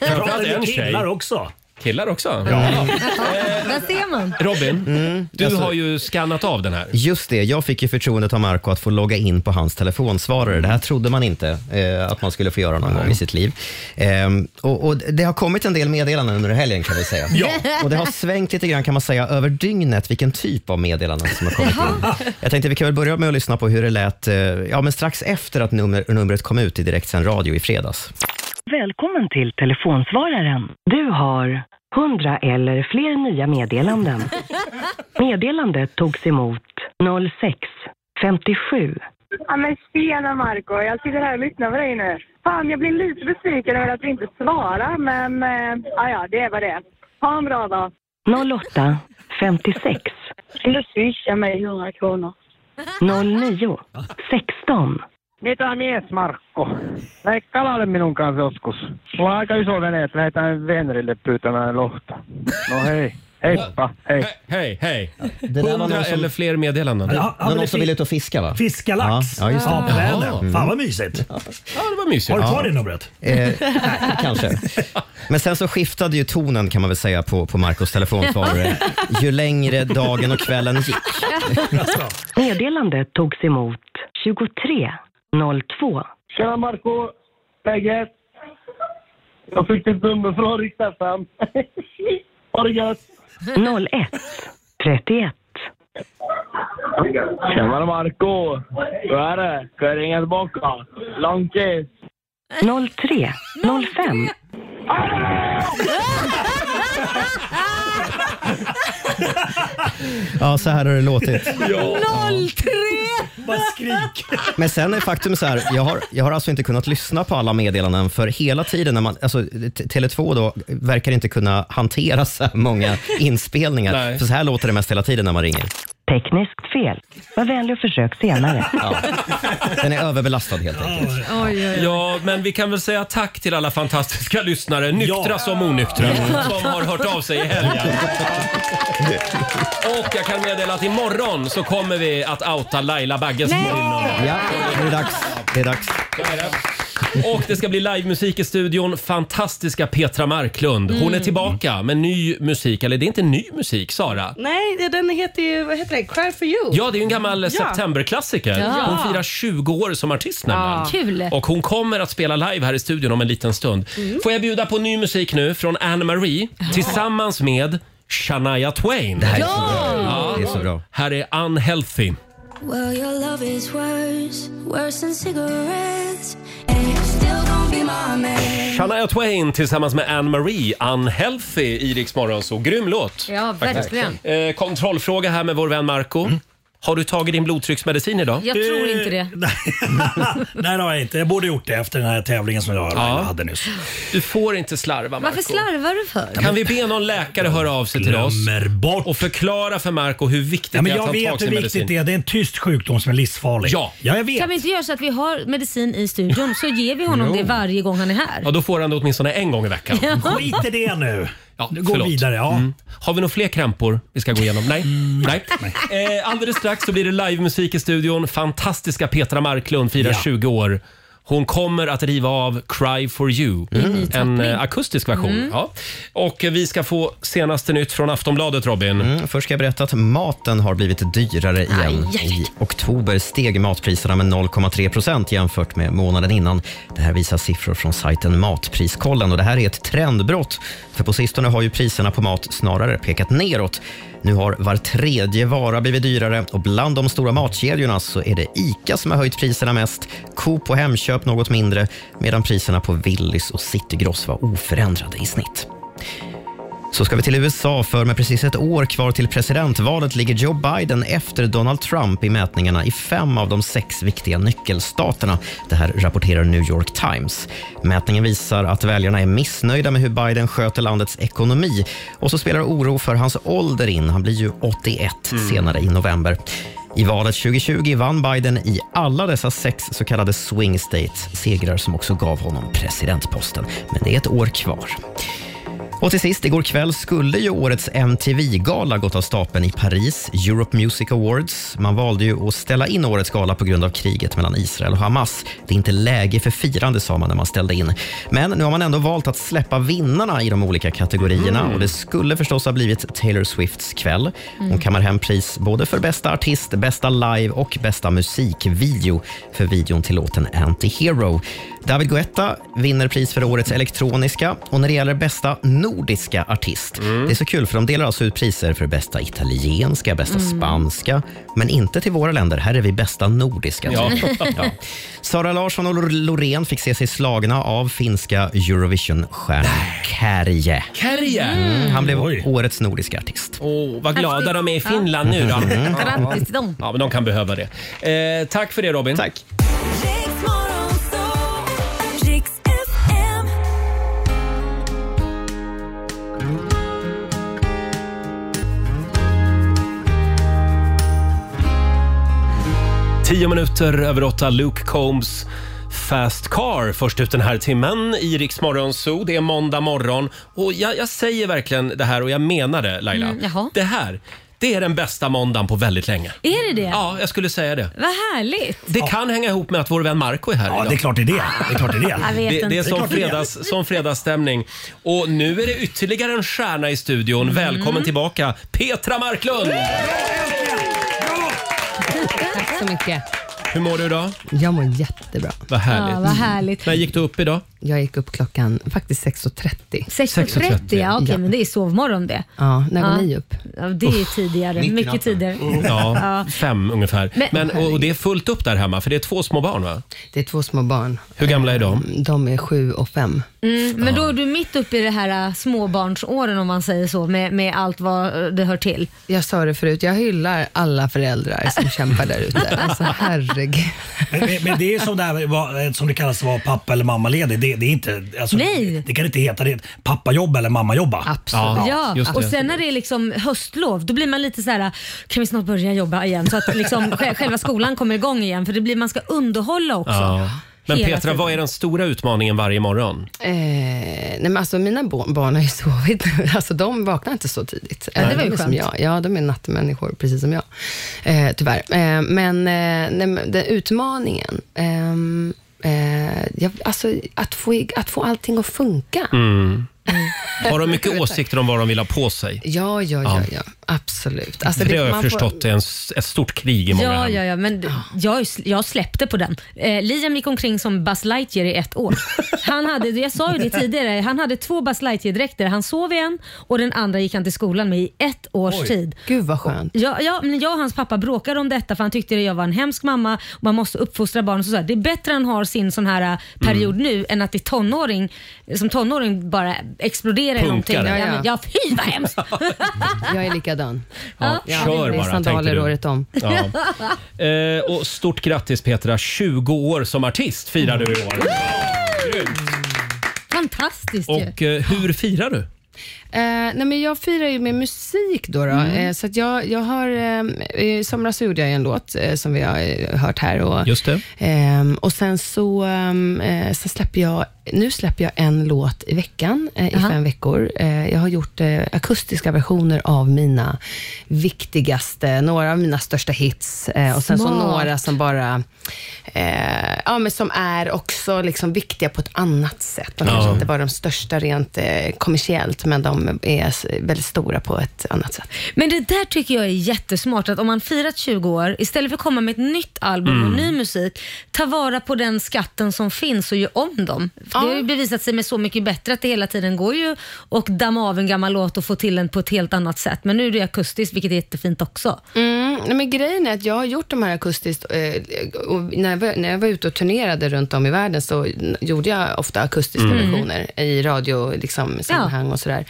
[SPEAKER 1] Framförallt
[SPEAKER 4] pratade
[SPEAKER 1] en
[SPEAKER 4] med
[SPEAKER 1] tjej.
[SPEAKER 4] killar också.
[SPEAKER 1] Killar också?
[SPEAKER 2] Där ser man.
[SPEAKER 1] Robin, du
[SPEAKER 3] alltså-
[SPEAKER 1] har ju skannat av den här.
[SPEAKER 3] Just det, jag fick ju förtroendet av Marco att få logga in på hans telefonsvarare. Det här trodde man inte eh, att man skulle få göra någon gång i sitt liv. Ehm, och, och Det har kommit en del meddelanden under helgen kan vi säga.
[SPEAKER 9] Ja.
[SPEAKER 3] Och det har svängt lite grann kan man säga över dygnet vilken typ av meddelanden som har kommit in. Jag tänkte vi kan väl börja med att lyssna på hur det lät eh, ja, men strax efter att nummer, numret kom ut i direktsänd radio i fredags.
[SPEAKER 15] Välkommen till telefonsvararen. Du har 100 eller fler nya meddelanden. Meddelandet togs emot 06 57
[SPEAKER 16] Ja, men tjena Marco, jag sitter här och lyssnar på dig nu. Fan, jag blir lite besviken över att du inte svarar, men eh, ja, ja, det är vad det är. Ha en bra dag.
[SPEAKER 15] 08 56
[SPEAKER 16] Kan du swisha mig 100 kronor?
[SPEAKER 15] 09 16.
[SPEAKER 11] Mitä mies, Markko? Leikkalaile minun kanssa joskus. Mulla on aika iso vene, että lähdetään Venrille pyytämään lohta. No hei. Heippa, hej.
[SPEAKER 1] Hej, hej.
[SPEAKER 3] där var någon
[SPEAKER 1] Hundra
[SPEAKER 3] som-
[SPEAKER 1] eller fler meddelanden.
[SPEAKER 3] Ja, det var någon som ville ut och fiska va? Fiska lax. Ja, ja, just det.
[SPEAKER 1] Ja, på Vänern.
[SPEAKER 3] Mm.
[SPEAKER 1] Fan, vad
[SPEAKER 4] mysigt.
[SPEAKER 3] Ja,
[SPEAKER 1] det var mysigt. Har du kvar det numret?
[SPEAKER 3] Eh, nej, kanske. Men sen så skiftade ju tonen kan man väl säga på, på Marcos telefonsvarare ju längre dagen och kvällen gick.
[SPEAKER 15] Meddelandet togs emot 23 02.
[SPEAKER 11] Tjena Marco, läget? Jag fick ditt nummer från riksdag 5. Ha det gött!
[SPEAKER 15] 01 31.
[SPEAKER 11] Tjenare Marco! Hur är det? Ska jag ringa tillbaka? Lång kiss!
[SPEAKER 15] 03 05.
[SPEAKER 3] Ja, så här har det låtit.
[SPEAKER 2] 03!
[SPEAKER 4] Bara skrik.
[SPEAKER 3] Men sen är faktum så här, jag har, jag har alltså inte kunnat lyssna på alla meddelanden för hela tiden när man, alltså t- Tele2 då verkar inte kunna hantera så här många inspelningar. För så här låter det mest hela tiden när man ringer.
[SPEAKER 15] Tekniskt fel. Var vänlig och försök senare.
[SPEAKER 3] Den är överbelastad helt enkelt.
[SPEAKER 1] Ja, men vi kan väl säga tack till alla fantastiska lyssnare, nyktra som onyktra, som har hört av sig i helgen. Och jag kan meddela att imorgon så kommer vi att outa Laila Bagges morgon.
[SPEAKER 3] Ja, det är dags. Det är dags.
[SPEAKER 1] Och det ska bli livemusik i studion. Fantastiska Petra Marklund. Hon är
[SPEAKER 5] Mm.
[SPEAKER 1] tillbaka med ny musik. Eller det är inte ny musik, Sara.
[SPEAKER 5] Nej, den heter ju, vad heter den? Cry for you.
[SPEAKER 1] Ja, det är ju en gammal
[SPEAKER 5] Ja.
[SPEAKER 1] septemberklassiker.
[SPEAKER 5] Ja.
[SPEAKER 1] Hon firar 20 år som artist
[SPEAKER 5] Ja.
[SPEAKER 1] nämligen.
[SPEAKER 5] Kul.
[SPEAKER 1] Och hon kommer att spela live här i studion om en liten stund. Får jag bjuda på ny musik nu från Anne Marie tillsammans med Shania Twain. Det
[SPEAKER 3] här är så bra. Ja. Det är så bra.
[SPEAKER 1] Här är Unhealthy.
[SPEAKER 9] Well, your love is worse, worse than cigarettes. And you still gon' be my man.
[SPEAKER 1] Shania Twain tillsammans med Anne Marie, Unhealthy i Rix Morgon. Så grym låt!
[SPEAKER 14] Ja,
[SPEAKER 1] Faktiskt.
[SPEAKER 14] verkligen.
[SPEAKER 1] Eh, kontrollfråga här med vår vän Marco. Har du tagit din blodtrycksmedicin idag?
[SPEAKER 14] Jag tror inte
[SPEAKER 4] Eh,
[SPEAKER 14] det.
[SPEAKER 4] Nej, det har jag inte. Jag borde gjort det efter den här tävlingen som jag hade nyss.
[SPEAKER 1] Du får inte slarva Marco.
[SPEAKER 2] Varför slarvar du för?
[SPEAKER 1] Kan vi be någon läkare höra av sig till oss och förklara för Marco hur viktigt
[SPEAKER 4] Ja,
[SPEAKER 1] det
[SPEAKER 4] men
[SPEAKER 1] är att
[SPEAKER 4] jag
[SPEAKER 1] han tar
[SPEAKER 4] vet hur
[SPEAKER 1] sin
[SPEAKER 4] viktigt
[SPEAKER 1] medicin?
[SPEAKER 4] det är. Det är en tyst sjukdom som är livsfarlig.
[SPEAKER 1] Ja.
[SPEAKER 4] ja jag vet.
[SPEAKER 2] Kan vi inte göra så att vi har medicin i studion så ger vi honom
[SPEAKER 1] Jo.
[SPEAKER 2] det varje gång han är här?
[SPEAKER 1] Ja, då får han det åtminstone en gång i veckan.
[SPEAKER 2] Ja.
[SPEAKER 4] Skit i det nu.
[SPEAKER 1] Ja,
[SPEAKER 4] Nu går
[SPEAKER 1] förlåt. Mm.
[SPEAKER 4] vidare, ja.
[SPEAKER 1] Har vi några fler krampor vi ska gå igenom? Nej. Nej. Eh, alldeles strax så blir det livemusik i studion. Fantastiska Petra Marklund firar
[SPEAKER 7] Ja.
[SPEAKER 1] 20 år. Hon kommer att riva av Cry for you,
[SPEAKER 7] I ny
[SPEAKER 1] en
[SPEAKER 7] tappning.
[SPEAKER 1] eh, akustisk version.
[SPEAKER 7] Mm.
[SPEAKER 1] Ja. Och eh, vi ska få senaste nytt från Aftonbladet, Robin.
[SPEAKER 3] Mm, först ska jag berätta att maten har blivit dyrare igen.
[SPEAKER 1] Aj, aj, aj.
[SPEAKER 3] I oktober steg matpriserna med 0,3 procent jämfört med månaden innan. Det här visar siffror från sajten Matpriskollen och det här är ett trendbrott. För på sistone har ju priserna på mat snarare pekat neråt. Nu har var tredje vara blivit dyrare och bland de stora matkedjorna så är det ICA som har höjt priserna mest, Coop och Hemköp något mindre, medan priserna på Willys och Citygross var oförändrade i snitt. Så ska vi till USA, för med precis ett år kvar till presidentvalet ligger Joe Biden efter Donald Trump i mätningarna i fem av de sex viktiga nyckelstaterna. Det här rapporterar New York Times. Mätningen visar att väljarna är missnöjda med hur Biden sköter landets ekonomi. Och så spelar oro för hans ålder in. Han blir ju 81 senare i november. I valet 2020 vann Biden i alla dessa sex så kallade swing states, segrar som också gav honom presidentposten. Men det är ett år kvar. Och till sist, igår kväll skulle ju årets MTV-gala gått av stapeln i Paris, Europe Music Awards. Man valde ju att ställa in årets gala på grund av kriget mellan Israel och Hamas. Det är inte läge för firande, sa man när man ställde in. Men nu har man ändå valt att släppa vinnarna i de olika kategorierna
[SPEAKER 17] Mm.
[SPEAKER 3] och det skulle förstås ha blivit Taylor Swifts kväll. Hon
[SPEAKER 17] Mm.
[SPEAKER 3] kammar hem pris både för bästa artist, bästa live och bästa musikvideo för videon till låten Anti-Hero. David Guetta vinner pris för årets elektroniska och när det gäller bästa nordiska artist.
[SPEAKER 1] Mm.
[SPEAKER 3] Det är så kul för de delar alltså ut priser för bästa italienska, bästa
[SPEAKER 17] Mm.
[SPEAKER 3] spanska, men inte till våra länder. Här är vi bästa nordiska.
[SPEAKER 17] Ja.
[SPEAKER 3] Ja. Sara Larsson och Lor- Loreen fick se sig slagna av finska Eurovision-stjärnan Kärje.
[SPEAKER 1] Kärje?
[SPEAKER 3] Mm, han blev årets nordiska artist.
[SPEAKER 1] Åh, vad glada de är i Finland nu då.
[SPEAKER 3] Mm.
[SPEAKER 2] Grattis till dem.
[SPEAKER 1] Ja, men de kan behöva det. Eh, tack för det Robin. Tack. Tio minuter över åtta, Luke Combs Fast Car först ut den här timmen i Rix Morgon Zoo. Det är måndag morgon och jag, jag säger verkligen det här och jag menar det Laila.
[SPEAKER 2] Mm, jaha.
[SPEAKER 1] det här, det är den bästa måndagen på väldigt länge.
[SPEAKER 2] Är det det?
[SPEAKER 1] Ja, jag skulle säga det.
[SPEAKER 2] Vad härligt.
[SPEAKER 1] Det kan hänga ihop med att vår vän Marco är här Ja,
[SPEAKER 4] det är klart det är det. Det är klart det är det.
[SPEAKER 2] Jag vet
[SPEAKER 1] Det,
[SPEAKER 2] inte.
[SPEAKER 1] är
[SPEAKER 2] Det är
[SPEAKER 1] som,
[SPEAKER 2] klart det är det.
[SPEAKER 1] fredags, som fredagsstämning. Och nu är det ytterligare en stjärna i studion.
[SPEAKER 2] Mm.
[SPEAKER 1] Välkommen tillbaka, Petra Marklund!
[SPEAKER 18] Tack så mycket.
[SPEAKER 1] Hur mår du idag?
[SPEAKER 18] Jag mår jättebra.
[SPEAKER 1] Vad härligt. Mm.
[SPEAKER 2] Ja, vad härligt.
[SPEAKER 1] När gick du upp idag?
[SPEAKER 18] Jag gick upp klockan faktiskt 6.30.
[SPEAKER 2] 6.30, ja okej men det är sovmorgon det.
[SPEAKER 18] Ja, när går
[SPEAKER 2] Ja.
[SPEAKER 18] ni upp?
[SPEAKER 2] Ja, det är ju tidigare,
[SPEAKER 1] mitt i
[SPEAKER 2] mycket
[SPEAKER 1] natten.
[SPEAKER 2] tidigare.
[SPEAKER 1] Ja, fem ungefär.
[SPEAKER 2] Men-
[SPEAKER 1] Men, och, och det är fullt upp där hemma, för det är två små barn va?
[SPEAKER 18] Det är två små barn. Ehm,
[SPEAKER 1] Hur gamla är de?
[SPEAKER 18] De är sju och fem.
[SPEAKER 2] Mm, men då är du mitt uppe i det här äh, småbarnsåren om man säger så, med, med allt vad äh, det hör till.
[SPEAKER 18] Jag sa det förut, jag hyllar alla föräldrar som kämpar där ute. Alltså herregud.
[SPEAKER 4] Men, men, men det är som det, här, vad- eh, som det kallas att vara pappa eller mammaledig. Det, det är inte... Alltså,
[SPEAKER 2] Nej.
[SPEAKER 4] Det kan inte heta det. Pappajobb eller mammajobba.
[SPEAKER 2] Ja, och sen när det är liksom höstlov, då blir man lite så här: äh, kan vi snart börja jobba igen? Så att liksom sj- själva skolan kommer igång igen, för det blir, man ska underhålla också.
[SPEAKER 1] Ja. Men
[SPEAKER 2] Hela
[SPEAKER 1] Petra,
[SPEAKER 2] tiden.
[SPEAKER 1] vad är den stora utmaningen varje morgon?
[SPEAKER 18] Eh, nej men alltså mina bo- barn har ju sovit nu. Alltså de vaknar inte så tidigt.
[SPEAKER 1] Nej,
[SPEAKER 18] Eh,
[SPEAKER 1] det var
[SPEAKER 18] de
[SPEAKER 1] ju
[SPEAKER 18] är som
[SPEAKER 1] skönt.
[SPEAKER 18] jag. Ja, de är nattmänniskor, precis som jag. Eh, tyvärr. Eh, men eh, nej, men den utmaningen. ehm, eh, jag, alltså, att, få, ig- att få allting att funka.
[SPEAKER 1] Mm. Har de mycket åsikter om vad de vill ha på sig?
[SPEAKER 18] Ja, ja, ja,
[SPEAKER 1] Ja.
[SPEAKER 18] ja. absolut. Alltså,
[SPEAKER 1] För det
[SPEAKER 18] det-
[SPEAKER 1] har jag
[SPEAKER 18] man
[SPEAKER 1] förstått
[SPEAKER 18] Får,
[SPEAKER 1] är en, s- ett stort krig i många
[SPEAKER 2] Ja,
[SPEAKER 1] hem.
[SPEAKER 2] ja, ja, men d- jag, jag släppte på den. Eh, Liam gick omkring som Buzz Lightyear i ett år. Han hade, jag sa ju det tidigare, han hade två Buzz Lightyear-dräkter. Han sov i en och den andra gick han till skolan med i ett års tid.
[SPEAKER 18] Gud vad skönt.
[SPEAKER 2] Ja, ja, men jag och hans pappa bråkade om detta för han tyckte att jag var en hemsk mamma och man måste uppfostra barn. Och så så här, det är bättre han har sin sån här ä, period
[SPEAKER 1] Mm.
[SPEAKER 2] nu än att det är tonåring, som tonåring bara exploderar i
[SPEAKER 18] Punkar.
[SPEAKER 2] någonting.
[SPEAKER 18] Ja,
[SPEAKER 2] Ja,
[SPEAKER 18] ja.
[SPEAKER 2] men, ja, fy vad hemskt!
[SPEAKER 18] jag är likadan.
[SPEAKER 1] Ja, kör
[SPEAKER 18] det är
[SPEAKER 1] bara, tänkte
[SPEAKER 18] sandaler
[SPEAKER 1] du.
[SPEAKER 18] året om.
[SPEAKER 1] Ja. Eh, och stort grattis Petra, 20 år som artist firar du i år.
[SPEAKER 2] Fantastiskt ju.
[SPEAKER 1] Och eh, hur firar du?
[SPEAKER 18] Eh, nej men jag firar ju med musik då. då.
[SPEAKER 1] Mm.
[SPEAKER 18] Eh, så att jag, jag har, eh, I somras så gjorde jag ju en låt eh, som vi har eh, hört här. Och,
[SPEAKER 1] Just det.
[SPEAKER 18] Ehm, och sen så, ehm, eh, så släpper jag, nu släpper jag en låt i veckan eh, i fem veckor. Eh, jag har gjort eh, akustiska versioner av mina viktigaste, några av mina största hits eh, och sen så
[SPEAKER 2] Smart.
[SPEAKER 18] några som bara, eh, ja men som är också liksom viktiga på ett annat sätt. De
[SPEAKER 1] Ja.
[SPEAKER 18] kanske inte var de största rent eh, kommersiellt, men de är s- väldigt stora på ett annat sätt.
[SPEAKER 2] Men det där tycker jag är jättesmart, att om man firat 20 år, istället för att komma med ett nytt album och
[SPEAKER 18] Mm.
[SPEAKER 2] ny musik, ta vara på den skatten som finns och gör om dem. För Det har ju bevisat sig med Så mycket bättre att det hela tiden går ju och damma av en gammal låt och få till den på ett helt annat sätt. Men nu är det akustiskt, vilket är jättefint också.
[SPEAKER 18] Mm, nej, men grejen är att jag har gjort de här akustiskt, eh, och när, jag var, när jag var ute och turnerade runt om i världen så n- gjorde jag ofta akustiska
[SPEAKER 2] Mm.
[SPEAKER 18] versioner i radiosammanhang liksom, sammanhang och sådär.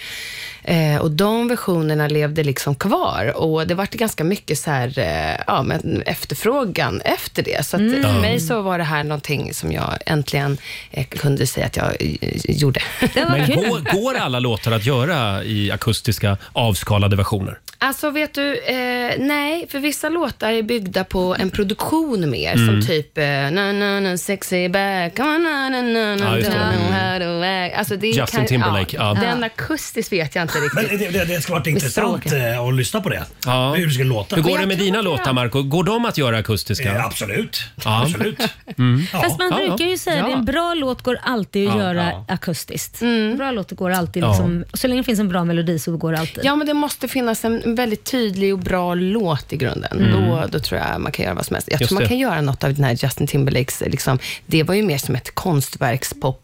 [SPEAKER 18] Eh, och de versionerna levde liksom kvar och det vart ganska mycket så här, eh, ja, men efterfrågan efter det. Så att
[SPEAKER 2] Mm.
[SPEAKER 18] för mig så var det här någonting som jag äntligen eh, kunde säga att jag eh, gjorde.
[SPEAKER 1] Men går, går alla låtar att göra i akustiska avskalade versioner?
[SPEAKER 18] Alltså vet du, eh, nej, för vissa låtar är byggda på en produktion mer,
[SPEAKER 1] Mm.
[SPEAKER 18] som typ eh, na na na sexy back, na na na na
[SPEAKER 1] Ja,
[SPEAKER 18] na
[SPEAKER 1] just det.
[SPEAKER 18] don't
[SPEAKER 1] Mm.
[SPEAKER 18] know how to act. Alltså, det
[SPEAKER 1] Justin
[SPEAKER 18] kan,
[SPEAKER 1] Timberlake, ja.
[SPEAKER 18] Den akustiskt vet jag inte
[SPEAKER 4] Men
[SPEAKER 18] riktigt.
[SPEAKER 4] det, det, det ska vara
[SPEAKER 18] Med
[SPEAKER 4] intressant
[SPEAKER 18] stråken.
[SPEAKER 4] eh, att lyssna på det.
[SPEAKER 1] Ja.
[SPEAKER 4] Hur det ska låta.
[SPEAKER 1] Hur går det med dina låtar, Marco? Går de att göra akustiska?
[SPEAKER 4] Eh, absolut.
[SPEAKER 1] Ja.
[SPEAKER 4] Absolut.
[SPEAKER 1] Mm.
[SPEAKER 2] Fast man
[SPEAKER 1] Ja, ja.
[SPEAKER 2] brukar ju säga att en bra låt går alltid att
[SPEAKER 1] Ja,
[SPEAKER 2] göra
[SPEAKER 1] ja. Mm.
[SPEAKER 2] akustiskt. En bra låt går alltid,
[SPEAKER 1] Ja.
[SPEAKER 2] liksom, så länge det finns en bra melodi så går det alltid.
[SPEAKER 18] Ja, men det måste finnas en en väldigt tydlig och bra låt i grunden,
[SPEAKER 15] Mm.
[SPEAKER 18] då, då tror jag man kan göra vad som helst. Jag
[SPEAKER 15] Just
[SPEAKER 18] tror man
[SPEAKER 15] det.
[SPEAKER 18] kan göra något av den här Justin Timberlakes, liksom, det var ju mer som ett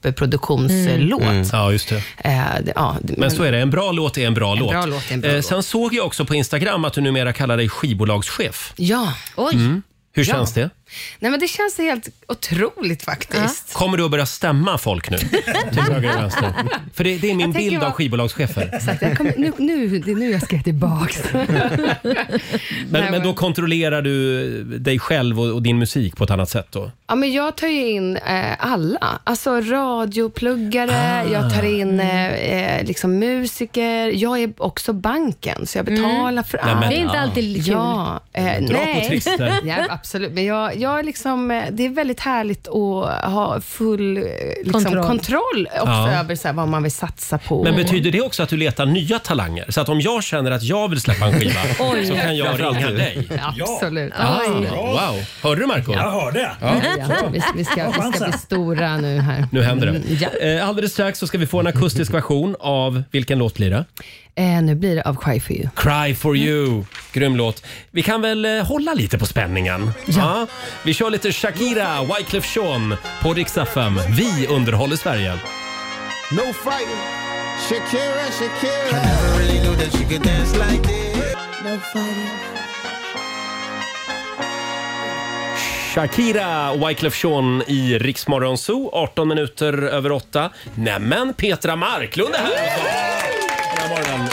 [SPEAKER 18] konstverkspop-produktionslåt.
[SPEAKER 1] Mm. Ja, just det.
[SPEAKER 18] Eh, det- ja, det-
[SPEAKER 1] Men så är det, en bra låt är en bra låt.
[SPEAKER 18] bra låt är en bra
[SPEAKER 1] Eh,
[SPEAKER 18] låt.
[SPEAKER 1] Sen såg jag också på Instagram att du numera kallar dig skivbolagschef.
[SPEAKER 18] Ja.
[SPEAKER 1] Mm. Hur
[SPEAKER 18] Ja.
[SPEAKER 1] känns det?
[SPEAKER 18] Nej, men det känns helt otroligt faktiskt.
[SPEAKER 1] Kommer du att börja stämma folk nu? Till höger och vänster. För det, det är min
[SPEAKER 18] Jag tänker
[SPEAKER 1] bild av
[SPEAKER 18] vad-
[SPEAKER 1] skivbolagschefer.
[SPEAKER 18] Exakt, jag kommer, nu, nu, det är nu jag ska tillbaks.
[SPEAKER 1] Men, men då kontrollerar du dig själv och, och din musik på ett annat sätt då?
[SPEAKER 18] Ja, men jag tar ju in eh, alla. Alltså radiopluggare, jag tar in eh, eh, liksom musiker. Jag är också banken, så jag betalar för
[SPEAKER 2] Nej,
[SPEAKER 18] allt.
[SPEAKER 2] men- Det är inte alltid kul.
[SPEAKER 18] Ja, eh,
[SPEAKER 2] Dra på
[SPEAKER 18] nej.
[SPEAKER 2] trister.
[SPEAKER 18] ja, absolut. Men jag, jag är liksom, eh, det är väldigt härligt att ha full eh, liksom,
[SPEAKER 1] Kontroll.
[SPEAKER 18] kontroll. också
[SPEAKER 1] Ja.
[SPEAKER 18] över så här, vad man vill satsa på.
[SPEAKER 1] Men betyder det också att du letar nya talanger? Så att om jag känner att jag vill släppa en skiva
[SPEAKER 18] Oj.
[SPEAKER 1] så kan jag
[SPEAKER 18] Framförallt
[SPEAKER 1] ringa
[SPEAKER 18] du.
[SPEAKER 1] dig?
[SPEAKER 18] Absolut.
[SPEAKER 1] Ah,
[SPEAKER 18] Oj.
[SPEAKER 1] wow. Hörde du Marco?
[SPEAKER 18] Jag
[SPEAKER 1] hörde.
[SPEAKER 18] Ja, vi, vi, ska, vi ska bli stora nu här.
[SPEAKER 1] Nu händer det.
[SPEAKER 18] Mm, ja.
[SPEAKER 1] Eh, Alldeles strax så ska vi få en akustisk version av, vilken låt blir det?
[SPEAKER 18] Eh, nu blir det av Cry for you.
[SPEAKER 1] Cry for you. Grym låt. Vi kan väl eh, hålla lite på spänningen? Ja. Vi kör lite Shakira, Wyclef Jean på Rix FM. Vi underhåller Sverige.
[SPEAKER 17] No fighting. Shakira, Shakira. I never really knew that she could dance like this. No fighting.
[SPEAKER 1] Shakira, Wyclef Jean i Rix Morgon Zoo, 18 minuter över 8. Nämen, Petra Marklund är här! alltså. Den här morgonen.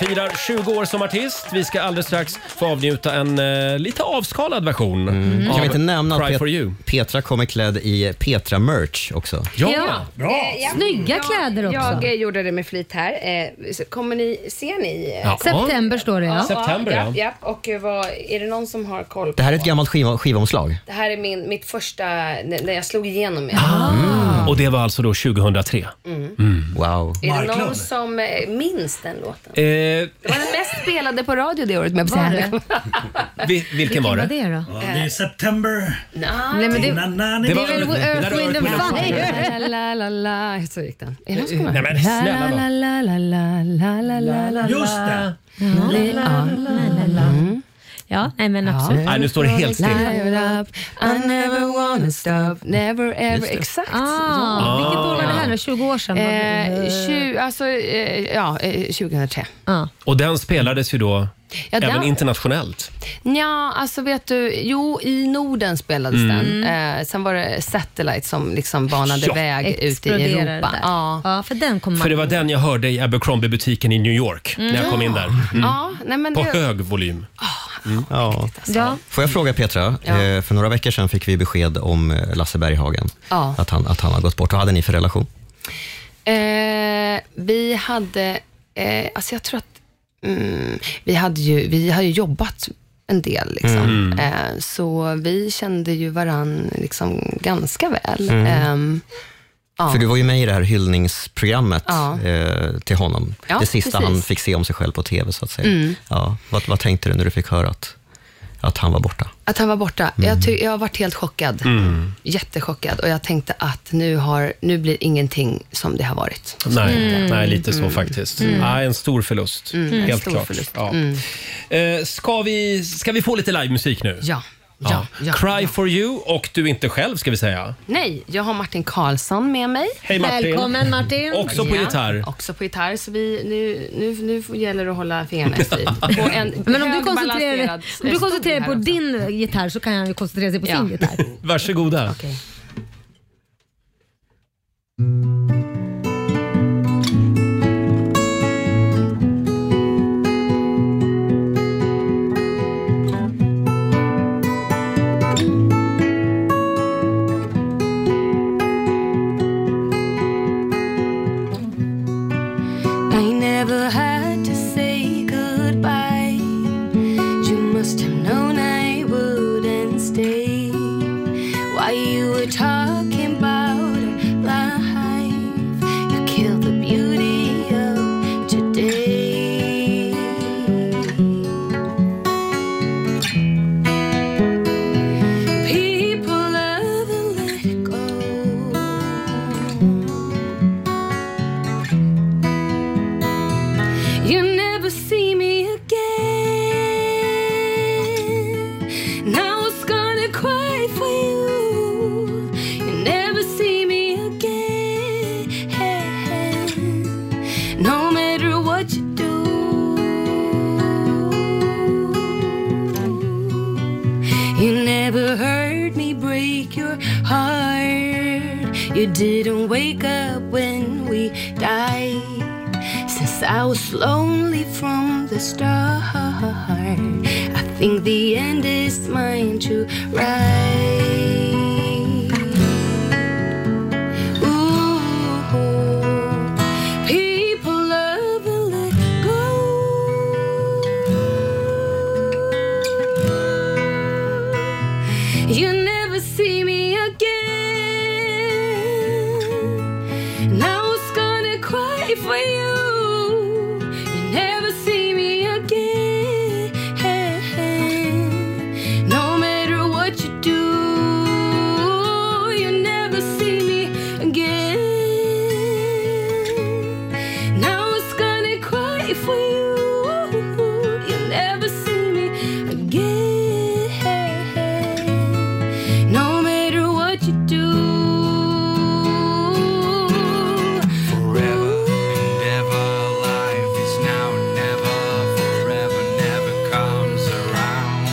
[SPEAKER 1] Firar 20 år som artist. Vi ska alldeles strax få avnjuta en eh, lite avskalad version
[SPEAKER 17] Mm.
[SPEAKER 1] av
[SPEAKER 3] Kan vi inte nämna
[SPEAKER 1] Mm. Cry
[SPEAKER 3] att
[SPEAKER 1] for you.
[SPEAKER 3] Pet- Petra kommer klädd i Petra-merch också?
[SPEAKER 18] Eh, ja.
[SPEAKER 2] Snygga
[SPEAKER 18] Jag-
[SPEAKER 2] kläder också.
[SPEAKER 18] Jag eh, gjorde det med flit här. Eh, så Kommer ni, ser ni? eh,
[SPEAKER 3] Ja. September
[SPEAKER 2] står det,
[SPEAKER 3] ja. September,
[SPEAKER 18] ja.
[SPEAKER 3] ja.
[SPEAKER 18] ja. Och eh, vad, är det någon som har koll på?
[SPEAKER 3] Det här är ett gammalt skiv skivomslag.
[SPEAKER 18] Det här är min, mitt första, när när jag slog igenom med.
[SPEAKER 1] Och det var alltså då 2003.
[SPEAKER 18] Mm.
[SPEAKER 1] Wow.
[SPEAKER 18] Är det någon som eh, minns den låten?
[SPEAKER 1] Eh,
[SPEAKER 18] Det var den mest spelade på radio det året med Björn.
[SPEAKER 1] vi, vilken var det?
[SPEAKER 2] då?
[SPEAKER 4] Ja, det är September.
[SPEAKER 18] Nej, men det,
[SPEAKER 4] Na, na, na,
[SPEAKER 18] det
[SPEAKER 4] na,
[SPEAKER 18] är väl
[SPEAKER 4] na, na, na,
[SPEAKER 18] Earth,
[SPEAKER 4] na,
[SPEAKER 18] Wind and
[SPEAKER 4] na, na, na,
[SPEAKER 18] Fire. La, la, la, la. Så gick den. Är det någon som
[SPEAKER 4] Nej, men snälla
[SPEAKER 18] La, la, la, la, la, la, la, la,
[SPEAKER 4] Just det.
[SPEAKER 18] la, la, la, la, la.
[SPEAKER 2] Mm. Ja, nej men absolut.
[SPEAKER 1] Nej, nu står det helt still.
[SPEAKER 18] Light it up, I never wanna stop, never ever. Exakt.
[SPEAKER 2] Ah, vilket år var det här då? 20 år sedan?
[SPEAKER 18] Eh, tju, alltså, eh, ja, eh, 2003.
[SPEAKER 1] Och den spelades ju då
[SPEAKER 18] Ja,
[SPEAKER 1] även
[SPEAKER 18] den-
[SPEAKER 1] internationellt.
[SPEAKER 18] Ja, alltså vet du, jo i Norden spelades
[SPEAKER 1] Mm.
[SPEAKER 18] den. Eh, sen var det Satellite som liksom banade
[SPEAKER 1] Ja. Mm.
[SPEAKER 18] väg ut i
[SPEAKER 2] Exploderade
[SPEAKER 18] Europa.
[SPEAKER 2] där.
[SPEAKER 18] Ja.
[SPEAKER 2] ja, för den kommer
[SPEAKER 1] För det var den jag hörde i Abercrombie-butiken i New York när jag
[SPEAKER 18] Mm.
[SPEAKER 1] kom in där. Mm.
[SPEAKER 18] Ja, nej, men
[SPEAKER 1] På
[SPEAKER 18] det-
[SPEAKER 1] hög volym.
[SPEAKER 3] Mm. Ja.
[SPEAKER 18] Ja.
[SPEAKER 3] Får jag fråga Petra?
[SPEAKER 18] Ja.
[SPEAKER 3] Eh, För några veckor sedan fick vi besked om eh, Lasse Berghagen.
[SPEAKER 18] Ja.
[SPEAKER 3] Att, han, att han har gått bort. Vad hade ni för relation?
[SPEAKER 18] Eh, vi hade, eh, alltså jag tror att mm, vi, hade ju, vi har ju jobbat en del. Liksom.
[SPEAKER 15] Mm.
[SPEAKER 18] Eh, så vi kände ju varann liksom ganska väl.
[SPEAKER 3] Mm.
[SPEAKER 18] Ehm, ja.
[SPEAKER 3] För du var ju med i det här hyllningsprogrammet
[SPEAKER 18] Ja.
[SPEAKER 3] eh, till honom.
[SPEAKER 18] Ja,
[SPEAKER 3] det sista
[SPEAKER 18] precis.
[SPEAKER 3] han fick se om sig själv på TV, så att säga.
[SPEAKER 18] Mm.
[SPEAKER 3] Ja. Vad, vad tänkte du när du fick höra att, att han var borta?
[SPEAKER 18] Att han var borta. Jag, ty- jag har varit helt chockad.
[SPEAKER 3] Mm.
[SPEAKER 18] Jättechockad. Och jag tänkte att nu, har, nu blir ingenting som det har varit.
[SPEAKER 1] Nej,
[SPEAKER 18] Mm.
[SPEAKER 1] nej, lite så
[SPEAKER 18] Mm.
[SPEAKER 1] faktiskt.
[SPEAKER 18] Mm.
[SPEAKER 1] Nej, en stor förlust.
[SPEAKER 18] Mm, en
[SPEAKER 1] Helt
[SPEAKER 18] stor
[SPEAKER 1] klart.
[SPEAKER 18] förlust. Mm.
[SPEAKER 1] Ja. Eh, ska, vi, ska vi få lite livemusik nu?
[SPEAKER 18] Ja. Ja, ja,
[SPEAKER 1] Cry for you och du inte själv ska vi säga.
[SPEAKER 18] Nej, jag har Martin Karlsson med mig.
[SPEAKER 1] Hej, Martin. Välkommen,
[SPEAKER 18] Martin.
[SPEAKER 1] Också på gitarr.
[SPEAKER 18] Också på gitarr, så vi, nu, nu, nu gäller det att hålla fingrarna i styr. På en
[SPEAKER 2] Men om du
[SPEAKER 18] hög
[SPEAKER 2] koncentrerar dig
[SPEAKER 18] balanserad,
[SPEAKER 2] om
[SPEAKER 18] eh,
[SPEAKER 2] du
[SPEAKER 18] stol
[SPEAKER 2] koncentrerar dig
[SPEAKER 18] här
[SPEAKER 2] på
[SPEAKER 18] också.
[SPEAKER 2] din gitarr så kan han ju koncentrera sig på sin gitarr.
[SPEAKER 1] Varsågoda.
[SPEAKER 15] I never had to say goodbye. You must have known I wouldn't stay. While you were talking about a lie, never heard me break your heart. You didn't wake up when we died. Since I was lonely from the start, I think the end is mine to write. Ooh, people love and let go. You never see me again. And I was gonna cry for you. You never see me again. No matter what you do, you never see me again. Now it's gonna cry for you. You never see me again. No matter what you do.
[SPEAKER 19] Forever and ever, life is now and never. Forever never comes around.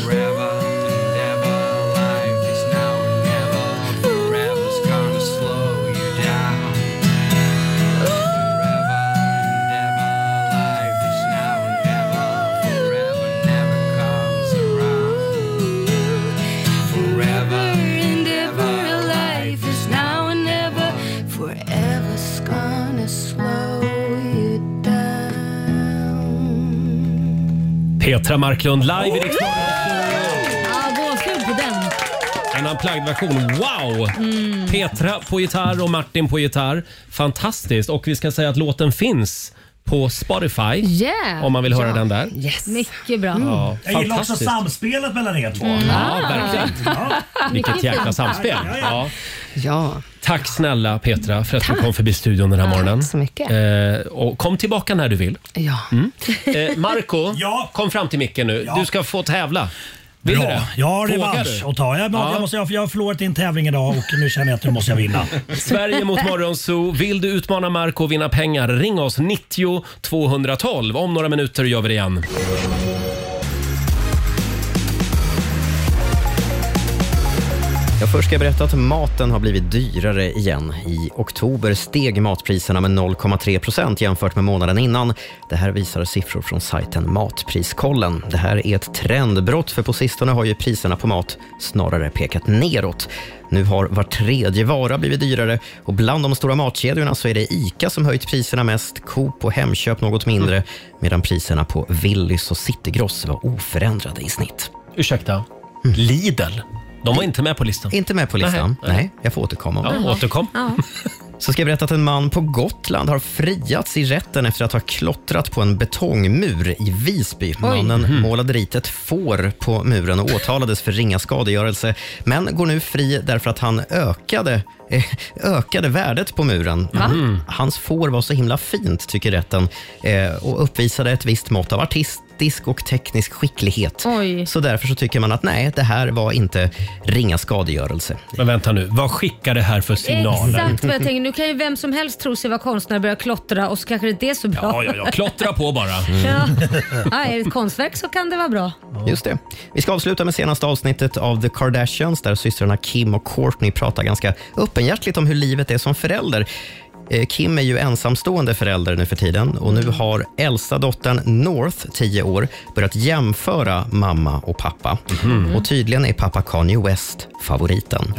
[SPEAKER 19] Forever and ever, life is now and never. Forever's gonna slow you down. Forever and ever, life is now and never. Forever never comes around. Forever
[SPEAKER 15] and ever life is now and never forever's gonna slow you
[SPEAKER 1] Petra Marklund live i Riksmorgon.
[SPEAKER 2] Ja, gåshud på den.
[SPEAKER 1] En unplugged-version. Wow! Petra på gitarr och Martin på gitarr. Fantastiskt. Och vi ska säga att låten finns på Spotify.
[SPEAKER 2] Yeah.
[SPEAKER 1] Om man vill höra
[SPEAKER 2] Ja.
[SPEAKER 1] den där.
[SPEAKER 2] Mycket bra.
[SPEAKER 1] Ja,
[SPEAKER 4] Jag gillar också
[SPEAKER 1] fantastiskt. Mm.
[SPEAKER 4] samspelet mellan er två.
[SPEAKER 18] Ah.
[SPEAKER 1] Ja, verkligen. Vilket jäkla samspel. Ja. Tack snälla Petra för att du
[SPEAKER 18] Tack.
[SPEAKER 1] kom förbi studion den här
[SPEAKER 18] Ja,
[SPEAKER 1] morgonen.
[SPEAKER 18] tack så mycket.
[SPEAKER 1] Eh, och kom tillbaka när du vill.
[SPEAKER 18] Ja.
[SPEAKER 1] Mm. Eh, Marco, kom fram till micken nu.
[SPEAKER 4] Ja.
[SPEAKER 1] Du ska få tävla. Vill du det?
[SPEAKER 4] Jag har
[SPEAKER 1] Vågar
[SPEAKER 4] revansch
[SPEAKER 1] du?
[SPEAKER 4] att ta. Jag,
[SPEAKER 1] Ja.
[SPEAKER 4] jag, måste, jag har förlorat i en tävling idag och nu känner jag att nu måste jag vinna.
[SPEAKER 1] Sverige mot Morgonzoo. Vill du utmana Marco och vinna pengar? Ring oss 90 212. Om några minuter gör vi det igen.
[SPEAKER 3] Ja, först ska jag berätta att maten har blivit dyrare igen. I oktober steg matpriserna med 0,3 procent jämfört med månaden innan. Det här visar siffror från sajten Matpriskollen. Det här är ett trendbrott, för på sistone har ju priserna på mat snarare pekat neråt. Nu har var tredje vara blivit dyrare och bland de stora matkedjorna så är det ICA som höjt priserna mest, Coop och Hemköp något mindre, medan priserna på Willys och Citygross var oförändrade i snitt.
[SPEAKER 1] Ursäkta, Lidl? De var inte med på listan?
[SPEAKER 3] Inte med på listan. Nej, jag får återkomma. om
[SPEAKER 1] Ja,
[SPEAKER 3] det.
[SPEAKER 1] återkom.
[SPEAKER 3] Så ska jag berätta att en man på Gotland har friats i rätten efter att ha klottrat på en betongmur i Visby. Mannen målade dit ett får på muren och åtalades för ringa skadegörelse, men går nu fri därför att han ökade, eh, ökade värdet på muren.
[SPEAKER 17] Va?
[SPEAKER 3] Mm. Hans får var så himla fint, tycker rätten, eh, och uppvisade ett visst mått av artistisk och teknisk skicklighet. Så därför så tycker man att nej, det här var inte ringa skadegörelse.
[SPEAKER 1] Men vänta nu, vad skickar det här för
[SPEAKER 2] Exakt vad jag tänker. Nu kan ju vem som helst tro sig vara konstnär och börja klottra och så kanske det inte är så bra.
[SPEAKER 1] Ja, ja, ja. Klottra på bara.
[SPEAKER 2] Ja. Ja, är det ett konstverk så kan det vara bra.
[SPEAKER 3] Just det. Vi ska avsluta med senaste avsnittet av The Kardashians där systrarna Kim och Kourtney pratar ganska öppenhjärtligt om hur livet är som förälder. Eh, Kim är ju ensamstående förälder nu för tiden och nu har äldsta dottern North, 10 år, börjat jämföra mamma och pappa. Och tydligen är pappa Kanye West favoriten,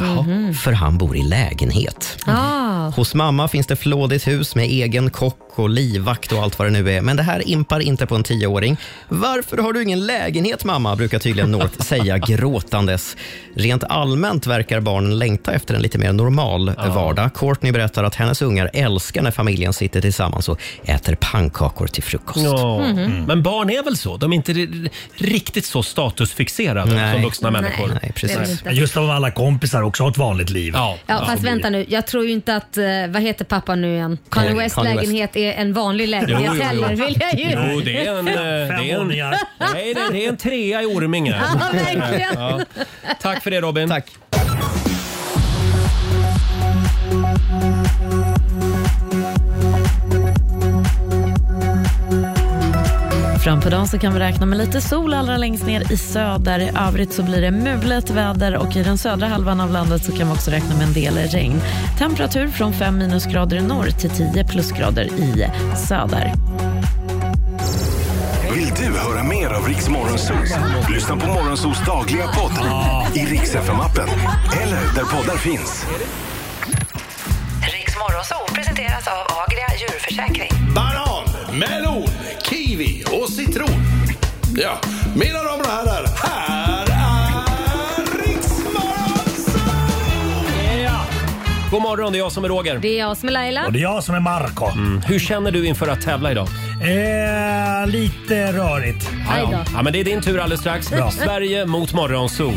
[SPEAKER 3] för han bor i lägenhet.
[SPEAKER 2] Ah.
[SPEAKER 3] Hos mamma finns det flådigt hus med egen kock och livvakt och allt vad det nu är. Men det här impar inte på en tioåring. Varför har du ingen lägenhet mamma? brukar tydligen North säga gråtandes. Rent allmänt verkar barnen längta efter en lite mer normal vardag. Courtney berättar att hennes ungar älskar när familjen sitter tillsammans och äter pannkakor till frukost.
[SPEAKER 1] Ja.
[SPEAKER 3] Mhm.
[SPEAKER 1] Mm. Men barn är väl så? De är inte ri- riktigt så statusfixerade
[SPEAKER 3] Nej.
[SPEAKER 1] som vuxna
[SPEAKER 2] Nej.
[SPEAKER 1] människor.
[SPEAKER 2] Nej, precis. Det är det inte.
[SPEAKER 4] Just av alla kompisar också har ett vanligt liv.
[SPEAKER 1] Ja,
[SPEAKER 2] Ja, fast vänta nu. Jag tror ju inte att, eh, vad heter pappa nu igen? Kanye
[SPEAKER 4] Kanye
[SPEAKER 2] West
[SPEAKER 4] West.
[SPEAKER 2] lägenhet är en vanlig lägenhet
[SPEAKER 1] Jo, jo, jo.
[SPEAKER 2] heller vill jag ju.
[SPEAKER 1] Jo, det är en... eh, Det är en, nej, det är- det är en trea i Orminge.
[SPEAKER 2] Ja, verkligen.
[SPEAKER 1] Ja. Tack för det Robin. Tack.
[SPEAKER 20] fram på dagen så kan vi räkna med lite sol allra längst ner i söder. I övrigt så blir det mulet väder och i den södra halvan av landet så kan vi också räkna med en del regn. Temperatur från 5 minusgrader i norr till 10 plusgrader i söder.
[SPEAKER 10] Vill du höra mer av Riks Morgonsos? Lyssna på Morgonsos dagliga podd i Riks FM-appen eller där poddar finns.
[SPEAKER 21] Riks Morgonzoo presenteras av Agria djurförsäkring.
[SPEAKER 22] Banan, melon, kiwi och citron. Ja, mina damer och herrar, här är Riksmorgon
[SPEAKER 1] Ja. God morgon, det är jag som är Roger.
[SPEAKER 2] Det är jag som är Laila.
[SPEAKER 1] Och det är jag som är Marco. Mm. Hur känner du inför att tävla idag?
[SPEAKER 4] Eh, lite rörigt.
[SPEAKER 1] Ja, ja. ja, men det är din tur alldeles strax.
[SPEAKER 4] Bra.
[SPEAKER 1] Sverige mot Morgonzoo.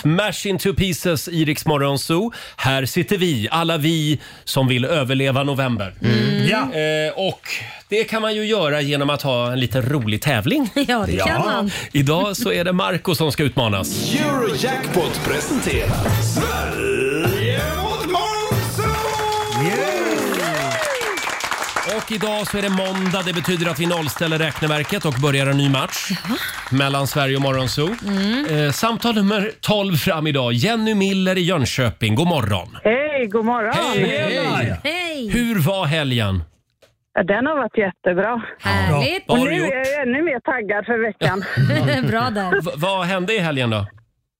[SPEAKER 1] Smash into pieces i Rix Morgonzoo. Här sitter vi, alla vi som vill överleva november.
[SPEAKER 4] Mm.
[SPEAKER 1] Eh, och det kan man ju göra genom att ha en liten rolig tävling.
[SPEAKER 2] Ja, det kan man.
[SPEAKER 1] Idag så är det Marco som ska utmanas.
[SPEAKER 22] Eurojackpot presenterar Sverige mot Morgonzoo!
[SPEAKER 1] Och idag så är det måndag. Det betyder att vi nollställer räkneverket och börjar en ny match mellan Sverige och Morgonzoo. Eh, samtal nummer 12 fram idag. Jenny Miller i Jönköping. God morgon.
[SPEAKER 6] Hej, god morgon!
[SPEAKER 1] Hej! Hur var helgen?
[SPEAKER 6] Ja, Den har varit jättebra.
[SPEAKER 1] Härligt. Vad
[SPEAKER 6] Och
[SPEAKER 1] har du
[SPEAKER 6] nu
[SPEAKER 1] gjort?
[SPEAKER 6] är jag ännu mer taggad för veckan.
[SPEAKER 2] Bra där.
[SPEAKER 1] V- vad hände i helgen då?
[SPEAKER 6] Ja,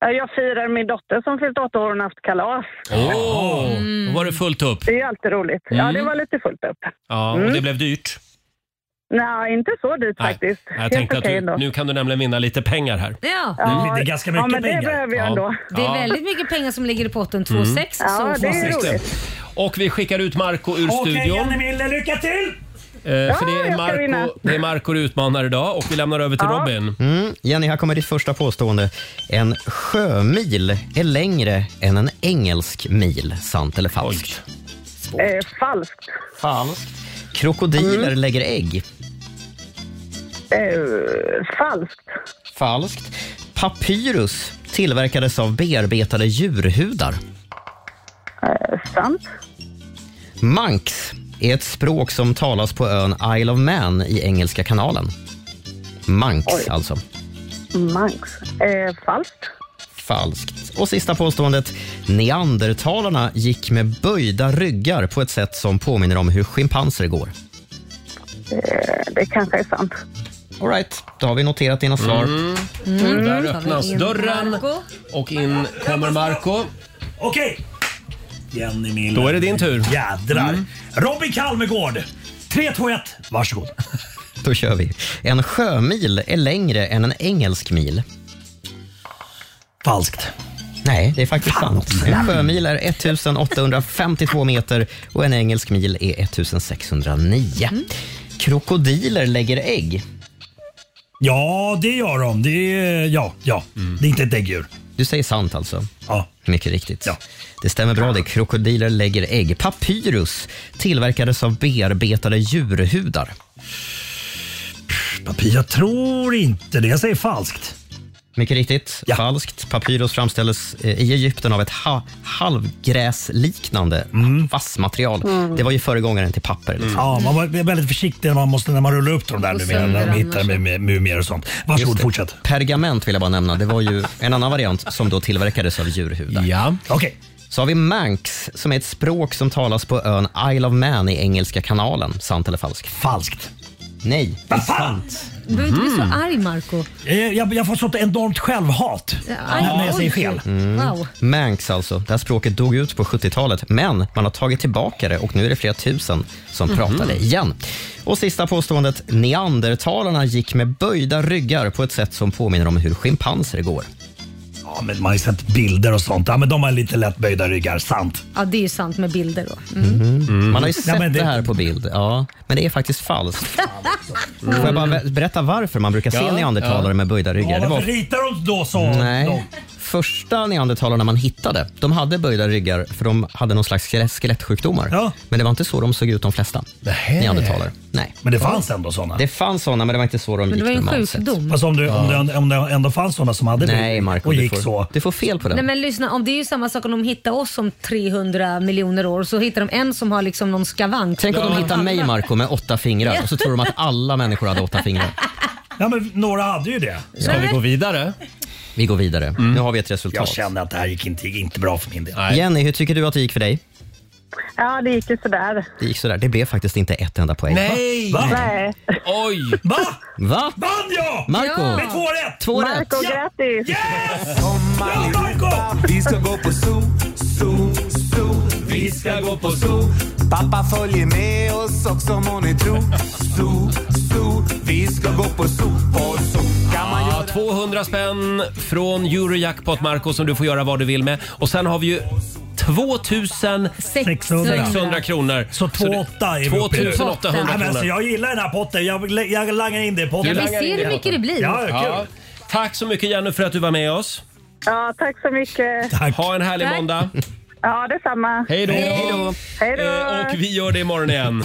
[SPEAKER 6] Eh, Jag firar min dotter som fyllt åtta år och haft kalas.
[SPEAKER 1] Åh, då var det fullt upp.
[SPEAKER 6] Det är ju alltid roligt. Ja,
[SPEAKER 1] Mm.
[SPEAKER 6] det var lite fullt upp.
[SPEAKER 1] Ja, och
[SPEAKER 6] Mm.
[SPEAKER 1] det blev dyrt.
[SPEAKER 6] Nej, inte så dyrt faktiskt.
[SPEAKER 1] Jag tänkte att
[SPEAKER 6] okej
[SPEAKER 1] du,
[SPEAKER 6] ändå.
[SPEAKER 1] nu kan du nämligen vinna lite pengar här.
[SPEAKER 2] Ja.
[SPEAKER 1] Det- det är ganska mycket
[SPEAKER 6] ja, men
[SPEAKER 1] pengar.
[SPEAKER 6] Det behöver jag
[SPEAKER 1] Ja.
[SPEAKER 6] ändå.
[SPEAKER 2] Det är
[SPEAKER 1] Ja.
[SPEAKER 2] väldigt mycket pengar som ligger i potten. 2,6.
[SPEAKER 1] Mm.
[SPEAKER 2] så
[SPEAKER 1] Just det. Och vi skickar ut Marco ur
[SPEAKER 4] Okej,
[SPEAKER 1] studion.
[SPEAKER 4] Jenny Miller, lycka till!
[SPEAKER 1] Eh, för
[SPEAKER 4] Ja,
[SPEAKER 1] det
[SPEAKER 4] jag
[SPEAKER 1] är,
[SPEAKER 4] ska vinna.
[SPEAKER 1] Marco, det är Marco du utmanar idag och vi lämnar över till Robin.
[SPEAKER 3] Mm, Jenny, här kommer ditt första påstående. En sjömil är längre än en engelsk mil. Sant eller falskt?
[SPEAKER 6] Eh, falskt.
[SPEAKER 3] Falskt. Krokodiler lägger ägg.
[SPEAKER 6] Eh, falskt.
[SPEAKER 3] Falskt. Papyrus tillverkades av bearbetade djurhudar.
[SPEAKER 6] Eh, sant.
[SPEAKER 3] Manx är ett språk som talas på ön Isle of Man i Engelska kanalen. Manx,
[SPEAKER 6] Oj.
[SPEAKER 3] alltså.
[SPEAKER 6] Manx. Eh, falskt.
[SPEAKER 3] Falskt. Och sista påståendet. Neandertalarna gick med böjda ryggar på ett sätt som påminner om hur schimpanser går.
[SPEAKER 6] Eh, det kanske är sant.
[SPEAKER 3] All right, då har vi noterat dina svar.
[SPEAKER 1] Mm.
[SPEAKER 6] Mm.
[SPEAKER 1] Där
[SPEAKER 6] Tar vi
[SPEAKER 1] öppnas
[SPEAKER 6] in
[SPEAKER 1] dörren
[SPEAKER 6] Marco.
[SPEAKER 1] och in kommer Marco.
[SPEAKER 4] Okej. Jenny Miller.
[SPEAKER 1] Då är det din tur. Mm.
[SPEAKER 4] Jädrar. Robin Kalmegård. 3, 2, 1. Varsågod.
[SPEAKER 3] Då kör vi. En sjömil är längre än en engelsk mil.
[SPEAKER 4] Falskt.
[SPEAKER 3] Nej, det är faktiskt sant. En sjömil är 1852 meter och en engelsk mil är 1609. Krokodiler lägger ägg.
[SPEAKER 4] Ja, det gör de. Det är, ja, ja.
[SPEAKER 1] Mm.
[SPEAKER 4] Det är inte ett däggdjur.
[SPEAKER 3] Du säger sant alltså?
[SPEAKER 4] Ja.
[SPEAKER 3] Mycket riktigt. Det stämmer bra det. Krokodiler lägger ägg. Papyrus tillverkades av bearbetade djurhudar.
[SPEAKER 4] Papir, jag tror inte det. Jag säger falskt.
[SPEAKER 3] Mycket riktigt. Falskt. Papyrus framställdes eh, i Egypten av ett ha- halvgräsliknande vassmaterial.
[SPEAKER 4] Mm.
[SPEAKER 3] Det var ju föregångaren till papper. Liksom.
[SPEAKER 4] Ja, man var väldigt försiktig när man, måste, när man rullar upp dem där
[SPEAKER 3] Och
[SPEAKER 4] numera.
[SPEAKER 3] sönder
[SPEAKER 4] När de
[SPEAKER 3] annars.
[SPEAKER 4] hittar med- med mumier och sånt. Varsågod,
[SPEAKER 3] Just det.
[SPEAKER 4] fortsätt.
[SPEAKER 3] Pergament vill jag bara nämna. Det var ju en annan variant som då tillverkades av djurhudar.
[SPEAKER 1] Ja.
[SPEAKER 4] Okay.
[SPEAKER 3] Så har vi manx, som är ett språk som talas på ön Isle of Man i Engelska kanalen. Sant eller falskt?
[SPEAKER 4] Falskt.
[SPEAKER 3] Nej, det är sant.
[SPEAKER 2] Du behöver inte
[SPEAKER 1] Mm.
[SPEAKER 2] bli så arg Marco.
[SPEAKER 4] Eh, Jag, jag får sånt enormt självhat
[SPEAKER 2] Ja,
[SPEAKER 4] när- när jag
[SPEAKER 2] oj.
[SPEAKER 4] säger fel.
[SPEAKER 1] Mm.
[SPEAKER 2] Wow.
[SPEAKER 3] Manx alltså. Det här språket dog ut på 70-talet, men man har tagit tillbaka det och nu är det flera tusen som
[SPEAKER 4] Mhm.
[SPEAKER 3] pratar det igen. Och sista påståendet. Neandertalarna gick med böjda ryggar på ett sätt som påminner om hur schimpanser går.
[SPEAKER 4] Ja, men man har ju sett bilder och sånt. Ja, men de har lite lätt böjda ryggar. Sant.
[SPEAKER 2] Ja, det är ju sant med bilder då. Mm.
[SPEAKER 3] Mhm. Man har ju
[SPEAKER 4] Ja,
[SPEAKER 3] sett
[SPEAKER 4] men det-
[SPEAKER 3] det... här på bild, ja. men det är faktiskt falskt. Får jag bara be- berätta varför man brukar se
[SPEAKER 4] Ja,
[SPEAKER 3] neandertalare
[SPEAKER 4] ja.
[SPEAKER 3] med böjda ryggar?
[SPEAKER 4] Ja,
[SPEAKER 3] det
[SPEAKER 4] varför
[SPEAKER 3] var...
[SPEAKER 4] ritar de då så?
[SPEAKER 3] Nej.
[SPEAKER 4] Då?
[SPEAKER 3] första neandertalarna man hittade, de hade böjda ryggar för de hade någon slags skelett- skelettsjukdomar. Men det var inte så de såg ut de flesta neandertalare. Nej.
[SPEAKER 4] Men det fanns ändå sådana?
[SPEAKER 3] Det fanns sådana, men det var inte så de gick normalt sett.
[SPEAKER 4] Fast om, du, om,
[SPEAKER 3] Ja.
[SPEAKER 4] det, om det ändå fanns sådana som hade
[SPEAKER 3] Nej,
[SPEAKER 4] bil
[SPEAKER 3] Marco,
[SPEAKER 4] och
[SPEAKER 3] du
[SPEAKER 4] gick
[SPEAKER 3] får-
[SPEAKER 4] så.
[SPEAKER 3] Du får fel på
[SPEAKER 2] Nej men lyssna, om det är ju samma sak om de hittar oss om 300 miljoner år så hittar de en som har liksom någon skavank.
[SPEAKER 3] Tänk om de hittar mig, Marco med åtta fingrar och så tror de att alla människor hade åtta fingrar.
[SPEAKER 4] Ja, men några hade ju det.
[SPEAKER 3] Ska vi gå
[SPEAKER 1] vidare?
[SPEAKER 3] Vi går vidare. Nu har vi ett resultat.
[SPEAKER 4] Mm. Jag kände att det här gick inte, gick inte bra för min del.
[SPEAKER 3] Jenny, hur tycker du att det gick för dig?
[SPEAKER 16] Ja, det gick ju sådär.
[SPEAKER 3] Det gick sådär. Det blev faktiskt inte ett enda poäng. Va? Va?
[SPEAKER 16] Nej.
[SPEAKER 1] Oj!
[SPEAKER 4] Va?
[SPEAKER 3] Va?
[SPEAKER 4] Vann jag!
[SPEAKER 3] Marco!
[SPEAKER 4] Ja. Med två rätt!
[SPEAKER 3] Två rätt.
[SPEAKER 16] Marco, grattis!
[SPEAKER 22] Vi ska gå på zoo, zoo, zoo. Vi ska gå på zoo. Pappa följer med oss också må ni tro. Zoo, zoo. Vi ska gå på zoo, på zoo. Kan man
[SPEAKER 1] Ja, 200 spänn från Eurojackpot, Marco, som du får göra vad du vill med. Och sen har vi ju 2600 kronor.
[SPEAKER 4] Så 2800 är vi uppe i nu.
[SPEAKER 1] 2800
[SPEAKER 4] Nej, men alltså,
[SPEAKER 1] kronor.
[SPEAKER 4] Jag gillar den här potten. Jag, jag langar in det i potten.
[SPEAKER 1] Du langar in i potten.
[SPEAKER 4] Ja, kul.
[SPEAKER 1] Ja. Tack så mycket Jenny för att du var med oss.
[SPEAKER 16] Ja, tack så mycket.
[SPEAKER 1] Ha en härlig
[SPEAKER 16] Tack.
[SPEAKER 1] måndag.
[SPEAKER 16] Ja, detsamma.
[SPEAKER 1] Hej då.
[SPEAKER 16] Hej då. Hej då.
[SPEAKER 1] Eh, Och vi gör det imorgon igen.